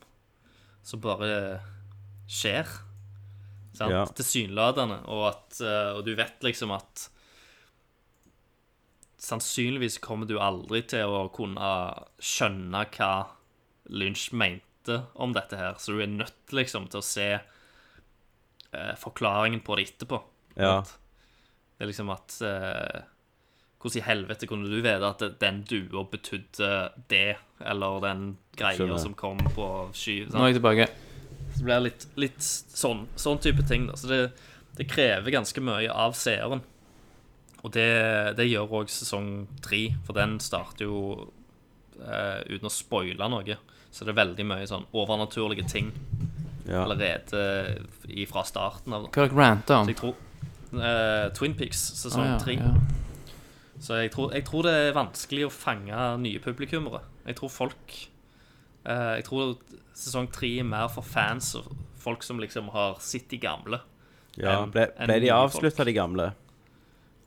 Speaker 1: som bare skjer. Sant?
Speaker 6: Ja.
Speaker 1: Tilsynelatende. Og, at, eh, og du vet liksom at Sannsynligvis kommer du aldri til å kunne skjønne hva Lynch mente om dette her, så du er nødt liksom til å se eh, forklaringen på det etterpå.
Speaker 6: Ja.
Speaker 1: Sant? Det er liksom at eh, Hvordan i helvete kunne du vite at den dua betydde det, eller den greia
Speaker 6: Skjønner.
Speaker 1: som kom på sky?
Speaker 8: Nå er
Speaker 1: Sant?
Speaker 8: jeg tilbake.
Speaker 1: Så det blir litt, litt sånn, sånn type ting. Da. Så det, det krever ganske mye av seeren. Og det, det gjør òg sesong tre, for den starter jo eh, uten å spoile noe. Så det er veldig mye sånn overnaturlige ting
Speaker 6: Ja.
Speaker 1: allerede fra starten av. Da.
Speaker 8: Hva har dere ranta
Speaker 1: Så
Speaker 8: om?
Speaker 1: jeg tror eh, Twin Peaks
Speaker 8: Ah,
Speaker 1: sesong
Speaker 8: ja,
Speaker 1: tre.
Speaker 8: ja.
Speaker 1: Så jeg tror, jeg tror det er vanskelig å fange nye publikummere. Jeg tror folk eh, Jeg tror sesong tre er mer for fans og folk som liksom har sett de gamle.
Speaker 6: ja.
Speaker 1: enn-
Speaker 6: Ble,
Speaker 1: enn
Speaker 6: ble de
Speaker 1: nye
Speaker 6: avslutta,
Speaker 1: folk.
Speaker 6: de gamle?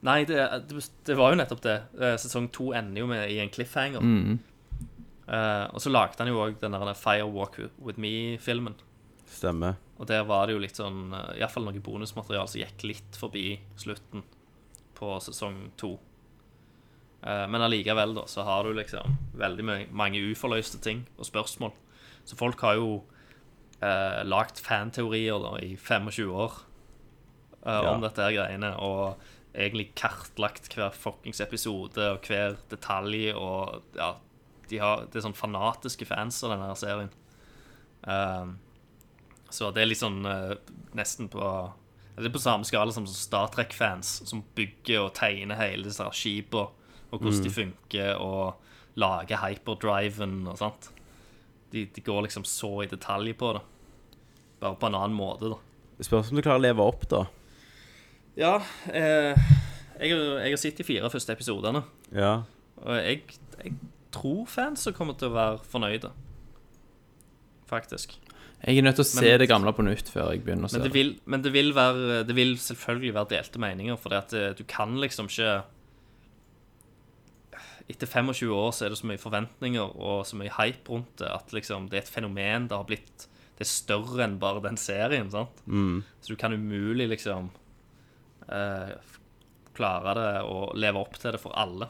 Speaker 1: Nei, det, det, det var jo nettopp det. Eh, Sesong to ender jo med i en cliffhanger.
Speaker 8: Mm.
Speaker 1: Eh, og så lagde han jo òg den der Fire Walk With Me-filmen.
Speaker 6: Stemmer.
Speaker 1: Og der var det jo litt sånn Iallfall noe bonusmateriale som gikk litt forbi slutten på sesong to. Eh, Men allikevel, da, så har du liksom veldig mye- mange uforløste ting og spørsmål. Så folk har jo eh, lagd fanteorier da i 25 år eh, om
Speaker 6: Ja.
Speaker 1: dette her greiene, og egentlig kartlagt hver fuckings episode og hver detalj og Ja, de har, det er sånn fanatiske fans av denne her serien. Um, så det er litt sånn eh, nesten på Det er på samme skala som Star Trek-fans, som bygger og tegner hele disse her skipene, og hvordan de funker, og lager hyperdriven og sånt. De, de går liksom så i detalj på det. Bare på en annen måte, da.
Speaker 6: Spørs om du klarer å leve opp, da.
Speaker 1: Ja, eh, jeg, har sett de fire første episodene,
Speaker 6: Ja.
Speaker 1: og jeg, tror fans kommer til å være fornøyde. Faktisk.
Speaker 8: Jeg er nødt til å se
Speaker 1: Men-
Speaker 8: det gamle på nytt før jeg begynner å se
Speaker 1: Men
Speaker 8: det.
Speaker 1: det vil, men det vil, være, det vil selvfølgelig være delte meninger, for at eh, du kan liksom ikke Etter 25 år så er det så mye forventninger og så mye hype rundt det at liksom det er et fenomen. Det har blitt Det er større enn bare den serien, sant?
Speaker 6: Mm.
Speaker 1: Så du kan umulig liksom eh, klare det og leve opp til det for alle.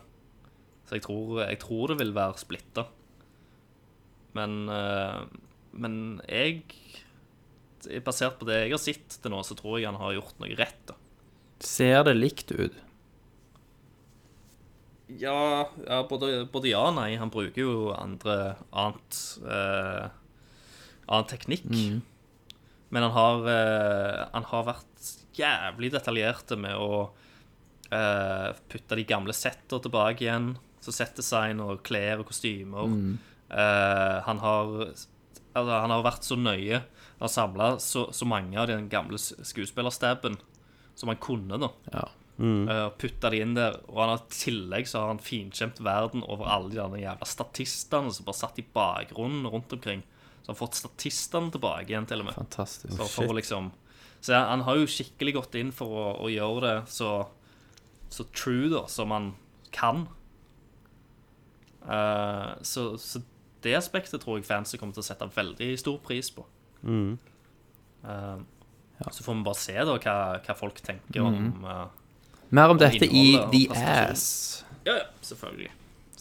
Speaker 1: Så jeg tror, jeg tror det vil være splitta. Men eh, Men jeg basert på det jeg har sett til nå, så tror jeg han har gjort noe rett. da.
Speaker 8: Ser det likt ut?
Speaker 1: Ja, ja både, både ja og nei. Han bruker jo andre annet eh, annen teknikk. Men han har, eh, han har vært jævlig detaljerte med å eh, putte de gamle setter tilbake igjen. Så settdesign og klær og kostymer. Eh, han har altså, han har vært så nøye. Han har samla så, så mange av den gamle s- skuespillerstaben som han kunne, da.
Speaker 8: Ja.
Speaker 1: Eh, og putta de inn der. Og han har i tillegg så har han finkjemt verden over alle de der jævla statistene som bare satt i bakgrunnen rundt omkring. Så han har fått statistene tilbake igjen, til og med.
Speaker 8: Fantastisk.
Speaker 1: For, for å liksom Så han, han har jo skikkelig gått inn for å, å gjøre det så, så true, da, som han kan. Eh, så, så det aspektet tror jeg fansen kommer til å sette veldig stor pris på. Eh, Så får vi bare se da hva, hva folk tenker om eh,
Speaker 8: Mer om dette i
Speaker 1: innholdet og
Speaker 8: The
Speaker 1: presentasjonen.
Speaker 8: Ass.
Speaker 1: Ja, ja, selvfølgelig.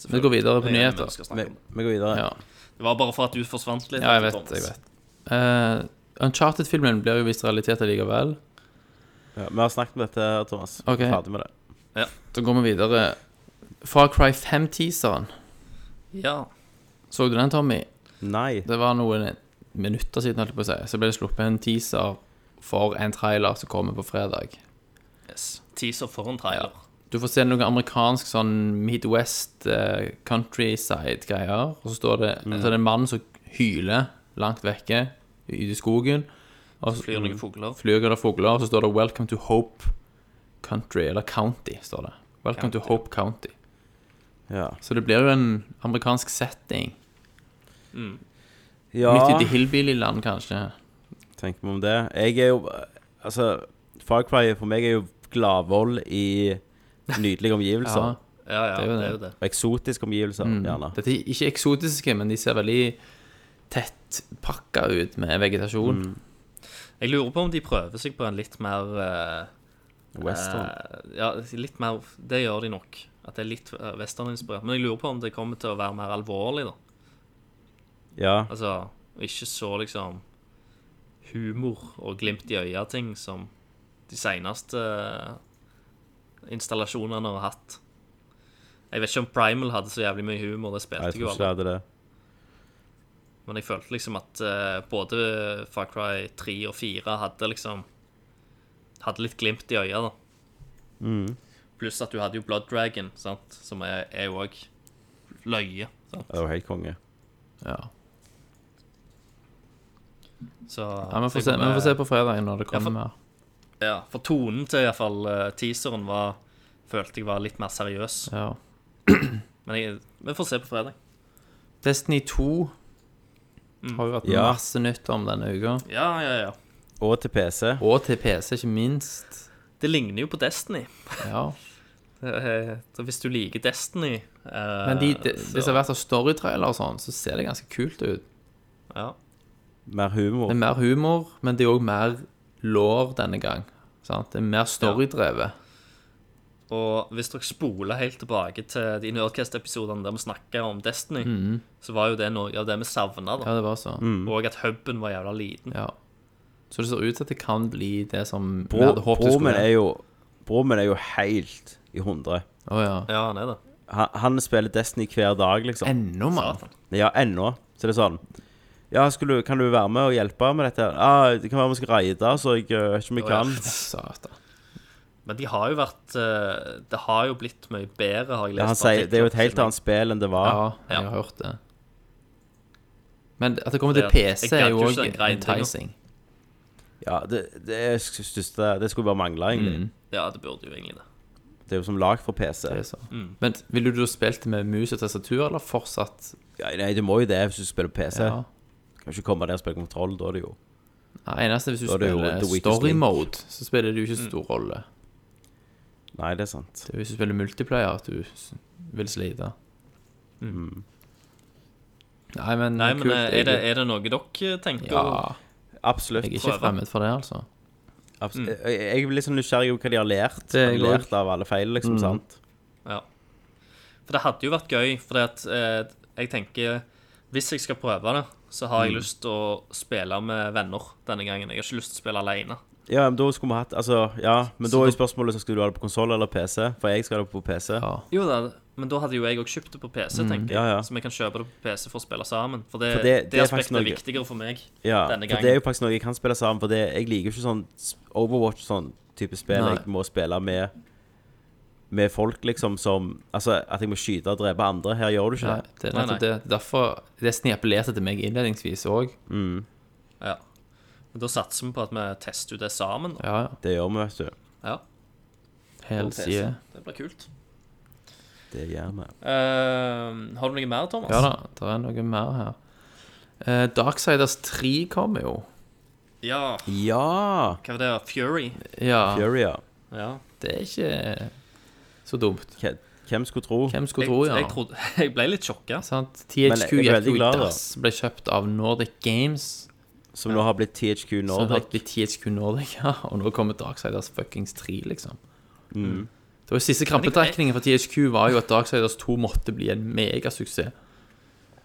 Speaker 8: Vi går videre på
Speaker 1: Det er det
Speaker 8: nyheter.
Speaker 1: vi skal
Speaker 6: Vi,
Speaker 1: snakke om.
Speaker 6: vi går videre.
Speaker 8: Ja.
Speaker 1: Det var bare for at du forsvant litt.
Speaker 8: Ja, jeg
Speaker 1: Thomas.
Speaker 8: vet. jeg vet Eh, Uncharted-filmen blir jo vist realitet likevel.
Speaker 6: Ja, vi har snakket om dette, Thomas.
Speaker 8: Ok.
Speaker 6: Vi er Ferdig med det.
Speaker 8: Da går vi videre. Far Cry 5-teaseren.
Speaker 1: Ja.
Speaker 8: Så du den, Tommy?
Speaker 6: Nei.
Speaker 8: Det var noen minutter siden, holdt jeg på å si. Så ble det sluppet en teaser for en trailer som kommer på fredag.
Speaker 1: Yes. Teaser for en trailer.
Speaker 8: Du får se noe amerikansk sånn Midwest eh, countryside-greier. Og så står det, så er det en mann som hyler langt vekke ute i skogen. Og så
Speaker 1: Flyr noen fugler.
Speaker 8: flyger det fugler, og så står det 'Welcome to Hope Country', eller 'County', står det. Welcome to
Speaker 1: County.
Speaker 8: Hope County.
Speaker 6: Ja.
Speaker 8: Så det blir jo en amerikansk setting.
Speaker 6: ja.
Speaker 8: Midt ute i hillbillyland, kanskje.
Speaker 6: tenker vi om det. Jeg er jo Altså, Far Cry for meg er jo gladvold i nydelige
Speaker 8: Ja, Mm.
Speaker 6: omgivelser.
Speaker 1: Ja, ja,
Speaker 8: Det er jo
Speaker 1: det
Speaker 8: det.
Speaker 1: er jo det.
Speaker 6: Eksotiske omgivelser, gjerne.
Speaker 8: Dette er ikke eksotiske, men de ser veldig tett pakka ut med vegetasjon.
Speaker 1: Jeg lurer på om de prøver seg på en litt mer eh,
Speaker 6: Western.
Speaker 1: eh, Ja, litt mer Det gjør de nok. At det er litt eh, westerninspirert. Men jeg lurer på om det kommer til å være mer alvorlig, da.
Speaker 6: Ja.
Speaker 1: Altså, og ikke så liksom humor og glimt i øya-ting som de seneste eh, installasjonene har hatt. Jeg vet ikke om Primal hadde så jævlig mye humor, det
Speaker 6: Jeg
Speaker 1: spilte jeg
Speaker 6: tror
Speaker 1: jo
Speaker 6: ikke det
Speaker 1: aldri.
Speaker 6: hadde det.
Speaker 1: Men jeg følte liksom at eh, både Far Cry 3 og 4 hadde liksom Hadde litt glimt i øya, da.
Speaker 6: Mm.
Speaker 1: Pluss at du hadde jo Blood Dragon, sant, som er er jo òg løye. Sant?
Speaker 6: Det var helt konge.
Speaker 8: Ja.
Speaker 1: Så
Speaker 8: Ja, vi får, se, vi får se på fredagen når det kommer mer.
Speaker 1: Ja, for tonen til iallfall eh, teaseren var Følte jeg var litt mer seriøs.
Speaker 8: Ja.
Speaker 1: Men jeg, vi får se på fredag.
Speaker 8: Destiny 2 har jo vært
Speaker 6: Ja.
Speaker 8: masse nytt om denne uka.
Speaker 1: Ja, ja, ja.
Speaker 6: Og til PC.
Speaker 8: Og til PC, ikke minst.
Speaker 1: Det ligner jo på Destiny.
Speaker 8: Ja.
Speaker 1: Eh, Så hvis du liker Destiny eh,
Speaker 8: Men de, de,
Speaker 1: så-
Speaker 8: det som har vært av storytrailer og sånn, så ser det ganske kult ut.
Speaker 1: ja.
Speaker 6: Mer
Speaker 8: Det
Speaker 6: humor.
Speaker 8: er mer humor, men det er òg mer lår denne gang. Sant? Det er mer storydrevet.
Speaker 1: Og hvis dere spoler helt tilbake til de Nerdcast-episodene der vi snakka om Destiny,
Speaker 6: Mhm.
Speaker 1: så var jo det noe av det vi savna, da.
Speaker 8: Ja, det var så.
Speaker 6: Mm.
Speaker 1: Og at huben var jævla liten.
Speaker 8: Ja. Så det ser ut til at det kan bli det som vi
Speaker 6: Bro-
Speaker 8: hadde håpet det
Speaker 6: Broren min
Speaker 8: skulle
Speaker 6: er
Speaker 8: være.
Speaker 6: jo Broren min er jo helt i hundre.
Speaker 8: Å ja.
Speaker 1: Ja, han er det.
Speaker 6: Han, han spiller Destiny hver dag, liksom.
Speaker 8: Ennå mer.
Speaker 6: Ja, ennå. Så det er sånn Ja, skulle, du- kan du være med og hjelpe med dette? Ah, det kan være vi skal raide, så jeg eh, vet ikke om jeg
Speaker 1: Å, ja.
Speaker 6: kan.
Speaker 8: Satan.
Speaker 1: Men de har jo vært eh, Det har jo blitt mye bedre, har jeg lest.
Speaker 6: Ja, han
Speaker 1: på
Speaker 6: sier, det er jo et
Speaker 1: artikler.
Speaker 6: helt annet spill enn det var.
Speaker 8: Ja, jeg
Speaker 1: Ja.
Speaker 8: har hørt det. Men at det kommer
Speaker 1: Ja,
Speaker 8: til
Speaker 1: jeg
Speaker 8: PC,
Speaker 1: gadd
Speaker 8: er
Speaker 1: jo
Speaker 8: jo
Speaker 1: ikke
Speaker 8: òg
Speaker 1: den greien til nå.
Speaker 8: enticing.
Speaker 6: Ja, det, det er sk- største Det skulle bare mangle, egentlig.
Speaker 8: Mm.
Speaker 1: Ja, det burde jo egentlig det.
Speaker 6: Det er jo som lag for PC.
Speaker 8: Det er så.
Speaker 1: Mm.
Speaker 8: Men ville du da spilt med mus og tastatur, eller fortsatt
Speaker 6: Ja, nei, du må jo det hvis du spiller på PC.
Speaker 8: ja.
Speaker 6: Kan ikke komme der og spille kontroll, da er det jo
Speaker 8: Nei, eneste hvis du
Speaker 6: Da er det jo
Speaker 8: spiller
Speaker 6: The Weakest
Speaker 8: story
Speaker 6: Link.
Speaker 8: mode, så spiller det jo
Speaker 1: Mm.
Speaker 8: ikke så stor rolle.
Speaker 6: Nei, det er sant.
Speaker 8: Det er hvis du spiller multiplayer at du s- vil slite.
Speaker 6: Mm.
Speaker 8: Nei, men,
Speaker 1: Nei, men
Speaker 8: kult,
Speaker 1: eh, er det,
Speaker 8: egentlig.
Speaker 1: er det noe dere tenker?
Speaker 8: Ja,
Speaker 6: Absolutt.
Speaker 8: jeg er ikke
Speaker 1: Prøve.
Speaker 8: fremmed for det, altså.
Speaker 6: abs- jeg, jeg er litt sånn nysgjerrig på hva de har lært.
Speaker 8: Det er
Speaker 6: Hva de
Speaker 8: jeg Mm.
Speaker 6: har lært av alle feil, liksom. sant?
Speaker 1: Ja. For det hadde jo vært gøy, for at, eh, jeg tenker Hvis jeg skal prøve det, så har jeg lyst til å spille med venner denne gangen. Jeg har ikke lyst til å spille alene.
Speaker 6: Ja, men da skulle vi hatt Altså, ja, men da er jo spørsmålet så skal du ha det på konsoll eller PC, for jeg skal ha det på PC.
Speaker 8: Ja.
Speaker 1: Jo da, men da hadde jo jeg òg kjøpt det på PC, tenker jeg.
Speaker 6: Ja, ja.
Speaker 1: Så vi kan kjøpe det på PC for å spille sammen. For det,
Speaker 6: For det-
Speaker 1: det,
Speaker 6: det er faktisk
Speaker 1: aspektet
Speaker 6: noe-
Speaker 1: er viktigere for meg
Speaker 6: Ja,
Speaker 1: denne
Speaker 6: for
Speaker 1: gangen.
Speaker 6: det er jo faktisk noe jeg kan spille sammen, for det, jeg liker jo ikke sånn s- Overwatch sånn type spill.
Speaker 8: Nei.
Speaker 6: Jeg må spille med med folk, liksom, som Altså, at jeg må skyte og drepe andre. Her gjør du ikke
Speaker 8: Nei,
Speaker 6: det.
Speaker 8: det er
Speaker 1: Nei,
Speaker 8: nettopp det. Derfor det snepelerte til meg innledningsvis òg.
Speaker 1: Ja. Men da satser vi på at vi tester ut det sammen. da.
Speaker 8: Ja, ja.
Speaker 6: Det gjør vi, vet du.
Speaker 1: Ja, på
Speaker 8: Hel
Speaker 1: PC.
Speaker 8: side.
Speaker 1: Det blir kult.
Speaker 6: Det gjør vi.
Speaker 1: Eh, har du noe mer, Thomas?
Speaker 8: Ja da, det er noe mer her. Eh, Darksiders 3 kommer jo.
Speaker 1: ja.
Speaker 6: Ja!
Speaker 1: Hva var det? Fury?
Speaker 8: Ja,
Speaker 6: Fury, ja.
Speaker 1: Ja.
Speaker 8: det er ikke eh, så dumt.
Speaker 6: Ke- Hvem skulle tro?
Speaker 8: Hvem skulle
Speaker 1: Jeg,
Speaker 8: tro, ja.
Speaker 1: jeg, trodde, jeg ble litt sjokka.
Speaker 8: Sant?
Speaker 6: Men
Speaker 8: THQ
Speaker 6: jeg er
Speaker 8: gikk
Speaker 6: veldig
Speaker 8: jo i
Speaker 6: glad, da.
Speaker 8: dass, ble kjøpt av Nordic Games.
Speaker 6: Som nå har blitt THQ
Speaker 8: Så det
Speaker 6: Nordic.
Speaker 8: blitt THQ Nordic, ja. Og nå kommer Darksiders fuckings 3, liksom. Det var jo Siste krampetrekningen for THQ var jo at Darksiders 2 måtte bli en megasuksess.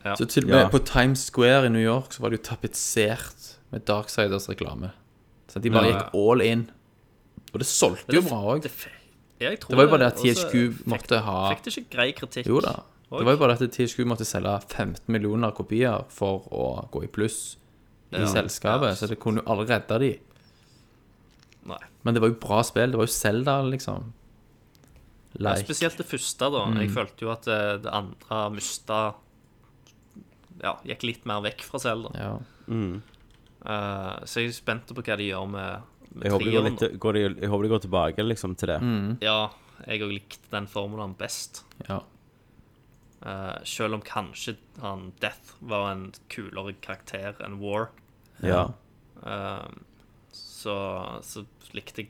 Speaker 1: Ja.
Speaker 8: Så til og med
Speaker 6: Ja.
Speaker 8: på Times Square i New York så var det jo tapetsert med Darksiders reklame. Så de bare
Speaker 1: Ja.
Speaker 8: gikk all in. Og det solgte jo bra òg.
Speaker 1: Det, f- jeg tror
Speaker 8: Det var jo bare det at
Speaker 1: og så
Speaker 8: THQ måtte ha-
Speaker 1: Fikk det ikke grei kritikk?
Speaker 8: Jo da.
Speaker 1: Og-
Speaker 8: Det var jo bare at THQ måtte selge 15 millioner kopier for å gå i pluss i
Speaker 1: Ja.
Speaker 8: selskapet, så det kunne jo aldri redde de.
Speaker 1: Nei.
Speaker 8: Men det var jo bra spill. Det var jo Zelda, liksom. Like.
Speaker 1: Spesielt det første, da. Jeg
Speaker 8: Mm.
Speaker 1: følte jo at eh, det andre mista Ja, gikk litt mer vekk fra Zelda.
Speaker 8: Ja.
Speaker 6: Mm.
Speaker 1: Eh, så jeg er spent på hva de gjør med, med
Speaker 6: Jeg håper, det går
Speaker 1: treeren.
Speaker 6: litt, går det, jeg håper det går tilbake liksom, til det.
Speaker 8: Mm.
Speaker 1: da. Ja, jeg òg likte den formelen best.
Speaker 8: ja.
Speaker 1: Eh, selv om kanskje han Death var en kulere karakter enn War,
Speaker 6: Ja.
Speaker 1: eh, så, så likte jeg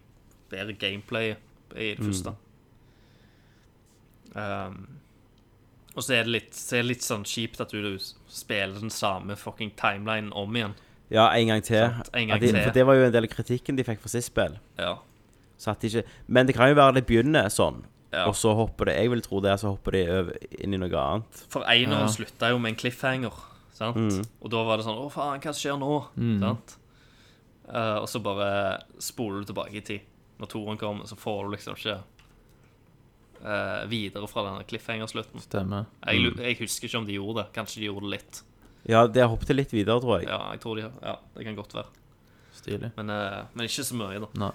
Speaker 1: bedre gameplay i det første. Eh, og så er det litt, så er det litt sånn kjipt at du spiller den samme fucking timelinen om igjen.
Speaker 6: ja, en gang til.
Speaker 1: Sant, en gang
Speaker 6: at de,
Speaker 1: til.
Speaker 6: For det var jo en del av kritikken de fikk for sist spill.
Speaker 1: Ja.
Speaker 6: Så at de ikke, men det kan jo være det begynner sånn,
Speaker 1: Ja.
Speaker 6: og så hopper det Jeg vil tro det, så hopper de over, inn i noe annet.
Speaker 1: For Eineren slutta jo med en cliffhanger. Sant? Og da var det sånn Å, faen, hva skjer nå? Sant? Eh, og så bare spoler du tilbake i tid. Når toeren kommer, så får du liksom ikke eh, videre fra denne cliffhanger-slutten.
Speaker 8: Stemmer.
Speaker 1: Jeg, lu- jeg husker ikke om de gjorde det. Kanskje de gjorde det litt.
Speaker 6: Ja, det hoppet litt videre, tror jeg.
Speaker 1: Ja, jeg tror de Ja, det kan godt være.
Speaker 8: Stilig.
Speaker 1: Men, eh, men ikke så mye, da.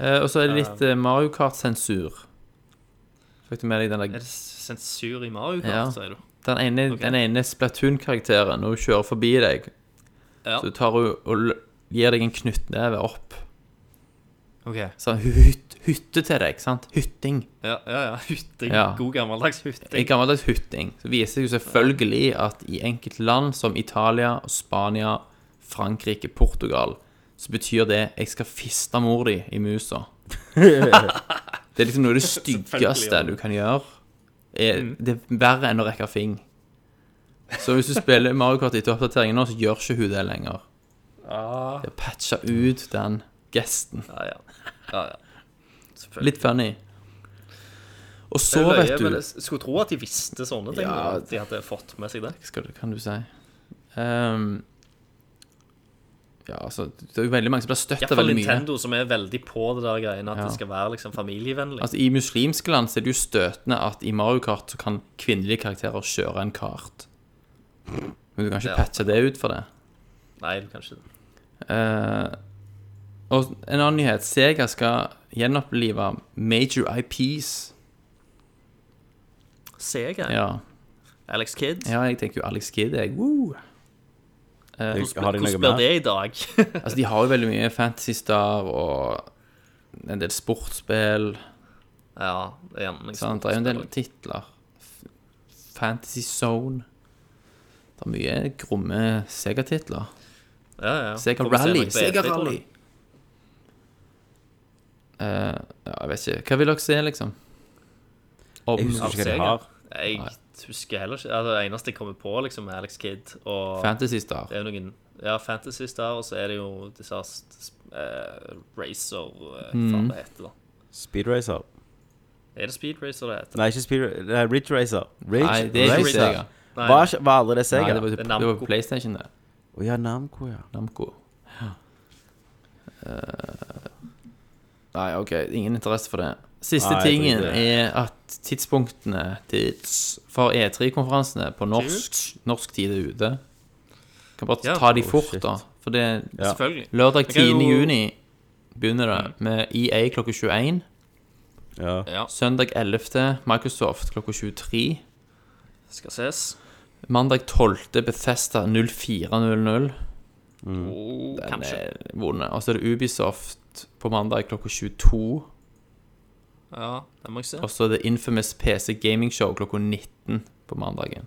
Speaker 8: Eh, og så er det litt
Speaker 1: Um,
Speaker 8: eh, Mario Kart-sensur. Fikk du med deg den
Speaker 1: Er
Speaker 8: der
Speaker 1: det sensur i Mario
Speaker 8: Ja.
Speaker 1: Kart, sier du?
Speaker 8: Den ene,
Speaker 1: Ok.
Speaker 8: den ene Splatoon-karakteren, når hun kjører forbi deg,
Speaker 1: Ja.
Speaker 8: så tar hun og l- gir deg en knyttneve opp.
Speaker 1: OK. Ja,
Speaker 8: Sånn hyt, hytte til deg, sant? Hytting.
Speaker 1: ja, ja. Hytting.
Speaker 8: Ja.
Speaker 1: God gammeldags hytting.
Speaker 8: En gammeldags hytting. Så viser det jo selvfølgelig at i enkelte land som Italia, Spania, Frankrike, Portugal, så betyr det 'jeg skal fiste mor di i musa'. det er liksom noe av det styggeste
Speaker 1: Selvfølgelig, ja.
Speaker 8: du kan gjøre. Er,
Speaker 1: Mm.
Speaker 8: det er verre enn å rekke fing. Så hvis du spiller Mario Kart etter oppdateringen nå, så gjør ikke hun det lenger.
Speaker 1: Ah.
Speaker 8: Det er patcha ut den gesten.
Speaker 1: Ja, ja. ja, ja. Selvfølgelig.
Speaker 8: Litt funny. Og så,
Speaker 1: Det er løye,
Speaker 8: vet du
Speaker 1: men jeg skulle tro at de visste sånne ting.
Speaker 7: Ja,
Speaker 1: at de hadde fått med seg det.
Speaker 8: Hva skal, kan du si? Ehm, ja, altså, det er jo veldig mange som blir støtta
Speaker 1: Iallfall
Speaker 8: veldig mye.
Speaker 1: Nintendo, som er veldig på det der greiene at
Speaker 8: Ja.
Speaker 1: det skal være liksom familievennlig.
Speaker 8: Altså, I muslimske land så er det jo støtende at i Mario Kart så kan kvinnelige karakterer kjøre en kart. Men du kan ikke
Speaker 1: Ja.
Speaker 8: patche det ut for det.
Speaker 1: Nei, du kan ikke det.
Speaker 8: Eh, og en annen nyhet. Sega skal gjenopplive major IPs.
Speaker 1: Sega.
Speaker 8: Ja,
Speaker 1: Alex Kidd.
Speaker 8: ja jeg tenker jo Alex Kidd, jeg. Woo! Eh,
Speaker 6: Jeg- Har de
Speaker 1: Hvordan
Speaker 6: noe mer?
Speaker 1: blir det i dag?
Speaker 8: Altså, de har jo veldig mye Fantasy Star og en del sportsspill.
Speaker 1: ja, det er gjerne liksom
Speaker 8: Sant? Det er jo en del titler. F- Fantasy Zone. Det er mye gromme Sega-titler.
Speaker 1: Ja, ja.
Speaker 8: Sega
Speaker 1: Får vi se
Speaker 8: Rally.
Speaker 1: noe
Speaker 8: Sega
Speaker 1: bedre, tror
Speaker 8: Rally.
Speaker 1: jeg.
Speaker 8: Eh, ja, jeg vet ikke. Hva vil dere se, liksom? Om,
Speaker 6: Jeg husker ikke hva de
Speaker 1: Sega.
Speaker 6: har.
Speaker 1: Jeg husker heller ikke altså, Det eneste jeg kommer på, liksom, er Alex Kidd og
Speaker 8: Fantasy Star.
Speaker 1: Det er jo noen Ja, Fantasy Star, og så er det jo disse eh, Racer eh,
Speaker 8: Mm.
Speaker 1: Hva faen det heter, da.
Speaker 6: Speedracer.
Speaker 1: Er det Speed Racer det heter?
Speaker 6: Nei, ikke Speedracer. Det er Ridge Racer. Ridge
Speaker 8: Nei, det er ikke
Speaker 6: Racer.
Speaker 8: Sega.
Speaker 1: Nei,
Speaker 6: Var, ikke- var aldri det Sega?
Speaker 8: Nei, det var,
Speaker 1: Det er
Speaker 8: det
Speaker 1: Namco.
Speaker 8: var på PlayStation, det.
Speaker 6: Å ja, Namco, ja.
Speaker 8: Namco. Ja. nei, OK. Ingen interesse for det. Siste
Speaker 6: Nei, jeg tror
Speaker 8: tingen
Speaker 6: ikke
Speaker 8: er at tidspunktene tids for E3-konferansene på norsk, norsk tid er ute. Kan bare
Speaker 1: Ja.
Speaker 8: ta de
Speaker 6: Oh,
Speaker 8: fort,
Speaker 6: shit.
Speaker 8: da. For det
Speaker 6: Ja.
Speaker 1: Selvfølgelig.
Speaker 8: Lørdag
Speaker 1: Jeg kan
Speaker 8: 10.
Speaker 1: jo-
Speaker 8: juni begynner det med E EA klokka 21.
Speaker 6: Mm. ja.
Speaker 8: Søndag 11. Microsoft klokka 23.
Speaker 1: Skal ses.
Speaker 8: Mandag 12. Bethesda 0400.
Speaker 6: Mm.
Speaker 1: Oh,
Speaker 8: Den
Speaker 1: kanskje.
Speaker 8: er vond. Og så er det Ubisoft på mandag klokka 22.
Speaker 1: Ja, den må jeg se.
Speaker 8: Og så er det Infamous PC Gaming Show klokka 19 på mandagen.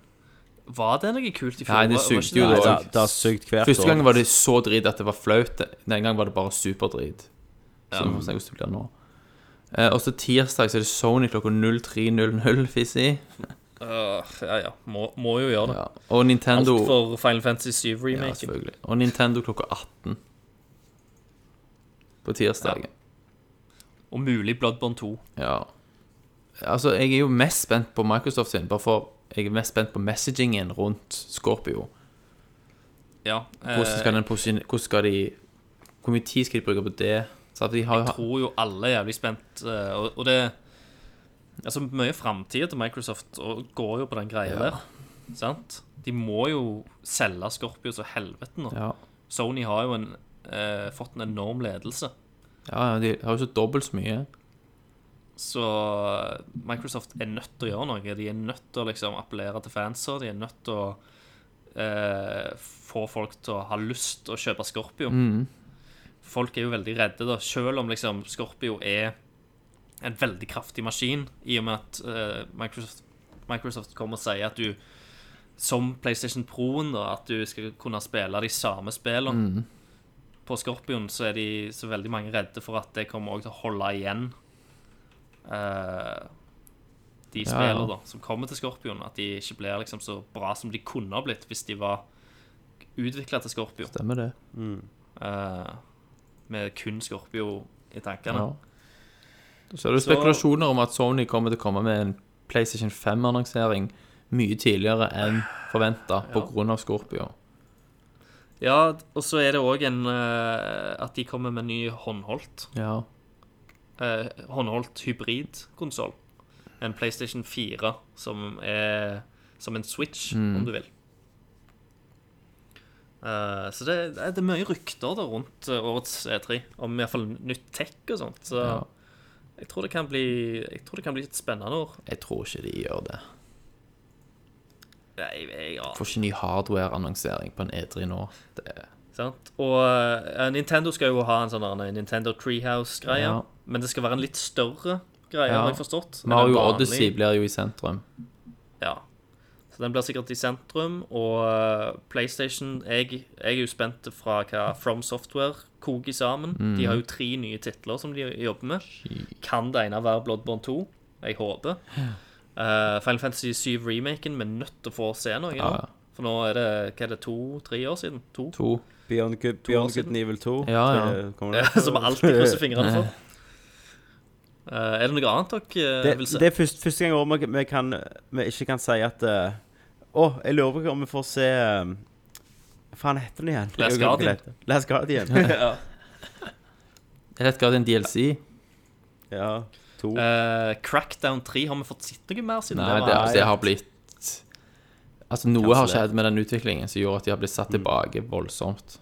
Speaker 1: Var det noe kult i fjor?
Speaker 8: Nei, det
Speaker 1: Var- var
Speaker 8: sugde
Speaker 1: ikke
Speaker 8: jo
Speaker 6: Nei,
Speaker 1: det-
Speaker 8: da.
Speaker 6: det, det har sugd hvert
Speaker 8: Første gang var det så drit at det var flaut. Den gang var det bare superdrit. Som vi får se hvordan det blir nå. Eh, og så tirsdag så er det Sony klokka 03.00, Fizzy.
Speaker 1: Øh, ja, ja. Må, må jo gjøre det.
Speaker 8: Ja. Og Nintendo
Speaker 1: Alt for Final Fantasy 7
Speaker 8: Ja,
Speaker 1: remake.
Speaker 8: selvfølgelig. Og Nintendo klokka 18 på tirsdag.
Speaker 1: Og mulig Bloodborne 2.
Speaker 8: Ja. Altså, jeg er jo mest spent på Microsoft sin, bare for jeg er mest spent på messagingen rundt Scorpio.
Speaker 1: Ja. eh,
Speaker 8: Hvordan skal, den posi- hvordan skal de Hvor mye tid skal de bruke på det? Så at de har,
Speaker 1: Jeg tror jo alle er jævlig spent, eh, og, og det Altså, mye framtida til Microsoft og går jo på den greia der, sant? De må jo selge Scorpio så helvete nå.
Speaker 8: ja,
Speaker 1: Sony har jo en, eh, fått en enorm ledelse,
Speaker 8: ja, ja, de har jo så dobbelt så mye.
Speaker 1: så eh, Microsoft er nødt til å gjøre noe. De er nødt til å liksom appellere til fanser, de er nødt til å eh, få folk til å ha lyst til å kjøpe Scorpio. Folk er jo veldig redde, da, selv om liksom Scorpio er en veldig kraftig maskin, i og med at eh, Microsoft, Microsoft kommer og sier at du som PlayStation Pro-en, da, at du skal kunne spille de samme spillene.
Speaker 8: Mhm.
Speaker 1: På Scorpion så er de så veldig mange redde for at det kommer også til å holde igjen eh, de
Speaker 8: Ja,
Speaker 1: spillene
Speaker 8: ja.
Speaker 1: da, som kommer til Scorpion. At de ikke blir liksom så bra som de kunne ha blitt hvis de var utvikla til Scorpio.
Speaker 8: Stemmer det.
Speaker 1: eh, med kun Scorpio i tankene.
Speaker 8: Ja. Så er det
Speaker 1: Så-
Speaker 8: spekulasjoner om at Sony kommer til å komme med en PlayStation 5-annonsering mye tidligere enn forventa pga. Scorpio.
Speaker 1: Ja, og så er det òg en eh, At de kommer med en ny håndholdt.
Speaker 8: Ja.
Speaker 1: eh, håndholdt hybridkonsoll. En PlayStation 4 som er som en Switch,
Speaker 8: Mm.
Speaker 1: om du vil. Eh, så det, det er mye rykter da rundt eh, årets E3, om iallfall nytt tech og sånt. Så
Speaker 8: ja.
Speaker 1: jeg, tror det kan bli, jeg tror det kan bli et spennende år.
Speaker 8: Jeg tror ikke de gjør det.
Speaker 1: Nei, jeg, ja,
Speaker 8: Får ikke ny hardware-annonsering på en E3 nå. Det er
Speaker 1: sant? Og eh, Nintendo skal jo ha en sånn der, en Nintendo Treehouse-greie,
Speaker 8: Ja.
Speaker 1: men det skal være en litt større greie,
Speaker 8: Ja.
Speaker 1: har jeg forstått. enn en
Speaker 8: Mario
Speaker 1: vanlig-
Speaker 8: Odyssey blir jo i sentrum.
Speaker 1: Ja. Så den blir sikkert i sentrum, og eh, PlayStation Jeg, jeg er jo spent fra hva From Software koker sammen.
Speaker 8: Mm.
Speaker 1: De har jo tre nye titler som de jobber med. Kan det ene være Bloodborne 2? Jeg håper. Eh, Final Fantasy 7-remaken, vi er nødt til å få se noe nå.
Speaker 8: Ja.
Speaker 1: For nå er det hva er det, to-tre år siden? To?
Speaker 8: To.
Speaker 6: Beyond Good,
Speaker 1: år
Speaker 6: Beyond
Speaker 1: siden.
Speaker 6: Good and Evil 2.
Speaker 8: Ja, ja.
Speaker 6: Det Kommer det.
Speaker 1: Som vi alltid krysser fingrene for. Eh, er det noe annet dere eh,
Speaker 6: Det,
Speaker 1: vil se?
Speaker 6: det er første, første gang i år vi, vi, kan, vi ikke kan si at eh, Å, jeg lurer på om vi får se um, Faen, heter den igjen?
Speaker 1: Last
Speaker 6: Jeg glemte
Speaker 1: Guardian.
Speaker 6: det. Last Guardian.
Speaker 8: Det er rett grad en DLC.
Speaker 6: ja. To.
Speaker 1: Eh, Crackdown 3, har vi fått sett noe mer siden
Speaker 8: Nei,
Speaker 1: det?
Speaker 8: det,
Speaker 1: var
Speaker 8: altså, det har blitt Altså, noe har skjedd med den utviklingen som gjorde at de har blitt satt tilbake voldsomt.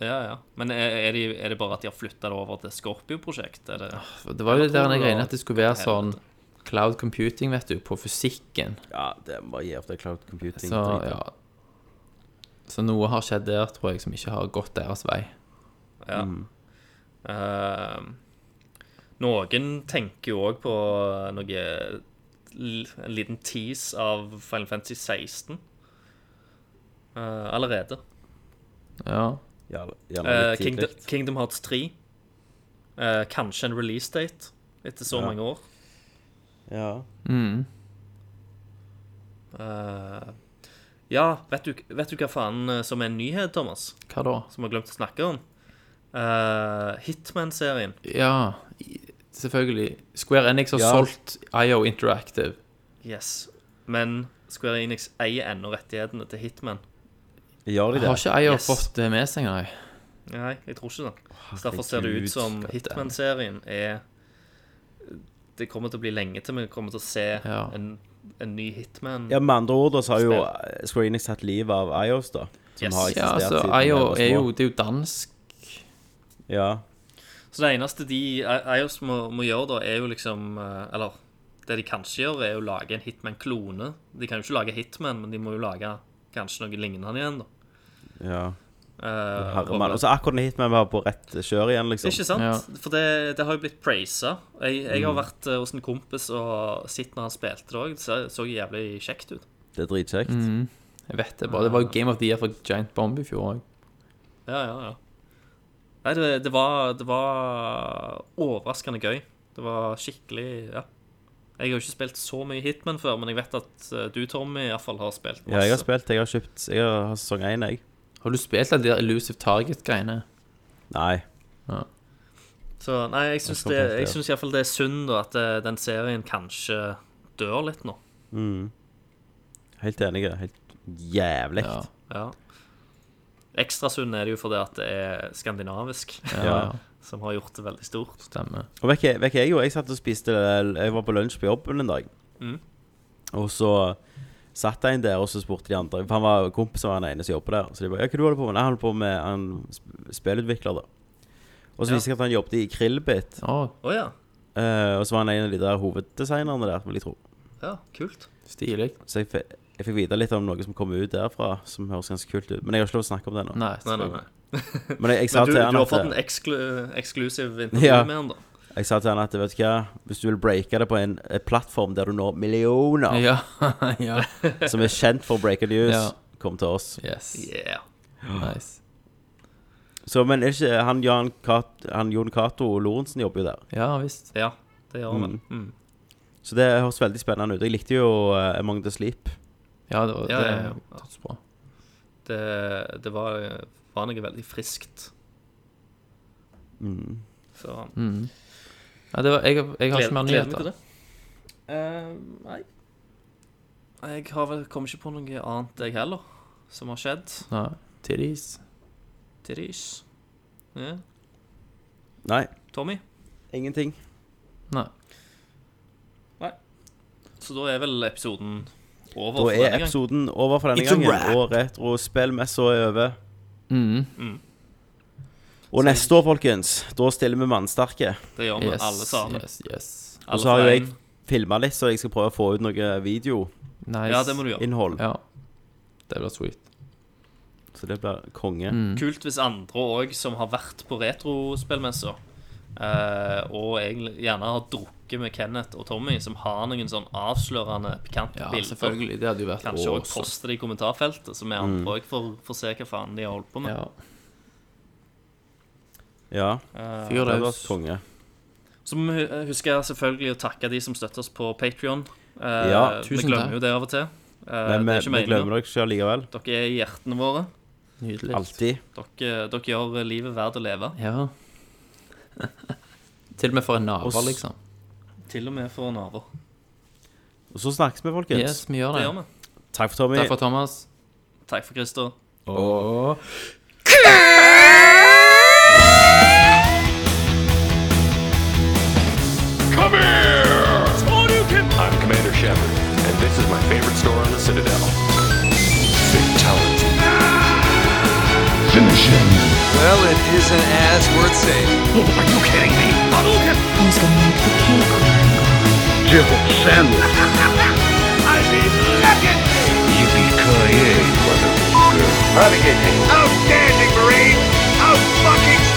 Speaker 1: Ja, ja. Men er, er, de, er det bare at de har flytta det over til Scorpio-prosjektet? Er det-
Speaker 8: For Det var jo det der jeg
Speaker 1: Controller-
Speaker 8: regnet at det skulle være sånn
Speaker 1: Helvete.
Speaker 8: cloud computing, vet du, på fysikken.
Speaker 6: Ja, det må bare gi opp det cloud computing.
Speaker 8: Så
Speaker 6: dritet.
Speaker 8: ja. Så noe har skjedd der, tror jeg, som ikke har gått deres vei.
Speaker 1: Ja. Ehm, noen tenker jo òg på noe l- En liten tease av Final Fantasy 16 eh, allerede.
Speaker 8: Ja.
Speaker 6: Gjerne, gjerne
Speaker 1: Eh,
Speaker 6: litt
Speaker 1: Kingdom,
Speaker 6: tidlig.
Speaker 1: Kingdom Hearts 3. Eh, kanskje en release date etter så
Speaker 6: Ja.
Speaker 1: mange år.
Speaker 6: Ja.
Speaker 8: Mm.
Speaker 1: Eh, ja, vet du, vet du hva faen eh, som er en nyhet, Thomas?
Speaker 8: Hva da?
Speaker 1: Som vi har glemt å snakke om? Eh, Hitman-serien.
Speaker 8: Ja, i- selvfølgelig. Square Enix har
Speaker 6: Ja.
Speaker 8: solgt IO Interactive.
Speaker 1: Yes. Men Square Enix eier ennå rettighetene til Hitman.
Speaker 6: Gjør de det?
Speaker 8: Har
Speaker 1: Ah,
Speaker 8: ikke IO
Speaker 1: Yes.
Speaker 8: fått det med seg, nei?
Speaker 1: Nei, jeg tror ikke det. Så derfor ser det ut som
Speaker 8: Herregud.
Speaker 1: Hitman-serien er Det kommer til å bli lenge til vi kommer til å se
Speaker 8: Ja.
Speaker 1: en, en ny Hitman.
Speaker 6: Ja, med andre ord da, så har jo
Speaker 1: Spill.
Speaker 6: Square Enix tatt livet av IOS, da. Som
Speaker 1: Yes.
Speaker 6: har
Speaker 1: Ja,
Speaker 6: eksistert
Speaker 8: Ja, altså,
Speaker 6: siden
Speaker 8: IO
Speaker 6: de var
Speaker 8: er
Speaker 6: små.
Speaker 8: jo Det er jo dansk.
Speaker 6: Ja.
Speaker 1: Så det eneste de I- IOS må, må gjøre, da, er jo liksom eh, Eller det de kanskje gjør, er å lage en Hitman-klone. De kan jo ikke lage Hitman, men de må jo lage kanskje noe lignende igjen, da.
Speaker 6: ja.
Speaker 1: Eh,
Speaker 6: Herremann. Og så akkurat når Hitman var på rett kjør igjen, liksom.
Speaker 1: Ikke sant?
Speaker 8: Ja.
Speaker 1: For det, det har jo blitt praisa. Jeg, jeg har vært eh, hos en kompis og sett når han spilte det òg. Det så, så jævlig kjekt ut.
Speaker 6: Det er dritkjekt.
Speaker 1: Mm.
Speaker 8: Jeg vet det bare. Det var jo Game of the Year for Giant Bomb i fjor òg.
Speaker 1: Ja, ja, ja. Nei, det, det, var, det var overraskende gøy. Det var skikkelig Ja. Jeg har jo ikke spilt så mye Hitman før, men jeg vet at eh, du, Tommy, i hvert fall har spilt masse.
Speaker 6: Ja, jeg har spilt. Jeg har kjøpt Jeg har har sesong én, jeg.
Speaker 8: Har du spilt alle de der Elusive Target-greiene?
Speaker 6: Nei.
Speaker 1: Så nei, jeg syns,
Speaker 6: skal
Speaker 1: det,
Speaker 6: prøve
Speaker 1: jeg
Speaker 6: det.
Speaker 1: syns i hvert fall det er synd da, at eh, den serien kanskje dør litt nå.
Speaker 6: Helt enig. Helt jævlig.
Speaker 8: Ja.
Speaker 1: Ja. Ekstra synd er det jo fordi at det er skandinavisk,
Speaker 8: Ja, ja.
Speaker 1: som har gjort det veldig stort.
Speaker 8: Stemmer.
Speaker 6: Og vet ikke- vet ikke jeg jo, jeg satt og spiste Jeg var på lunsj på jobben en dag.
Speaker 1: Mm.
Speaker 6: Og så satt jeg en der, og så spurte de andre For han var kompis av han ene som jobber der. Så de bare Ja, hva du holder på med? Nei, han holder på med Han sp- spillutvikler, da. Og så viste jeg at han jobbet i Krillbit.
Speaker 8: Å,
Speaker 1: Å ja.
Speaker 6: eh, og så var han en av de der hoveddesignerne der, vil jeg tro.
Speaker 1: ja. Kult.
Speaker 8: stilig.
Speaker 6: Så jeg, fe- jeg fikk vite litt om noe som kom ut derfra, som høres ganske kult ut. Men jeg har ikke lov å snakke om det nå.
Speaker 8: Nei,
Speaker 1: Nei, nei, nei.
Speaker 6: Men jeg, jeg sa
Speaker 1: Men du,
Speaker 6: til han
Speaker 1: du har
Speaker 6: at
Speaker 1: fått en eksklu eksklusiv intervju
Speaker 6: Ja.
Speaker 1: med han, da.
Speaker 6: Jeg sa til han at vet du hva, hvis du vil breake det på en, en plattform der du når millioner,
Speaker 8: Ja. ja.
Speaker 6: som er kjent for breaker news,
Speaker 8: Ja.
Speaker 6: kom til oss.
Speaker 8: Yes.
Speaker 1: Yeah.
Speaker 8: Nice.
Speaker 6: Så, men er ikke han, Jan Kat, han Jon Cato Lorentzen jobber jo der.
Speaker 8: Ja visst.
Speaker 1: Ja, det gjør han. vel. Mm.
Speaker 6: Så det høres veldig spennende ut. Jeg likte jo eh, Among the Sleep.
Speaker 8: Ja, det var
Speaker 1: Ja, ja, ja.
Speaker 8: det er dødsbra.
Speaker 1: Det, det var, var noe veldig friskt. Så um,
Speaker 8: Mm. Ja, det var, jeg, jeg har ikke mer
Speaker 1: gleder meg til
Speaker 8: nyheter.
Speaker 1: det. Eh, nei. Jeg har vel kom ikke på noe annet, jeg heller, som har skjedd.
Speaker 8: Nei. Titties.
Speaker 1: Tiris. Ja.
Speaker 6: Nei,
Speaker 1: Tommy.
Speaker 6: ingenting.
Speaker 8: Nei.
Speaker 1: Så da er vel episoden over
Speaker 6: Da
Speaker 1: for
Speaker 6: er
Speaker 1: denne gang.
Speaker 6: episoden over for denne
Speaker 8: It's a
Speaker 6: gangen.
Speaker 8: wrap.
Speaker 6: Og retrospillmessa er over.
Speaker 8: Mm.
Speaker 6: Og neste år, folkens, da stiller vi mannsterke.
Speaker 1: Det gjør vi
Speaker 8: Yes,
Speaker 1: alle sammen.
Speaker 8: yes, yes.
Speaker 1: Alle
Speaker 6: så har jo
Speaker 1: for
Speaker 6: jeg-
Speaker 1: en.
Speaker 6: Filma litt, så jeg skal prøve å få ut noe videoinnhold.
Speaker 8: Nice.
Speaker 1: Ja, det må du gjøre.
Speaker 8: Ja. Det blir sweet.
Speaker 6: Så det blir konge.
Speaker 8: Mm.
Speaker 1: Kult hvis andre òg som har vært på retrospillmesser, eh, og egentlig gjerne har drukket med Kenneth og Tommy, som har noen sånn avslørende, pikante
Speaker 8: Ja,
Speaker 1: bilder.
Speaker 8: selvfølgelig. Det hadde jo vært
Speaker 1: Kanskje òg
Speaker 8: awesome.
Speaker 1: poste det i kommentarfeltet, så vi andre òg får, får se hva faen de har holdt på med.
Speaker 8: Ja.
Speaker 6: Ja,
Speaker 8: Fyr
Speaker 6: det blir
Speaker 8: løs.
Speaker 1: Eh,
Speaker 6: konge.
Speaker 1: Så må vi hu- huske selvfølgelig å takke de som støtter oss på Patrion.
Speaker 6: Ja,
Speaker 1: vi
Speaker 8: tusen takk.
Speaker 1: glemmer jo det av og til. Eh,
Speaker 6: Men
Speaker 1: det
Speaker 6: vi,
Speaker 1: er ikke
Speaker 6: vi glemmer
Speaker 1: meningen.
Speaker 6: dere ikke allikevel.
Speaker 1: Dere er i hjertene våre.
Speaker 8: Nydelig.
Speaker 6: Alltid.
Speaker 1: Dere, dere gjør livet verdt å leve.
Speaker 8: Ja. Til og med for en
Speaker 6: Og
Speaker 8: naver,
Speaker 6: s-
Speaker 8: liksom.
Speaker 1: Til og med for naver.
Speaker 6: Og så snakkes vi, folkens.
Speaker 8: Yes, vi gjør
Speaker 1: Det
Speaker 8: det.
Speaker 1: gjør vi.
Speaker 6: Takk for Tommy.
Speaker 8: Takk for Thomas.
Speaker 1: Takk for Christer.
Speaker 8: Og
Speaker 5: Come here! I'm Commander Shepard, and this is my favorite store on the Citadel. Fatality.
Speaker 9: Finish him.
Speaker 10: Well, it isn't as worth saving.
Speaker 5: Are you kidding me?
Speaker 9: Jill Sandler.
Speaker 5: I'd be licking!
Speaker 9: Yippee-ki-yay, motherfucker.
Speaker 5: Outstanding, Marine! Out fucking